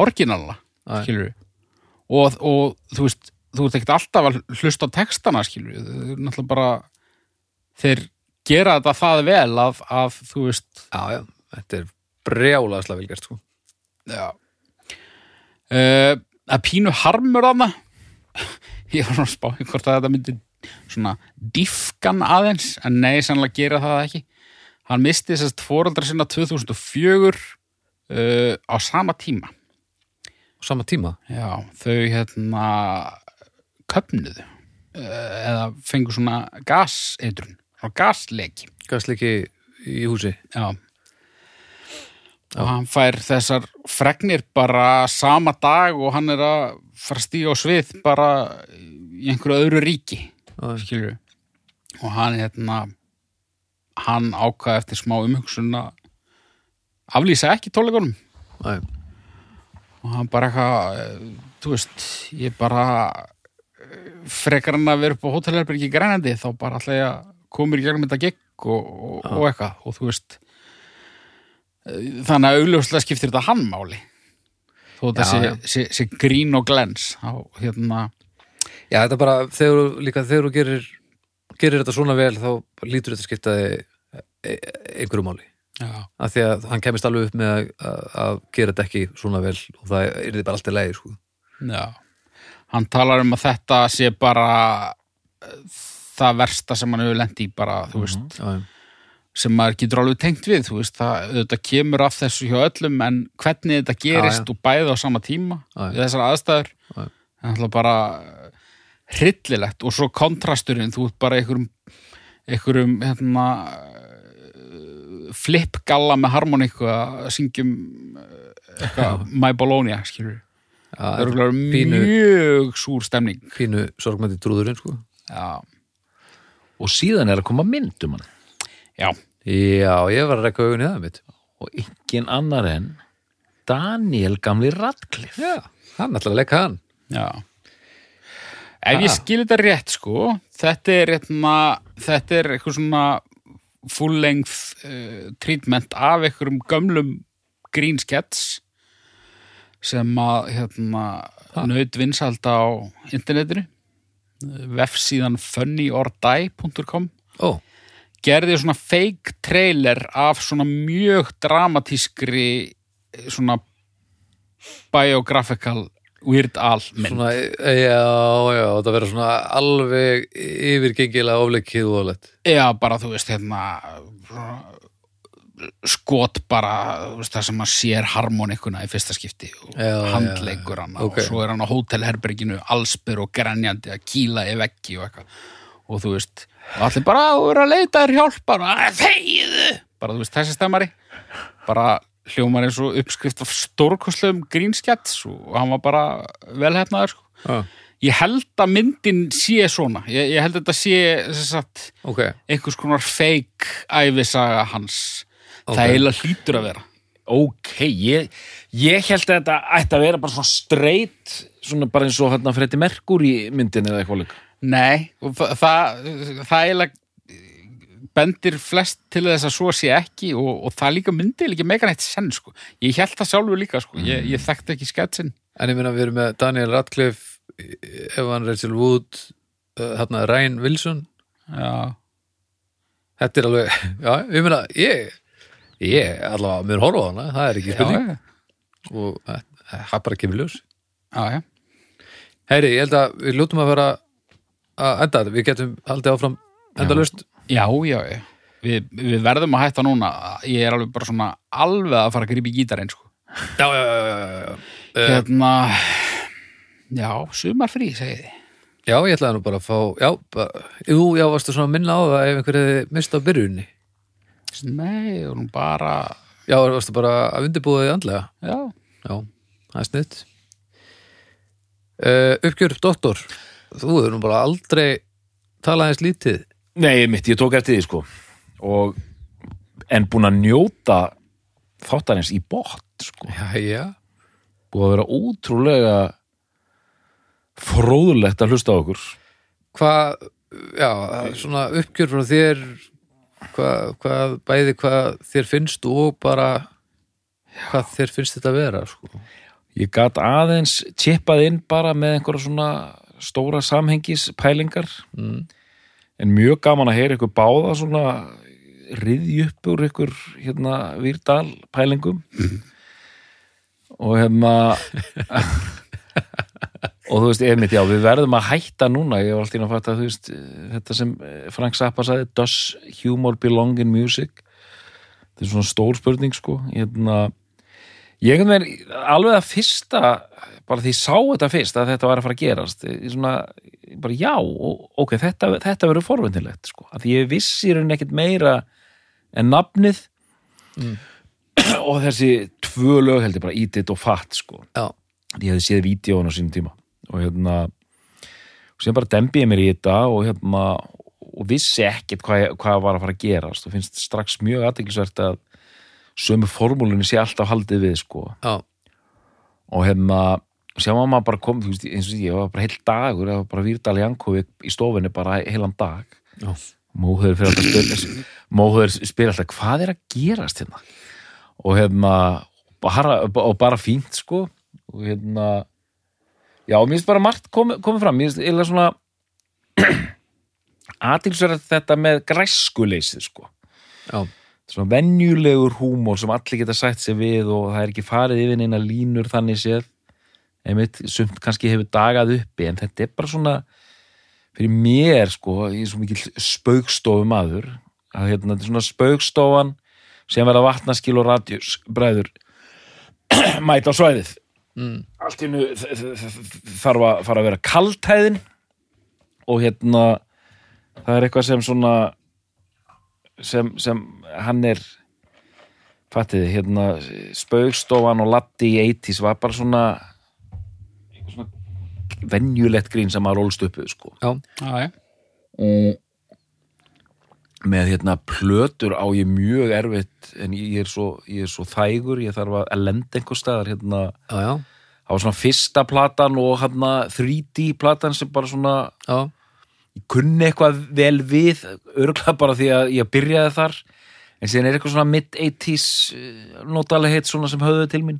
Speaker 3: orginala
Speaker 1: Já.
Speaker 3: skilur og, og þú veist, þú ert ekki alltaf að hlusta á textana skilur þau er náttúrulega bara þeir gera þetta það vel af, af þú veist
Speaker 1: já, já þetta er brjálaðslega vilgjart sko.
Speaker 3: Já uh, Að pínu harmur þarna Ég var nú að spá í hvort að þetta myndi svona diffkan aðeins en nei, sannlega gera það ekki Hann misti sérst fóreldra sinna 2004 uh, á sama tíma
Speaker 1: á sama tíma
Speaker 3: Já, þau hérna köpnuðu uh, eða fengu svona gaseitrun svona gasleki
Speaker 1: gasleiki í húsi
Speaker 3: Já. Og hann fær þessar fregnir bara sama dag og hann er að fara að stíga á svið bara í einhverju öðru ríki,
Speaker 1: Já.
Speaker 3: skilur Og hann, hérna, hann ákvað eftir smá umhugsun að aflýsa ekki tónleikunum
Speaker 1: Æ,
Speaker 3: og hann bara eitthvað, eh, þú veist, ég bara eh, frekar hann að vera upp á hótelherbergi í grænandi þá bara alltaf ég að komur í gegnum þetta gekk og, og, og eitthvað og þú veist eh, þannig að augljóslega skiptir þetta hann máli þó þetta
Speaker 1: Já,
Speaker 3: sé,
Speaker 1: já.
Speaker 3: sé, sé grín og glens á hérna
Speaker 1: Já, þetta bara, þegar, þú- líka þegar þú gerir, gerir þetta svona vel þá lítur þetta skiptaði e- e- einhverju máli.
Speaker 3: já,
Speaker 1: Af því að hann kemist alveg upp með að, að- að gera þetta ekki svona vel og það er bara allt í leið, sko.
Speaker 3: já. hann talar um að þetta sé bara eh, það versta sem hann hefur lent í bara,
Speaker 1: Mhm.
Speaker 3: þú veist
Speaker 1: já, já.
Speaker 3: sem maður getur alveg tengt við, þú veist það auðvitað kemur af þessu hjá öllum en hvernig þetta gerist
Speaker 1: Já, já.
Speaker 3: og bæði á sama tíma
Speaker 1: Já, já.
Speaker 3: við þessar aðstæður
Speaker 1: Já, já.
Speaker 3: en alltaf bara hryllilegt og svo kontrasturinn, þú ert bara einhverjum einhverjum hérna eh, flipgalla með harmoníku að syngjum eh, eitthvað My Bologna, skilur
Speaker 1: Já,
Speaker 3: það
Speaker 1: þetta
Speaker 3: eru
Speaker 1: pínu-
Speaker 3: mjög súr stemning
Speaker 1: er pínu sorgmætti trúðurinn sko
Speaker 3: já,
Speaker 2: og síðan er að koma mynd um hann
Speaker 3: já,
Speaker 1: Já, ég var að rekka augun í það mitt
Speaker 2: og engin annar en Daniel gamli Radcliffe
Speaker 1: Já, hann ætlar að leika hann
Speaker 3: já ef ég skil þetta rétt sko þetta er hérna þetta er eitthvað svona full length uh, treatment af einhverjum gömlum green skets sem að hérna naut vinsald á internetinu vefsíðan funnyordie.com
Speaker 1: Ó,
Speaker 3: gerði svona fake trailer af svona mjög dramatískri eh, svona biographical Weird Al mynd.
Speaker 1: svona, e, já, já, þetta verður svona alveg yfirgengilega ofleikið og alveg
Speaker 3: Já, bara þú veist hérna svona skot bara þú veist, það sem maður sér harmonikuna í fyrsta skipti og
Speaker 1: Já, já,
Speaker 3: handleikur
Speaker 1: já.
Speaker 3: hann
Speaker 1: Ok.
Speaker 3: og svo er hann á hótelherberginu allspyr og grenjandi að kýla í veggi og eitthvað og þú veist, og allir bara þú eru að leita þér hjálpar og að þegiðu bara þú veist þessi stemmari bara hljómar eins og uppskrift af stórkoslegum grínskjats og hann var bara velhefnaður sko.
Speaker 1: Já,
Speaker 3: ég held að myndin sé svona ég, ég held að þetta sé þess að
Speaker 1: ok,
Speaker 3: einhvers konar fake æfisaga hans það eiginlega hlýtur að vera
Speaker 2: ok, ég, ég held að þetta ætti að vera bara svona straight svona bara eins og hérna Freddy Mercury myndin eða eitthvað líka
Speaker 3: nei, og þa- það, það eiginlega bendir flest til þess að svo sé ekki og, og það líka myndi líka megan eitt senn sko. ég held það sjálfur líka sko. ég, ég þekkti ekki sketsin
Speaker 1: en ég meina við erum með Daniel Radcliffe, Evan Rachel Wood uh, hérna Ryan Wilson
Speaker 3: já,
Speaker 1: Þetta er alveg, já, ég meina ég, ég allavega mun horfa á hana það er ekki
Speaker 3: já,
Speaker 1: spurning
Speaker 3: já,
Speaker 1: og eh, það er bara kemur ljós
Speaker 3: já, já.
Speaker 1: Heyri, ég held að við lútum að vera að enda þetta, við getum haldið áfram endalaust
Speaker 3: já, já, já. Við, við verðum að hætta núna ég er alveg bara svona alveg að fara að grípa í gítarinn sko.
Speaker 1: Já, já, já, já, já, já.
Speaker 3: hérna já, sumarfrí, segi þið
Speaker 1: Já, ég ætlaði nú bara að fá Já, bara, jú, já, varstu svona að minna á það ef einhverju mist á byrjunni
Speaker 3: nei, og nú bara
Speaker 1: Já, varstu bara að undirbúa þig andlega
Speaker 3: já,
Speaker 1: Já, það er snitt uh, Uppgjör, doktor Þú hefur nú bara aldrei talað eins lítið
Speaker 2: nei, mitt, ég tók eftir því sko og en búin að njóta þáttarins í bótt sko
Speaker 1: Já, já,
Speaker 2: búið að vera ótrúlega fróðulegt að hlusta á okkur
Speaker 1: hvað Já, svona uppgjör frá þér hvað, hvað, bæði hvað þér finnst og bara hvað þér finnst þetta að vera sko.
Speaker 2: ég gat aðeins tippað inn bara með einhverja svona stóra samhengis pælingar
Speaker 1: Mm.
Speaker 2: en mjög gaman að heyra ykkur báða svona riðju upp úr ykkur hérna Výrdal pælingum og hérna og þú veist, einmitt, já, við verðum að hætta núna, ég var alltaf inn að fatta þú veist, þetta sem eh, Frank Zappa sagði Does humor belong in music? Þetta er svona stór spurning sko, hérna Ég einhvern veginn, alveg að fyrsta bara því ég sá þetta fyrst að þetta var að fara að gerast ég svona, ég bara já ó- ok, þetta, þetta verður forvendilegt sko, að því ég vissi í rauninni ekkert meira en nafnið og þessi tvö lög held ég bara Eat It og Fat sko
Speaker 1: Já,
Speaker 2: ég hefði séð vídjóun á sínum tíma og hérna og síðan bara dembi ég mér í þetta og hérna og vissi ekkert hvað, ég- hvað var að fara að gerast og finnst strax mjög aðdeglisvert að sömu formúlunni sé alltaf haldið við sko
Speaker 1: já,
Speaker 2: og hérna sem að maður bara kom, þú veist, eins og ég var bara heil dagur, það var bara Výrdal Jankovík í stofunni bara heilan dag
Speaker 1: já.
Speaker 2: Móður fyrir alltaf spyr Móður spyr alltaf, hvað er að gerast hérna og hérna bara, og bara fínt, sko og hérna já, mér finnst bara margt komið komi fram, mér finnst eða svona aðtilsverð þetta með græskuleysið, sko
Speaker 1: já.
Speaker 2: svona venjulegur húmór sem allir geta sætt sér við og það er ekki farið yfir neina línur þannig séð einmitt, sumt kannski hefur dagað uppi en þetta er bara svona fyrir mér sko, ég er svo mikil spaukstofum aður að hérna, þetta er svona spaukstofan sem verða vatnaskil og radjus bræður mæta á svæðið
Speaker 1: Mm.
Speaker 2: allt í nú þarf að fara að vera kaltæðin og hérna það er eitthvað sem svona sem, sem hann er fattiði, hérna spaukstofan og laddi í 80s var bara svona eitthvað svona venjulegt grín sem maður rólst uppu sko.
Speaker 3: já, já.
Speaker 2: og með hérna plötur á ég mjög erfitt en ég er svo, ég er svo þægur ég þarf að lenda einhver staðar hérna,
Speaker 1: já, já,
Speaker 2: það var svona fyrsta platan og hérna 3D platan sem bara svona
Speaker 1: já,
Speaker 2: ég kunni eitthvað vel við örgla bara því að ég byrjaði þar en síðan er eitthvað svona mid-80s notalegheit svona sem höfðu til mín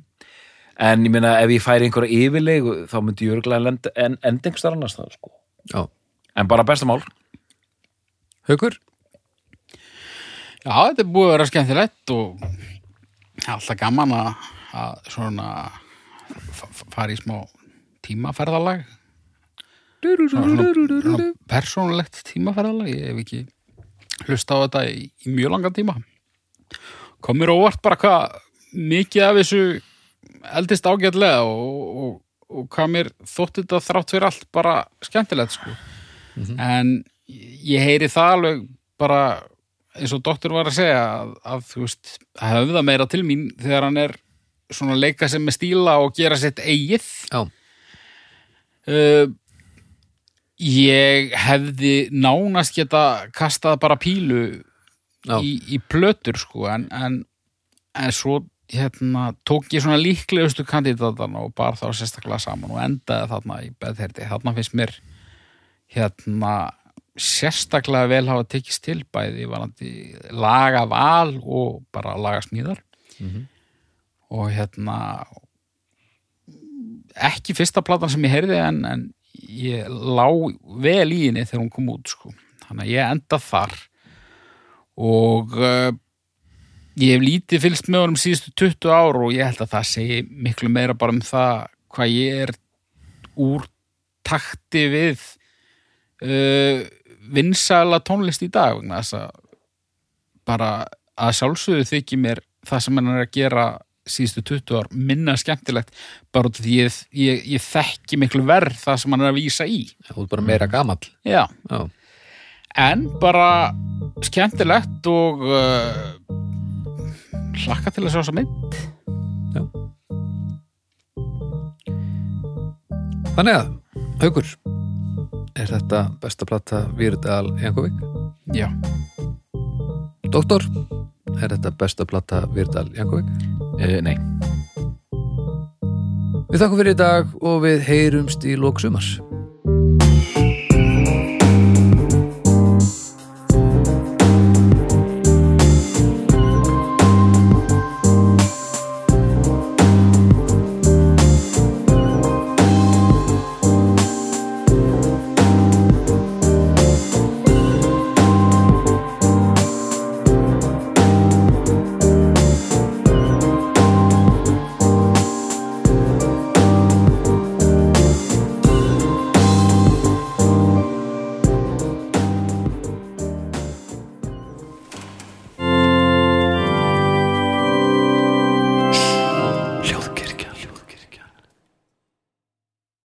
Speaker 2: en ég meina ef ég færi einhverja yfirleig þá myndi ég örgla en, en, endingstar annars það sko
Speaker 1: já.
Speaker 2: en bara besta mál
Speaker 1: Haukur?
Speaker 3: já, þetta er búið að vera skemmtilegt og alltaf gaman að, að svona fa- fa- fara í smá tímaferðalag svona, svona, svona persónulegt tímaferðalag ég hef ekki hlusta á þetta í, í mjög langan tíma komur óvart bara hvað mikið af þessu eldist ágætlega og, og, og hvað mér þótti þetta þrátt fyrir allt bara skemmtilegt sko en ég heyri það alveg bara eins og doktor var að segja að, að þú veist, að höfða meira til mín þegar hann er svona að leika sem með stíla og gera sitt eigið
Speaker 1: Já,
Speaker 3: Uh, ég hefði nánast geta kastað bara pílu
Speaker 1: Já.
Speaker 3: í, í plötur sko en, en, en svo hérna, tók ég svona líklegustu kandidatana og bar þá sérstaklega saman og endaði þarna í beðherdi þarna finnst mér hérna sérstaklega vel hafa tekist til bæði varandi laga val og bara laga smíðar og hérna ekki fyrsta platan sem ég heyrði en, en ég lá vel í henni þegar hún kom út sko. þannig að ég enda þar og uh, ég hef lítið fylgst með honum síðustu 20 ár og ég held að það segi miklu meira bara um það hvað ég er úr takti við uh, vinsæla tónlist í dag vegna þess að bara að sjálfsögðu þykir mér það sem hann er að gera síðustu 20 ár minna skemmtilegt bara út af því ég, ég, ég þekki miklu verð það sem hann er að vísa í
Speaker 1: þú er bara meira gamall
Speaker 3: já,
Speaker 1: Mm. Já,
Speaker 3: en bara skemmtilegt og uh, hlakka til að sjá þess að mynd
Speaker 1: þannig að, Haukur er þetta besta plata Výrdal Jankovík?
Speaker 3: já,
Speaker 1: Doktor, er þetta besta plata Virdal Jankovík?
Speaker 2: uh, nei
Speaker 1: Við þakkum fyrir í dag og við heyrumst í lók sumars.